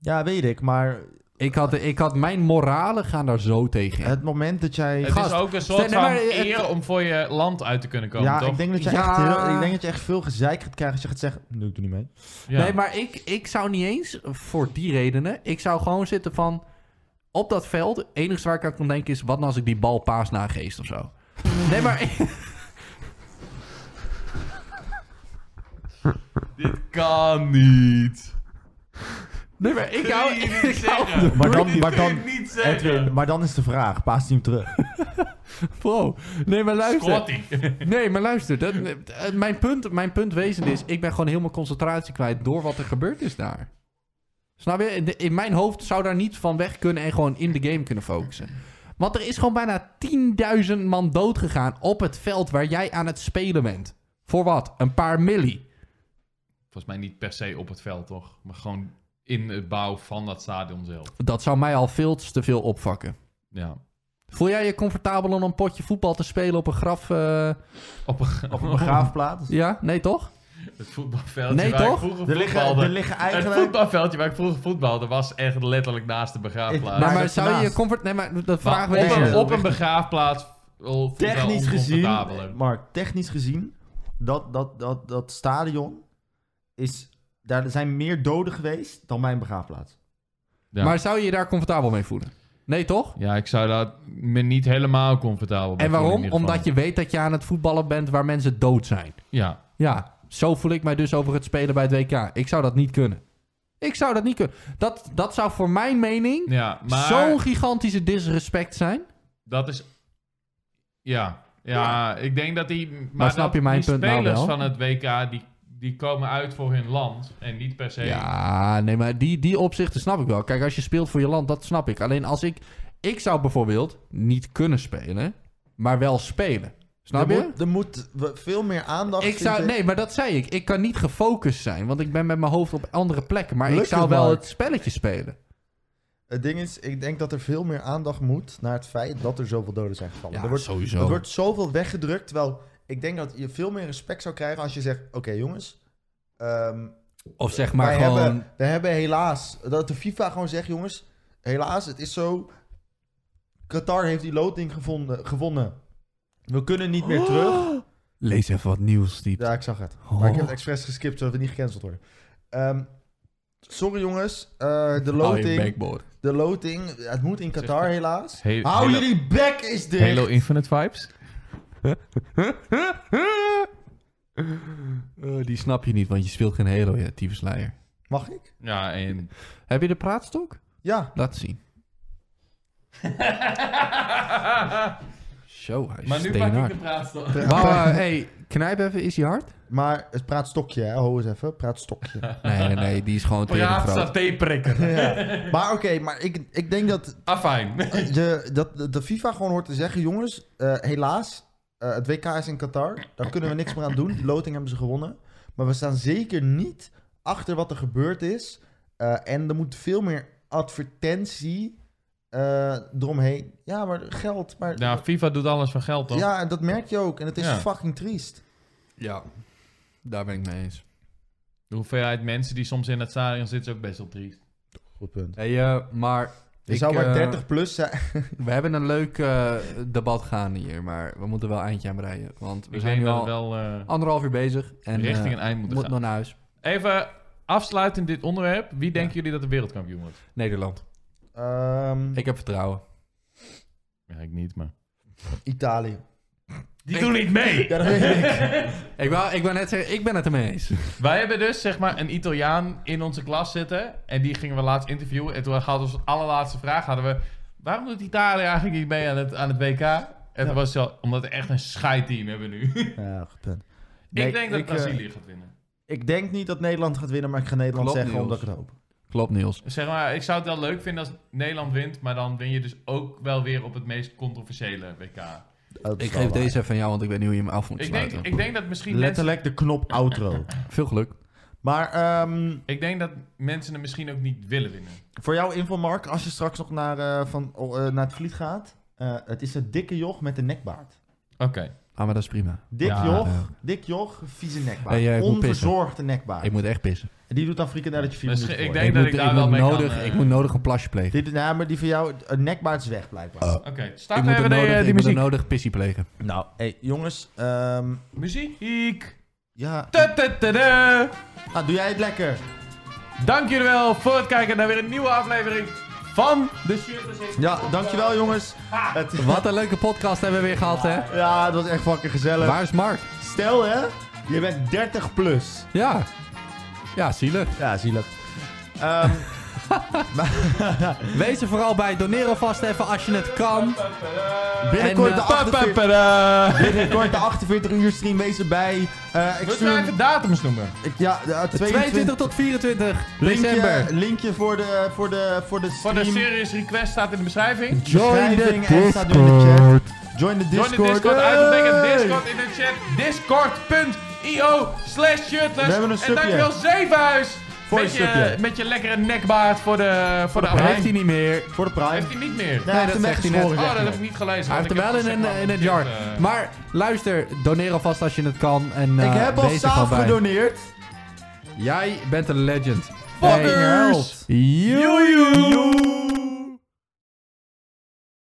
Speaker 2: Ja, weet ik. Maar
Speaker 1: Ik had, ik had mijn moralen gaan daar zo tegen. in.
Speaker 2: het moment dat jij...
Speaker 3: Het
Speaker 1: Gast,
Speaker 3: is ook een soort
Speaker 1: nee, maar eh,
Speaker 3: van
Speaker 1: het-
Speaker 3: eer om voor je land uit te kunnen komen,
Speaker 2: ja,
Speaker 3: toch?
Speaker 2: ik denk, dat je
Speaker 1: Ja.
Speaker 2: Echt heel, ik denk dat je echt veel gezeik gaat krijgen als je gaat zeggen... Nee, ik doe niet mee.
Speaker 3: Ja.
Speaker 1: Nee, maar ik, ik zou niet eens, voor die redenen, ik zou gewoon zitten van... Op dat veld, het enige waar ik aan kon denken is... Wat nou als ik die bal paas nageest of zo? Nee, maar...
Speaker 3: Dit kan niet.
Speaker 1: Nee, maar ik hou...
Speaker 3: Kun je
Speaker 1: Ik
Speaker 3: niet zeggen.
Speaker 1: hou
Speaker 2: Maar dan,
Speaker 3: Dit
Speaker 2: maar
Speaker 3: kun je
Speaker 2: dan,
Speaker 3: niet
Speaker 2: Edwin,
Speaker 3: zeggen.
Speaker 2: maar dan is de vraag. Paas hij hem terug.
Speaker 1: Wow. Nee, maar luister.
Speaker 3: Scotty.
Speaker 1: Nee, maar luister. Dat, eh, mijn, punt, mijn punt wezen is, ik ben gewoon helemaal concentratie kwijt door wat er gebeurd is daar. Snap je? In- In mijn hoofd zou daar niet van weg kunnen en gewoon in de game kunnen focussen. Want er is gewoon bijna 10.000 man dood gegaan op het veld waar jij aan het spelen bent. Voor wat? Een paar milli.
Speaker 3: Volgens mij niet per se op het veld, toch? Maar gewoon in het bouw van dat stadion zelf.
Speaker 1: Dat zou mij al veel te veel opvakken.
Speaker 3: Ja.
Speaker 1: Voel jij je comfortabel om een potje voetbal te spelen op een graf? eh,
Speaker 3: Op een, op
Speaker 2: Op een
Speaker 3: een-
Speaker 2: begraafplaats.
Speaker 1: Ja? Nee, toch?
Speaker 3: het voetbalveldje
Speaker 1: Nee,
Speaker 3: waar
Speaker 1: toch?
Speaker 3: ik vroeger
Speaker 2: Er liggen,
Speaker 3: voetbalde.
Speaker 2: er liggen
Speaker 3: Het
Speaker 2: eigenlijk...
Speaker 3: voetbalveldje waar ik vroeger voetbalde was echt letterlijk naast de begraafplaats.
Speaker 1: Nee,
Speaker 2: Maar
Speaker 1: maar
Speaker 2: dat
Speaker 1: zou je je
Speaker 2: ernaast.
Speaker 1: comfort... Nee, maar dat vraag
Speaker 3: Maar
Speaker 1: weet
Speaker 3: op,
Speaker 1: je.
Speaker 3: een, op een begraafplaats wel voelt wel
Speaker 2: Technisch gezien,
Speaker 3: oncomfortabeler.
Speaker 2: Mark, technisch gezien, dat, dat, dat, dat stadion is... Daar zijn meer doden geweest dan mijn begraafplaats.
Speaker 3: Ja.
Speaker 1: Maar zou je je daar comfortabel mee voelen? Nee, toch?
Speaker 3: Ja, ik zou daar me niet helemaal comfortabel bij
Speaker 1: En
Speaker 3: voelen
Speaker 1: waarom?
Speaker 3: in ieder geval.
Speaker 1: Omdat je weet dat je aan het voetballen bent waar mensen dood zijn.
Speaker 3: Ja,
Speaker 1: Ja, zo voel ik mij dus over het spelen bij het WK. Ik zou dat niet kunnen. Ik zou dat niet kunnen. Dat, dat zou voor mijn mening
Speaker 3: ja maar
Speaker 1: zo'n gigantische disrespect zijn.
Speaker 3: dat is... Ja, ja, ik denk dat die... Maar,
Speaker 1: snap
Speaker 3: dat
Speaker 1: je mijn
Speaker 3: die
Speaker 1: punt nou
Speaker 3: spelers
Speaker 1: wel?
Speaker 3: van het WK, die, die komen uit voor hun land. En niet per se...
Speaker 1: Ja, nee, maar die, die opzichten snap ik wel. Kijk, als je speelt voor je land, dat snap ik. Alleen als ik... Ik zou bijvoorbeeld niet kunnen spelen, maar wel spelen. Snap
Speaker 2: er
Speaker 1: je?
Speaker 2: Moet, er moet we- veel meer aandacht...
Speaker 1: Ik zou,
Speaker 2: vind ik.
Speaker 1: nee, maar dat zei ik. Ik kan niet gefocust zijn, want ik ben met mijn hoofd op andere plekken. Maar ik
Speaker 2: Lukt
Speaker 1: zou
Speaker 2: het,
Speaker 1: wel
Speaker 2: Mark?
Speaker 1: het spelletje spelen.
Speaker 2: Het ding is, ik denk dat er veel meer aandacht moet naar het feit dat er zoveel doden zijn gevallen.
Speaker 1: Ja,
Speaker 2: er, wordt,
Speaker 1: sowieso.
Speaker 2: er wordt zoveel weggedrukt, terwijl ik denk dat je veel meer respect zou krijgen als je zegt... Oké jongens, ehm,
Speaker 1: Of zeg maar
Speaker 2: wij,
Speaker 1: gewoon...
Speaker 2: hebben, wij hebben helaas, dat de FIFA gewoon zegt, jongens, helaas, het is zo. Qatar heeft die loting gevonden, gewonnen. We kunnen niet meer terug.
Speaker 1: Lees even wat nieuws, type.
Speaker 2: Ja, ik zag het.
Speaker 1: Oh.
Speaker 2: Maar ik heb het expres geskipt, zodat we niet gecanceld worden. Ehm, sorry jongens, eh, de
Speaker 1: Hou Nou, je
Speaker 2: loting,
Speaker 1: backboard.
Speaker 2: de loting, het moet in Qatar helaas.
Speaker 7: He-
Speaker 2: Hou
Speaker 7: Halo-
Speaker 2: jullie bek is dit!
Speaker 7: Halo Infinite vibes?
Speaker 1: Eh, die snap je niet, want je speelt geen Halo, ja, tyfusleier.
Speaker 2: Mag ik?
Speaker 3: Ja, en...
Speaker 1: Heb je de praatstok?
Speaker 2: Ja.
Speaker 1: Laat zien. Zo, hij is
Speaker 3: maar nu pak ik
Speaker 1: steenhard.
Speaker 3: de praatstof.
Speaker 1: Wauw, eh, hey, knijp even, is hij hard?
Speaker 2: Maar het praatstokje, hè? Hou eens even, praatstokje.
Speaker 1: Nee, nee, die is gewoon tegen
Speaker 3: Praat
Speaker 1: groot.
Speaker 3: satéprikker.
Speaker 2: ja. Maar oké, maar ik, ik denk dat
Speaker 1: Ah,
Speaker 3: Afijn.
Speaker 2: De, dat, de- de FIFA gewoon hoort te zeggen, jongens, eh, helaas, eh, het WK is in Qatar. Daar kunnen we niks meer aan doen. Die loting hebben ze gewonnen. Maar we staan zeker niet achter wat er gebeurd is. Eh, en er moet veel meer advertentie eh, eromheen. Ja, maar geld. Maar,
Speaker 3: Ja, Nou, FIFA doet alles van geld, toch?
Speaker 2: ja, en dat merk je ook. En het is
Speaker 3: Ja.
Speaker 2: fucking triest.
Speaker 1: Ja, daar ben ik mee eens.
Speaker 3: De hoeveelheid mensen die soms in het stadion zitten is ook best wel triest.
Speaker 2: Goed punt.
Speaker 1: Hey, eh, maar...
Speaker 2: Je
Speaker 1: ik,
Speaker 2: zou maar
Speaker 1: eh,
Speaker 2: 30 plus zijn.
Speaker 1: We hebben een leuk eh, debat gaan hier, maar we moeten wel een eindje aan breien. Want we
Speaker 3: Ik
Speaker 1: zijn
Speaker 3: denk
Speaker 1: nu
Speaker 3: dat we
Speaker 1: al
Speaker 3: wel eh,
Speaker 1: anderhalf uur bezig en
Speaker 3: richting
Speaker 1: eh,
Speaker 3: een eind moeten
Speaker 1: moet
Speaker 3: gaan.
Speaker 1: nog naar huis.
Speaker 3: Even afsluitend dit onderwerp. Wie denken jullie dat de wereldkampioen wordt?
Speaker 1: Nederland.
Speaker 2: Ehm,
Speaker 1: Ik heb vertrouwen.
Speaker 3: Ja, ik niet, maar...
Speaker 2: Italië.
Speaker 3: Die doen niet mee!
Speaker 2: Ja, dat weet ik.
Speaker 1: Ik wou, ik wou net zeggen, ik ben het ermee eens.
Speaker 3: Wij hebben dus zeg maar een Italiaan in onze klas zitten. En die gingen we laatst interviewen. En toen hadden we als allerlaatste vraag hadden we... Waarom doet Italië eigenlijk niet mee aan het, aan het WK? En dat was zo, omdat we echt een scheidteam hebben nu.
Speaker 2: Ja, goed punt.
Speaker 3: ik
Speaker 2: Nee,
Speaker 3: denk dat
Speaker 2: ik, eh,
Speaker 3: Brazilië gaat winnen.
Speaker 2: Ik denk niet dat Nederland gaat winnen, maar ik ga Nederland
Speaker 1: Klopt,
Speaker 2: zeggen omdat ik
Speaker 1: Niels.
Speaker 2: het hoop.
Speaker 1: Klopt, Niels.
Speaker 3: Zeg maar, ik zou het wel leuk vinden als Nederland wint. Maar dan win je dus ook wel weer op het meest controversiële WK.
Speaker 2: Dat is
Speaker 1: Ik
Speaker 2: wel
Speaker 1: geef
Speaker 2: waar.
Speaker 1: deze even aan jou, want ik weet niet hoe je hem af moet
Speaker 3: Ik denk,
Speaker 1: sluiten.
Speaker 3: ik denk dat misschien mensen...
Speaker 2: Letterlijk de knop outro.
Speaker 1: Veel geluk.
Speaker 2: Maar ehm,
Speaker 3: Ik denk dat mensen het misschien ook niet willen winnen.
Speaker 2: voor jouw info, Mark, als je straks nog naar, eh, van, oh, eh, naar het vliet gaat, eh, het is een dikke joch met een nekbaard.
Speaker 3: Oké.
Speaker 1: Ah, maar dat is prima.
Speaker 2: Dik
Speaker 3: Ja,
Speaker 2: joch,
Speaker 1: ja.
Speaker 2: dik joch, vieze nekbaard.
Speaker 1: Hey, eh, ik moet
Speaker 2: Onverzorgde nekbaard.
Speaker 1: Ik moet echt pissen.
Speaker 2: En die doet dan frikandelletje vier
Speaker 3: Dus
Speaker 2: minuten
Speaker 3: ik
Speaker 2: voor.
Speaker 3: denk- dat
Speaker 1: moet,
Speaker 3: daar wel
Speaker 1: moet
Speaker 3: mee kan,
Speaker 1: nodig,
Speaker 3: eh,
Speaker 1: ik moet nodig een plasje plegen.
Speaker 2: Dit, nou, maar die van jou, een nekbaard is weg blijkbaar.
Speaker 1: Oh.
Speaker 3: Oké,
Speaker 1: Ik
Speaker 3: start
Speaker 1: moet
Speaker 3: maar
Speaker 1: er
Speaker 3: even die,
Speaker 1: nodig,
Speaker 3: eh,
Speaker 1: ik
Speaker 3: die
Speaker 1: moet er
Speaker 3: muziek.
Speaker 1: nodig pissie plegen.
Speaker 2: Nou, hey, jongens, ehm,
Speaker 3: Muziek.
Speaker 2: ja,
Speaker 3: Ta -ta -ta -da.
Speaker 2: ah, doe jij het lekker.
Speaker 3: Dank jullie wel voor het kijken naar weer een nieuwe aflevering van de Shirtless Ace.
Speaker 2: Ja, dankjewel jongens. Het,
Speaker 1: Wat een leuke podcast hebben we weer gehad, hè?
Speaker 2: Ja, het was echt fucking gezellig.
Speaker 1: Waar is Mark?
Speaker 2: Stel hè, je bent 30 plus.
Speaker 1: Ja. Ja, zielig.
Speaker 2: Ja, zielig. Ehm
Speaker 1: Wees er vooral bij. Doneer alvast even als je het kan.
Speaker 2: binnenkort
Speaker 1: En,
Speaker 2: de
Speaker 1: eh,
Speaker 2: 48
Speaker 3: Pa-pa-pa-da.
Speaker 2: Binnenkort de 48 uur stream, wees erbij. Eh ik
Speaker 3: Moet
Speaker 2: stuur
Speaker 3: je even datums noemen?
Speaker 2: ik- ja, de, eh,
Speaker 1: 22 tot 24 december.
Speaker 2: linkje, linkje voor de voor de voor de
Speaker 3: Voor de
Speaker 2: stream.
Speaker 3: serious request staat in de beschrijving.
Speaker 1: Join the
Speaker 2: beschrijving en staat in de chat. Join the
Speaker 3: Join
Speaker 2: Discord.
Speaker 3: de Discord, uitgetekend
Speaker 2: Hey!
Speaker 3: Discord in de chat. Discord.com io slash shirtless.
Speaker 2: We hebben een
Speaker 3: en
Speaker 2: stukje.
Speaker 3: dankjewel Zevenhuis.
Speaker 2: Voor
Speaker 3: met,
Speaker 2: een
Speaker 3: je,
Speaker 2: stukje.
Speaker 3: met je lekkere nekbaard voor de, voor de
Speaker 1: Dat heeft
Speaker 3: abonnement.
Speaker 1: hij niet meer.
Speaker 2: Voor de Prime.
Speaker 3: Heeft hij niet meer?
Speaker 2: Nee, hij heeft
Speaker 1: dat
Speaker 2: hem
Speaker 1: zegt hij net.
Speaker 2: weggeschoren, zegt
Speaker 3: Oh, dat
Speaker 2: hij.
Speaker 3: heb ik niet gelezen.
Speaker 1: Hij heeft
Speaker 3: want
Speaker 1: hem wel in
Speaker 3: ik heb
Speaker 1: een,
Speaker 3: gezegd,
Speaker 1: in een
Speaker 3: man,
Speaker 1: jar.
Speaker 3: shit, eh.
Speaker 1: Maar luister, doneer alvast als je het kan. En,
Speaker 2: Ik
Speaker 1: eh,
Speaker 2: heb al
Speaker 1: wees er gewoon
Speaker 2: saaf
Speaker 1: bij.
Speaker 2: gedoneerd.
Speaker 1: Jij bent een legend.
Speaker 2: Fuckers!
Speaker 1: Joejoe!